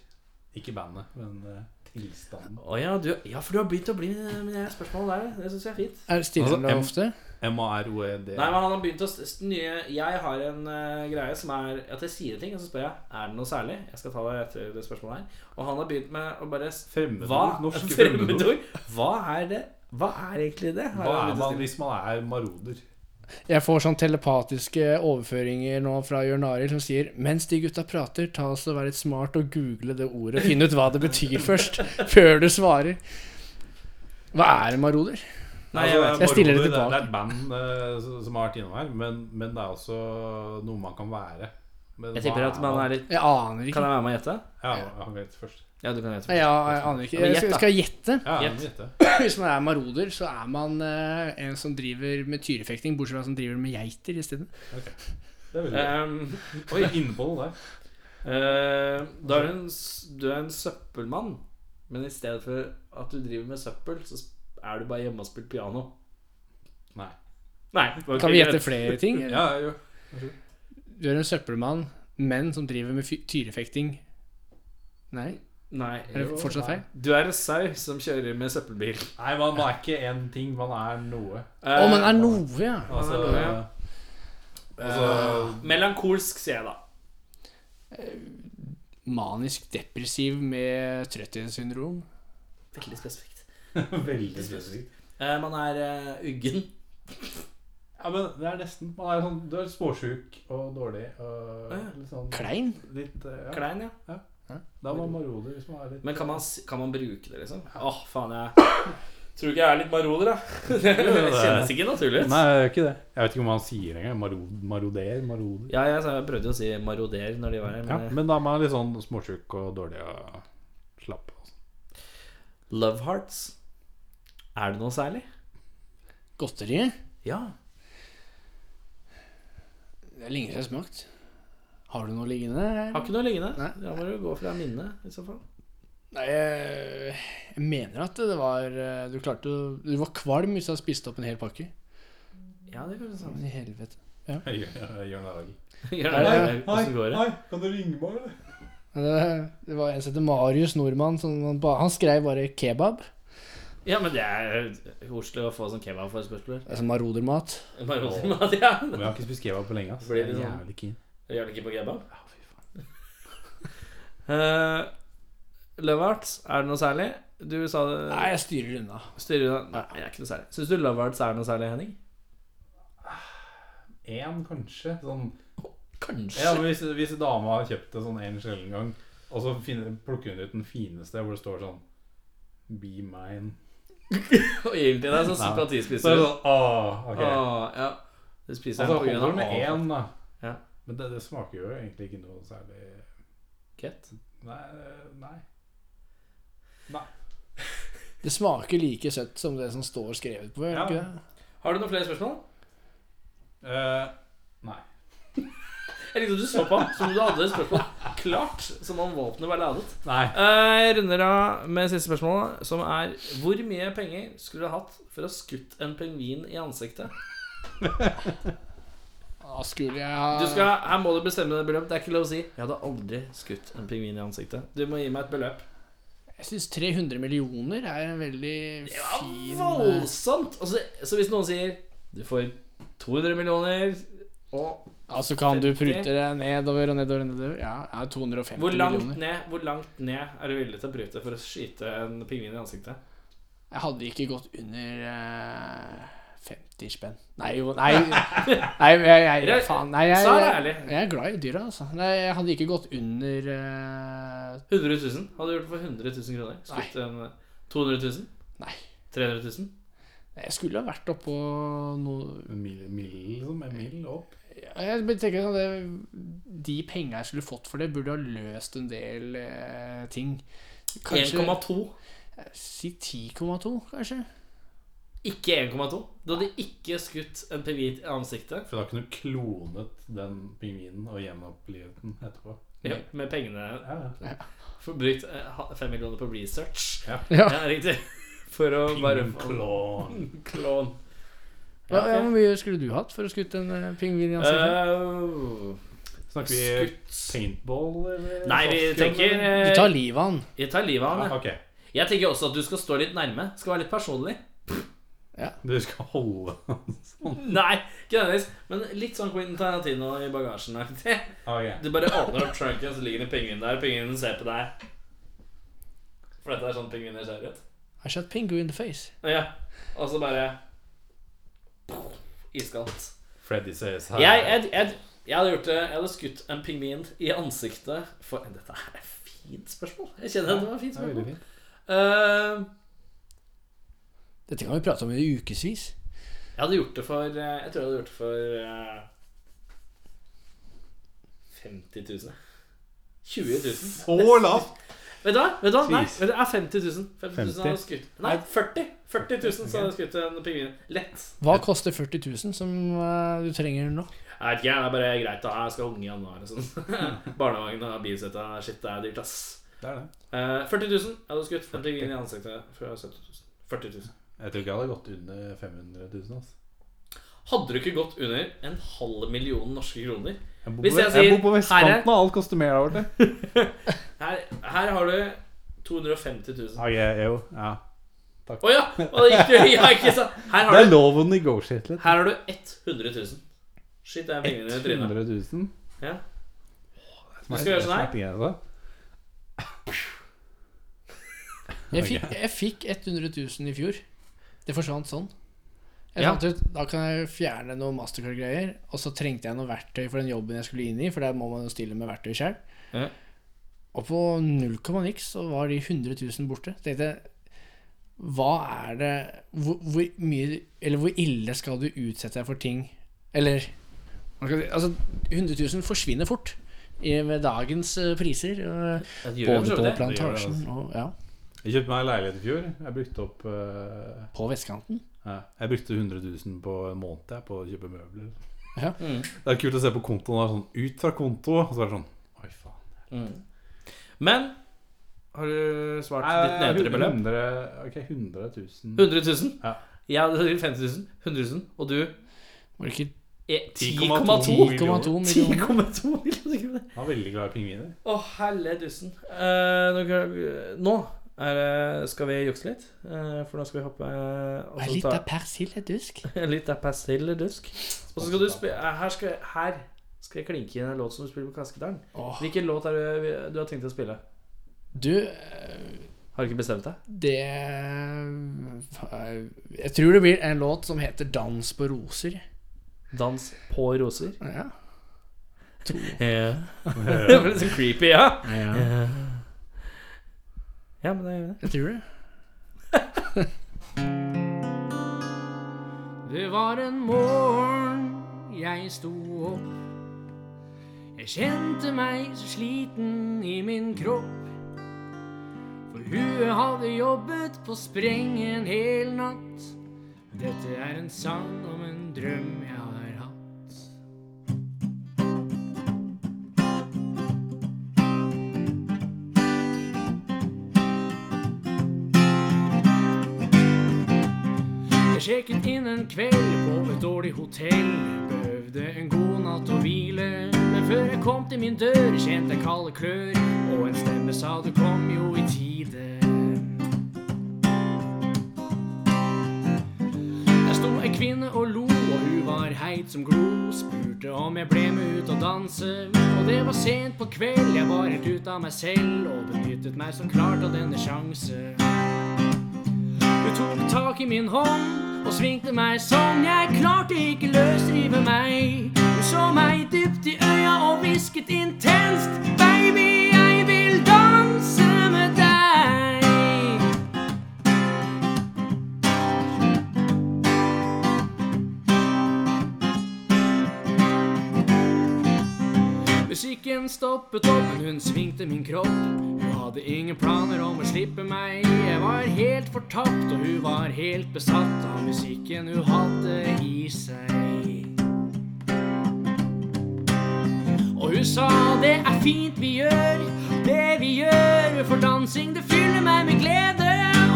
S2: Ikke bandet, men eh, tilstanden.
S3: Å ja, du, ja, for du har begynt å bli eh, Men det er et spørl der, det syns jeg er fint.
S4: Er Stiller du
S2: Altså,
S4: deg
S2: em-
S4: ofte?
S2: M-A-R-O-E-D.
S3: Nei, men han har begynt å s- s- nye Jeg har en eh, greie som er at jeg sier ting, og så spør jeg er det noe særlig. Jeg skal ta det etter det spørsmålet her. Og han har begynt med å bare s-
S2: Fremmedord.
S3: Hva?
S2: Norske fremmedord.
S3: Fremmedord? Hva er det? Hva er egentlig det? Har
S2: Hva
S3: han
S2: er
S3: begynt å
S2: man
S3: si.
S2: hvis man er maroder?
S4: Jeg får sånn telepatiske overføringer nå fra Jørn Arild som sier Mens de gutta prater, ta oss og vær litt smart og google det ordet. og Finn ut hva det betyr først, før du svarer. Hva er en maroder?
S3: Nei, jeg vet
S2: Altså,
S3: ikke.
S4: Jeg stiller det
S2: maroder, Det er
S4: tilbake.
S2: et band eh, som- som har vært innom her, men, men det er også noe man kan være. Men
S3: Jeg
S2: hva
S3: tipper at man er litt
S4: Jeg aner
S3: Kan
S4: ikke.
S3: jeg være med og gjette?
S2: Ja, han vet først.
S3: Ja, du kan gjette.
S4: Nei, ja, jeg aner ikke. Jeg skal, skal jeg gjette.
S2: Ja,
S3: Gjett.
S2: han vet det.
S4: Hvis man er maroder, så er man eh, en som driver med tyrefekting, bortsett fra at man driver med geiter isteden.
S2: det er veldig-
S3: Ehm,
S2: Eh, Oi, inne på noe der.
S3: eh, da er du, en, s- du er en søppelmann, men i stedet for at du driver med søppel, så s- er du bare hjemme og spiller piano.
S2: Nei.
S3: Nei. det var
S4: Kan
S3: ikke
S4: vi gjette
S3: greit.
S4: flere ting? eller?
S2: Ja, jo.
S4: Du er en søppelmann, men som driver med fy- tyrefekting. Nei?
S3: Nei.
S4: Er det fortsatt feil?
S3: Du er en sau som kjører med søppelbil.
S2: Nei, man, man er ikke én ting, man er noe.
S4: Å,
S3: Eh,
S4: men det er noe, ja.
S2: Altså,
S3: Man er noe, ja. Ah.
S2: altså
S3: Melankolsk, sier jeg da.
S4: manisk depressiv med trøtthetssyndrom.
S3: Veldig spesifikt.
S2: Veldig spesifikt.
S3: Eh, man er eh, uggen.
S2: Ja, men det er nesten Man er sånn Du er småsjuk og dårlig og
S3: Ja.
S2: litt sånn
S4: Klein?
S2: Litt eh, ja.
S3: Klein, ja.
S2: Da er man maroder hvis man er litt
S3: Men kan man, s- kan man bruke det, liksom? Åh, faen, jeg tror ikke jeg er litt maroder, da. Det kjennes ikke naturlig ut.
S2: Nei, det er ikke det. Jeg vet ikke om man sier det engang. Marod, maroder, maroder.
S3: Ja, jeg, sa- jeg prøvde jo å si maroder når de var her,
S2: Ja,
S3: men eh,
S2: men da er man litt sånn småsjuk og dårlig og slapp. og sånn.
S3: Love hearts, er det noe særlig?
S4: Godteri?
S3: Ja.
S4: Det er lenge siden jeg har smakt. Har du noe liggende?
S3: Har ikke noe liggende.
S4: Nei.
S3: Da må du gå fra minnet, i så fall.
S4: Nei, jeg, jeg mener at det var eh, Du klarte å Du var kvalm hvis du hadde spist opp en hel pakke.
S3: Ja, det går sånn.
S4: Men i helvete.
S2: Jeg gjør- jeg gjør narr.
S3: Gjør det, hvordan går det?
S2: kan du ringe meg, eller?
S4: Men Det, det var en som heter Marius Nordmann. Som, han ba- han skrev bare 'kebab'.
S3: Ja, men det er koselig å få sånn kebab for spørsmål.
S4: Det er som marodermat.
S3: Maroder mat, ja.
S2: Men jeg har ikke spist kebab på lenge. ass.
S3: Blir
S2: Jeg
S3: det
S2: er
S3: sånn?
S2: Jævlig keen.
S3: Gjør det ikke på kebab?
S2: Ja, fy faen.
S3: Uh, love hearts, er det noe særlig? Du sa det
S4: Nei, jeg styrer unna.
S3: Styrer du Nei, det er ikke noe særlig. Syns du love hearts er noe særlig, Henning?
S2: En, kanskje. Sånn
S3: Kanskje.
S2: Ja, men hvis, hvis dama har kjøpt det sånn en sjelden gang, og så finner, plukker hun ut den fineste hvor det står sånn Be mine.
S3: Og gir den til deg, så
S2: Nei. Så
S3: sympatispiser
S2: er
S3: du.
S2: det sånn Åh, ok.
S3: Åh, ja. Du
S2: Så
S3: spiser
S2: altså,
S3: den Ah. på grunn
S2: holder
S3: av
S2: du med
S3: avfall.
S2: én, da.
S3: Ja.
S2: Men det, det smaker jo egentlig ikke noe særlig
S3: Kett.
S2: Nei. nei.
S4: Det smaker like søtt som det som står skrevet på.
S2: Ja.
S4: Ja. Ikke? det?
S3: Har du noen flere spørsmål?
S2: Eh, nei.
S3: Jeg likte at du så på han som om du hadde et spørsmål. Klart som om våpenet var ladet.
S2: nei.
S3: Eh, Jeg runder av med siste spørsmål, som er Hvor mye penger skulle du hatt for å ha skutt en pingvin i ansiktet?
S4: Da skulle jeg ha
S3: Du skal, her må du bestemme deg beløp. Det er ikke lov å si 'Jeg hadde aldri skutt en pingvin i ansiktet'. Du må gi meg et beløp.
S4: Jeg syns 300 millioner er en veldig
S3: Det var
S4: fin eh,
S3: voldsomt! Altså, så hvis noen sier 'Du får 200 millioner' og
S4: Altså kan du prute deg nedover og nedover og nedover. Ja, ja 250
S3: hvor langt,
S4: millioner.
S3: ned, hvor langt ned er du villig til å prute for å skyte en pingvin i ansiktet?
S4: Jeg hadde ikke gått under eh, 50 spenn. Nei, jo Nei, nei jeg, jeg, faen. Nei, jeg,
S3: Så er det
S4: jeg,
S3: ærlig.
S4: jeg er glad i dyra, altså. Nei, jeg hadde ikke gått under eh,
S3: 100 000. Hadde du gjort det for 100 000 kroner? Skutt en eh, 200 000?
S4: Nei.
S3: 300 000?
S4: Jeg skulle ha vært oppå noe
S2: Mil, mil, liksom. En mil opp.
S4: Ja, Jeg bare tenker sånn det, De penga jeg skulle fått for det, burde ha løst en del eh, ting.
S3: 1,2.
S4: Si 10,2, kanskje.
S3: Ikke 1,2. Du hadde ikke skutt en pingvin i ansiktet
S2: For da kunne du klonet den pingvinen og gjenopplivet den etterpå.
S3: ja, med pengene
S2: Ja, ja.
S3: for Brukt 5 millioner på research.
S2: Ja.
S4: Ja.
S3: ja riktig. For å bare
S2: Pingvin klon.
S3: Klon.
S4: Hva,
S3: Ja, ok.
S4: ja, Hvor mye skulle du hatt for å skutte en eh, pingvin i ansiktet?
S3: Eh,
S2: Snakker vi
S3: skutt
S2: paintball, eller?
S3: Nei, vi
S2: Softgun,
S3: tenker
S2: eller?
S4: du
S3: eh,
S4: tar livet av han.
S3: Jeg tar livet av han.
S2: Ja, Ah, ok.
S3: jeg. Jeg tenker også at du skal stå litt nærme. Skal være litt personlig.
S2: Du skal holde
S3: Nei, ikke nødvendigvis. Men litt sånn Quentin Tarantino i bagasjen. aktig.
S2: Ah, Ok.
S3: Du bare åpner opp trunken, så ligger det en pingvin der. Pingvinen ser på deg. For dette er sånn pingviner ser ut.
S4: I shot penguin in the face.
S3: Ja. Og så bare Iskaldt.
S2: Freddy says hi.
S3: Jeg, jeg, jeg, jeg hadde gjort det Jeg hadde skutt en pingvin i ansiktet for Dette er et fint spørsmål. Jeg kjenner at det var et fint
S2: Det er veldig
S3: spørsmål.
S2: fint.
S3: Eh,
S4: Dette kan vi prate om i ukevis.
S3: jeg hadde gjort det for eh, Jeg tror jeg hadde gjort det for eh, 50 000. 20 000.
S2: Så lavt!
S3: Vet du hva? Vet du hva? Nei,
S2: Jeez.
S3: vet du, det er 50 000. 50 000 hadde jeg skutt. Nei, 40 40 000 så hadde jeg skutt en pingvin. Lett.
S4: Hva koster 40 000 som eh, du trenger nå?
S3: Jeg vet ikke, det er bare greit. Da. Jeg skal ha unge i januar og sånn. Barnehagen og bilsetta. Shit, det er dyrt, ass.
S2: Det er det.
S3: Eh, 40 000. Jeg hadde skutt en pingvin i ansiktet fra 70 000. 40 000.
S2: Jeg tror ikke jeg hadde gått under 500 000. Altså.
S3: Hadde du ikke gått under en halv million norske kroner
S2: Jeg bor
S3: Hvis
S2: på-
S3: jeg
S2: jeg
S3: sier,
S2: bor på
S3: her er-
S2: vestkanten, og alt koster mer der borte.
S3: Her, her har du 250 000. Å
S2: Okay, Ah, jo, ja.
S3: ja! Og det gikk du, ja, ikke sant? Her
S2: Det
S3: har
S2: er
S3: du,
S2: lov å negotiate litt.
S3: her har du 100 000. Shit, det er pengene i
S2: 100
S3: trynet.
S2: 000.
S3: Ja.
S2: Smart-
S3: skal gjøre sånn her.
S2: smart greie, altså.
S4: Jeg fikk, jeg fikk 100 000 i fjor. Det forsvant sånn. Jeg
S3: Ja.
S4: fant ut, Da kan jeg fjerne noen mastercard-greier. Og så trengte jeg noe verktøy for den jobben jeg skulle inn i, for der må man jo stille med verktøy sjøl.
S3: Ja.
S4: Og på null komma niks så var de 100 000 borte. Så tenkte jeg Hva er det hvor, hvor mye Eller hvor ille skal du utsette deg for ting Eller hva skal jeg si, Altså, 100 000 forsvinner fort i, med dagens eh, priser. og-
S3: Det gjør jo
S4: Både
S3: for
S4: på
S3: så vidt det. altså.
S2: plan- gjør det,
S4: plantasjen og ja,
S2: Jeg kjøpte meg en leilighet i fjor. Jeg brukte opp eh,
S4: på vestkanten.
S2: ja, Jeg brukte 100 000 på en måned jeg, på å kjøpe møbler.
S3: Mm,
S2: Det er kult å se på kontoen der sånn ut fra konto, og så er det sånn Oi, faen.
S3: mm. Men har du svart ditt
S2: Nei,
S3: nedre beløp?
S2: 100, ok, 100 000.
S3: 100 000?
S2: Ja.
S3: Jeg hadde sagt 50 000, 100 000, og du
S4: Var det ikke
S3: er
S2: 10,2.
S3: 10,2?
S4: 10,2 millioner?
S3: 10,2 millioner kroner.
S2: Han er veldig glad i pingviner.
S3: Å, helle dussen. Eh, nå kan- nå er, det- skal vi jukse litt, eh, for nå skal vi hoppe eh, og så
S4: Hva er litt
S3: ta-
S4: av persilledusk?
S3: Litt av persilledusk. Og så skal du spille Her skal, jeg- her skal jeg klinke inn en låt som du spiller på Kaskedalen.
S4: Åh.
S3: Hvilken låt er det du har tenkt å spille?
S4: Du, eh,
S3: Har du ikke bestemt deg?
S4: det Jeg tror det blir en låt som heter 'Dans på roser'.
S3: Dans på roser?
S4: Ja.
S3: Ja. det ble så creepy, ja.
S4: Jeg
S3: Ja, men det gjør vi det.
S4: tror det. Det var en morgen jeg sto opp. Jeg kjente meg så sliten i min kropp. For huet hadde jobbet på spreng en hel natt. Dette er en sang om en drøm jeg har hatt. Jeg sjekket inn en kveld på et dårlig hotell. Behøvde en god natt å hvile. Men før jeg kom til min dør, kjente jeg kalde klør. Og en stemme sa du kom jo i tide. Der sto ei kvinne og lo, og hun var heit som glo. Spurte om jeg ble med ut og danse. Og det var sent på kveld, jeg var helt ute av meg selv. Og benyttet meg som klart av denne sjanse. Hun tok tak i min hånd og svingte meg sånn. Jeg klarte ikke løsrive meg. Hun så meg dypt i øya og hvisket intenst. Baby, jeg vil danse med deg. Musikken stoppet opp, men hun svingte min kropp. Hun hadde ingen planer om å slippe meg. Jeg var helt fortapt, og hun var helt besatt av musikken hun hadde i seg. Og hun sa det er fint vi gjør, det vi gjør for dansing, det fyller meg med glede.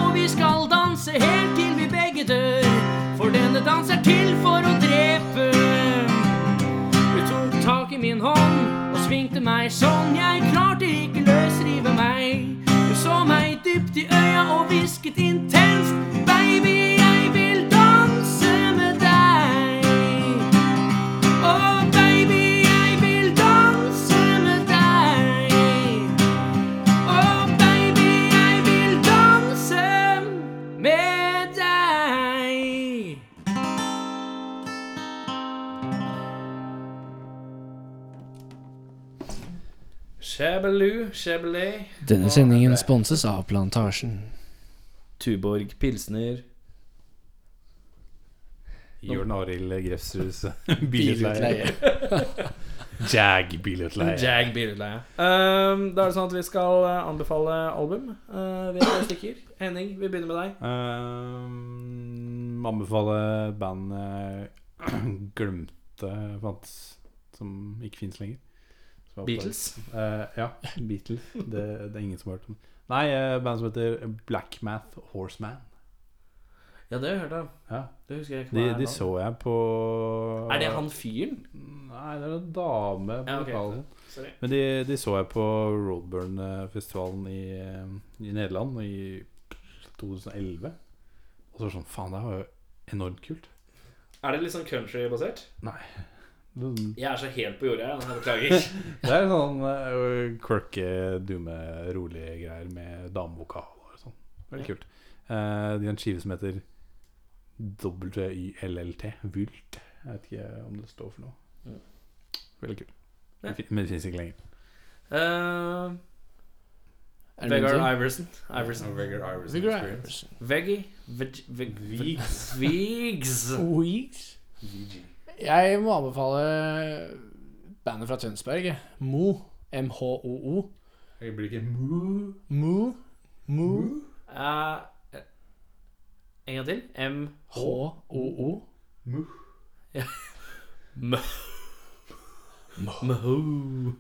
S4: Og vi skal danse helt til vi begge dør, for denne dans er til for å drepe. Hun tok tak i min hånd og svingte meg sånn. Jeg klarte ikke løsrive meg. Hun så meg dypt i øya og hvisket intenst. Baby, jeg vil danse med deg. Å, Oh, baby, jeg vil danse med deg. Å, Oh, baby, jeg vil danse med deg.
S3: Shabeloo, shabelee.
S4: Denne sendingen sponses av Plantasjen.
S3: Tuborg, pilsner.
S2: Jørn Arild eh, Grefsruds bilutleie. Jag bilutleie.
S3: Jag bilutleie. Um, da er det sånn at vi skal eh, anbefale album. Eh, vi er tre stykker. Henning, vi begynner med deg.
S2: Um, anbefaler bandet Glemte fantes, som ikke fins lenger. Som var på-
S3: Beatles.
S2: Eh, ja, Beatles. Det, det er ingen som har hørt om Nei, eh, band som heter Blackmath Horseman.
S3: Ja, det har jeg hørt om.
S2: Ja.
S3: Det husker jeg ikke.
S2: De,
S3: hva er
S2: de
S3: nå.
S2: så jeg på
S3: Er det han fyren?
S2: Nei, det er en dame på
S3: Ja, ok.
S2: lokalen.
S3: Sorry.
S2: Men de, de så jeg på Roadburn-festivalen i, eh, i Nederland i 2011. Og så var det sånn Faen, det her var jo enormt kult.
S3: Er det litt sånn countrybasert?
S2: Det
S3: Jeg er så helt på jordet, jeg. jeg Beklager.
S2: det er sånn eh, quirky, dumme, rolige greier med damevokal og sånn. Veldig kult. Eh, de har en skive som heter W-Y-L-L-T. Vult. Jeg vet ikke om det står for noe.
S3: Mm.
S2: Veldig kul.
S3: Ja.
S2: Det fin- Men det fins ikke lenger.
S3: Eh,
S4: Er det min
S3: Vegard
S4: tur?
S3: Iversen. Iversen.
S2: Regular Iverson
S4: Viggo
S2: Experience.
S4: Iversen.
S3: Veggie. Veg... Veg... Veg... Vigs.
S4: Weeks. Jeg må anbefale bandet fra Tønsberg. jeg. Mo. M-H-O-O.
S2: Jeg blir ikke moo.
S4: Mo. Mo.
S3: Eh, en gang til. M...
S4: H-O-O.
S3: Oh. Moho.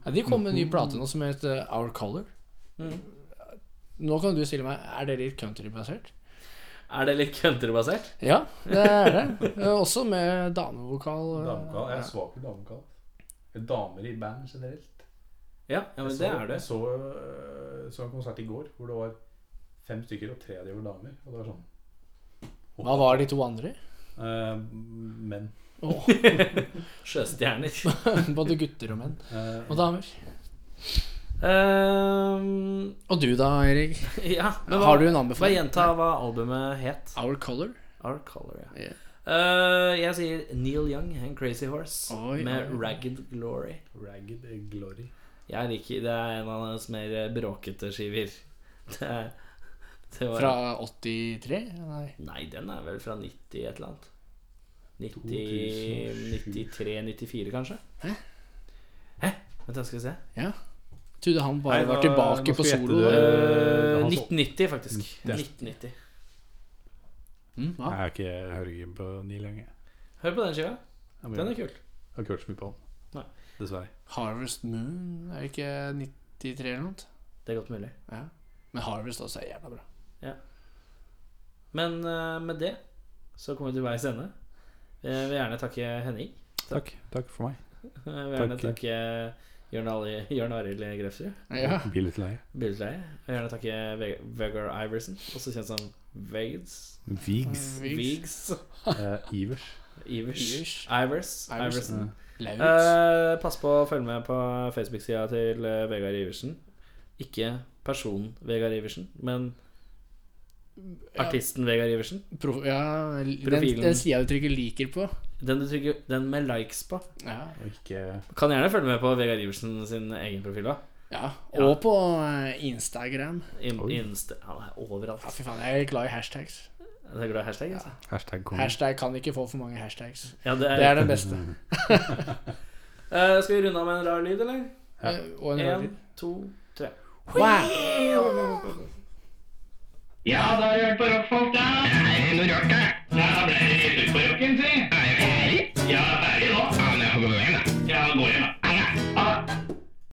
S4: Ja, de kom med en ny plate nå som heter eh, Our Color.
S3: Mm.
S4: Nå kan du stille meg Er det litt countrybasert?
S3: Er det litt countrybasert?
S4: Ja, det er det. Eh, Også med damevokal. eh,
S2: Damekall. Jeg er svak for damekall. Damer i band generelt.
S3: Ja, ja, men
S2: Jeg
S3: det
S2: så-
S3: er det.
S2: Jeg så, øh, så en konsert i går hvor det var fem stykker, og tre av de var damer. Og det var sånn
S4: Hva var de to andre?
S2: øh, Menn.
S4: Åh,
S3: Sjøstjerner.
S4: både gutter og menn.
S2: Øh,
S4: Og damer.
S3: Eh,
S4: Og du da, Erik?
S3: ja, men hva,
S4: Har du en
S3: Bare
S4: anbefaling?
S3: gjenta hva albumet het.
S4: Our Color?
S3: Our Color, ja.
S4: Ja.
S3: Eh, jeg sier Neil Young and Crazy Horse
S4: Oi,
S3: med
S4: oi.
S3: Ragged Glory.
S2: Ragged Glory.
S3: Jeg liker Det er en av hans mer eh, bråkete skiver. Det, er- det var,
S4: Fra 83? Nei.
S3: Nei, den er vel fra 90 et eller annet.
S2: 2007.
S3: 93-94, kanskje? Hæ? Hæ? Vent, da skal vi se.
S4: Trodde han bare
S2: Nei,
S4: var
S2: nå-
S4: tilbake
S2: nå
S4: på
S2: skal jeg gjette
S4: solo.
S2: det.
S4: da.
S2: Eh,
S3: Eh,
S2: han så-
S3: 1990, faktisk.
S2: Det er-
S3: 1990.
S4: Mm, hva?
S2: Jeg er ikke jeg hører ikke på Neil Young. jeg.
S3: Hør på den skiva.
S2: Jeg må
S3: Den
S2: gjøre
S3: er
S2: det.
S3: kul.
S2: Jeg har ikke hørt så mye på han.
S3: Nei.
S2: Dessverre.
S4: Harvest Moon er det ikke 93 eller noe?
S3: Det er godt mulig.
S4: Ja. Men Harvest også er jævla bra.
S3: Men eh, med det så kommer vi til veis ende. Jeg vil gjerne takke Henning.
S2: Takk. Takk for meg.
S3: Jeg vil gjerne
S2: Takk.
S3: takke Jørn Ali- Jørn Arild Grefsrud.
S4: Ja.
S2: Blir litt lei.
S3: Billedleie. Jeg vil gjerne takke Ve- Vegard Iversen, også kjent som Vegs.
S2: Vigs.
S4: Viggs.
S3: Vigs.
S2: Eh, Ivers.
S3: Ivers. Ivers.
S4: Ivers.
S3: Iversen.
S4: Iversen.
S2: Eh,
S4: Lauritz.
S3: Eh, pass på å følge med på Facebook-sida til eh, Vegard Iversen. Ikke personen Vegard Iversen, men artisten Vegard Iversen.
S4: Pro, ja, den,
S3: Profilen.
S4: den sida du trykker 'liker' på.
S3: Den, du trykker, den med likes på.
S4: Ja.
S2: og ikke
S3: Kan gjerne følge med på Vegard Iversen sin egen profil òg.
S4: ja.
S3: Ja.
S4: Og på eh, Instagram.
S3: In,
S2: Oi.
S3: insta, han er overalt.
S4: Ja, fy faen, jeg er glad i hashtags.
S3: Jeg er glad i hashtag. Altså.
S2: hashtag kongen.
S4: Hashtag kan ikke få for mange hashtags.
S3: Ja, det er,
S4: Det er det beste.
S3: Eh, skal vi runde av med en rar lyd, eller?
S2: Ja.
S4: Eh, Og en rar
S3: Én,
S4: lyd.
S3: to, tre.
S4: Wow.
S8: Ja, da har du hørt på rockfolk, da.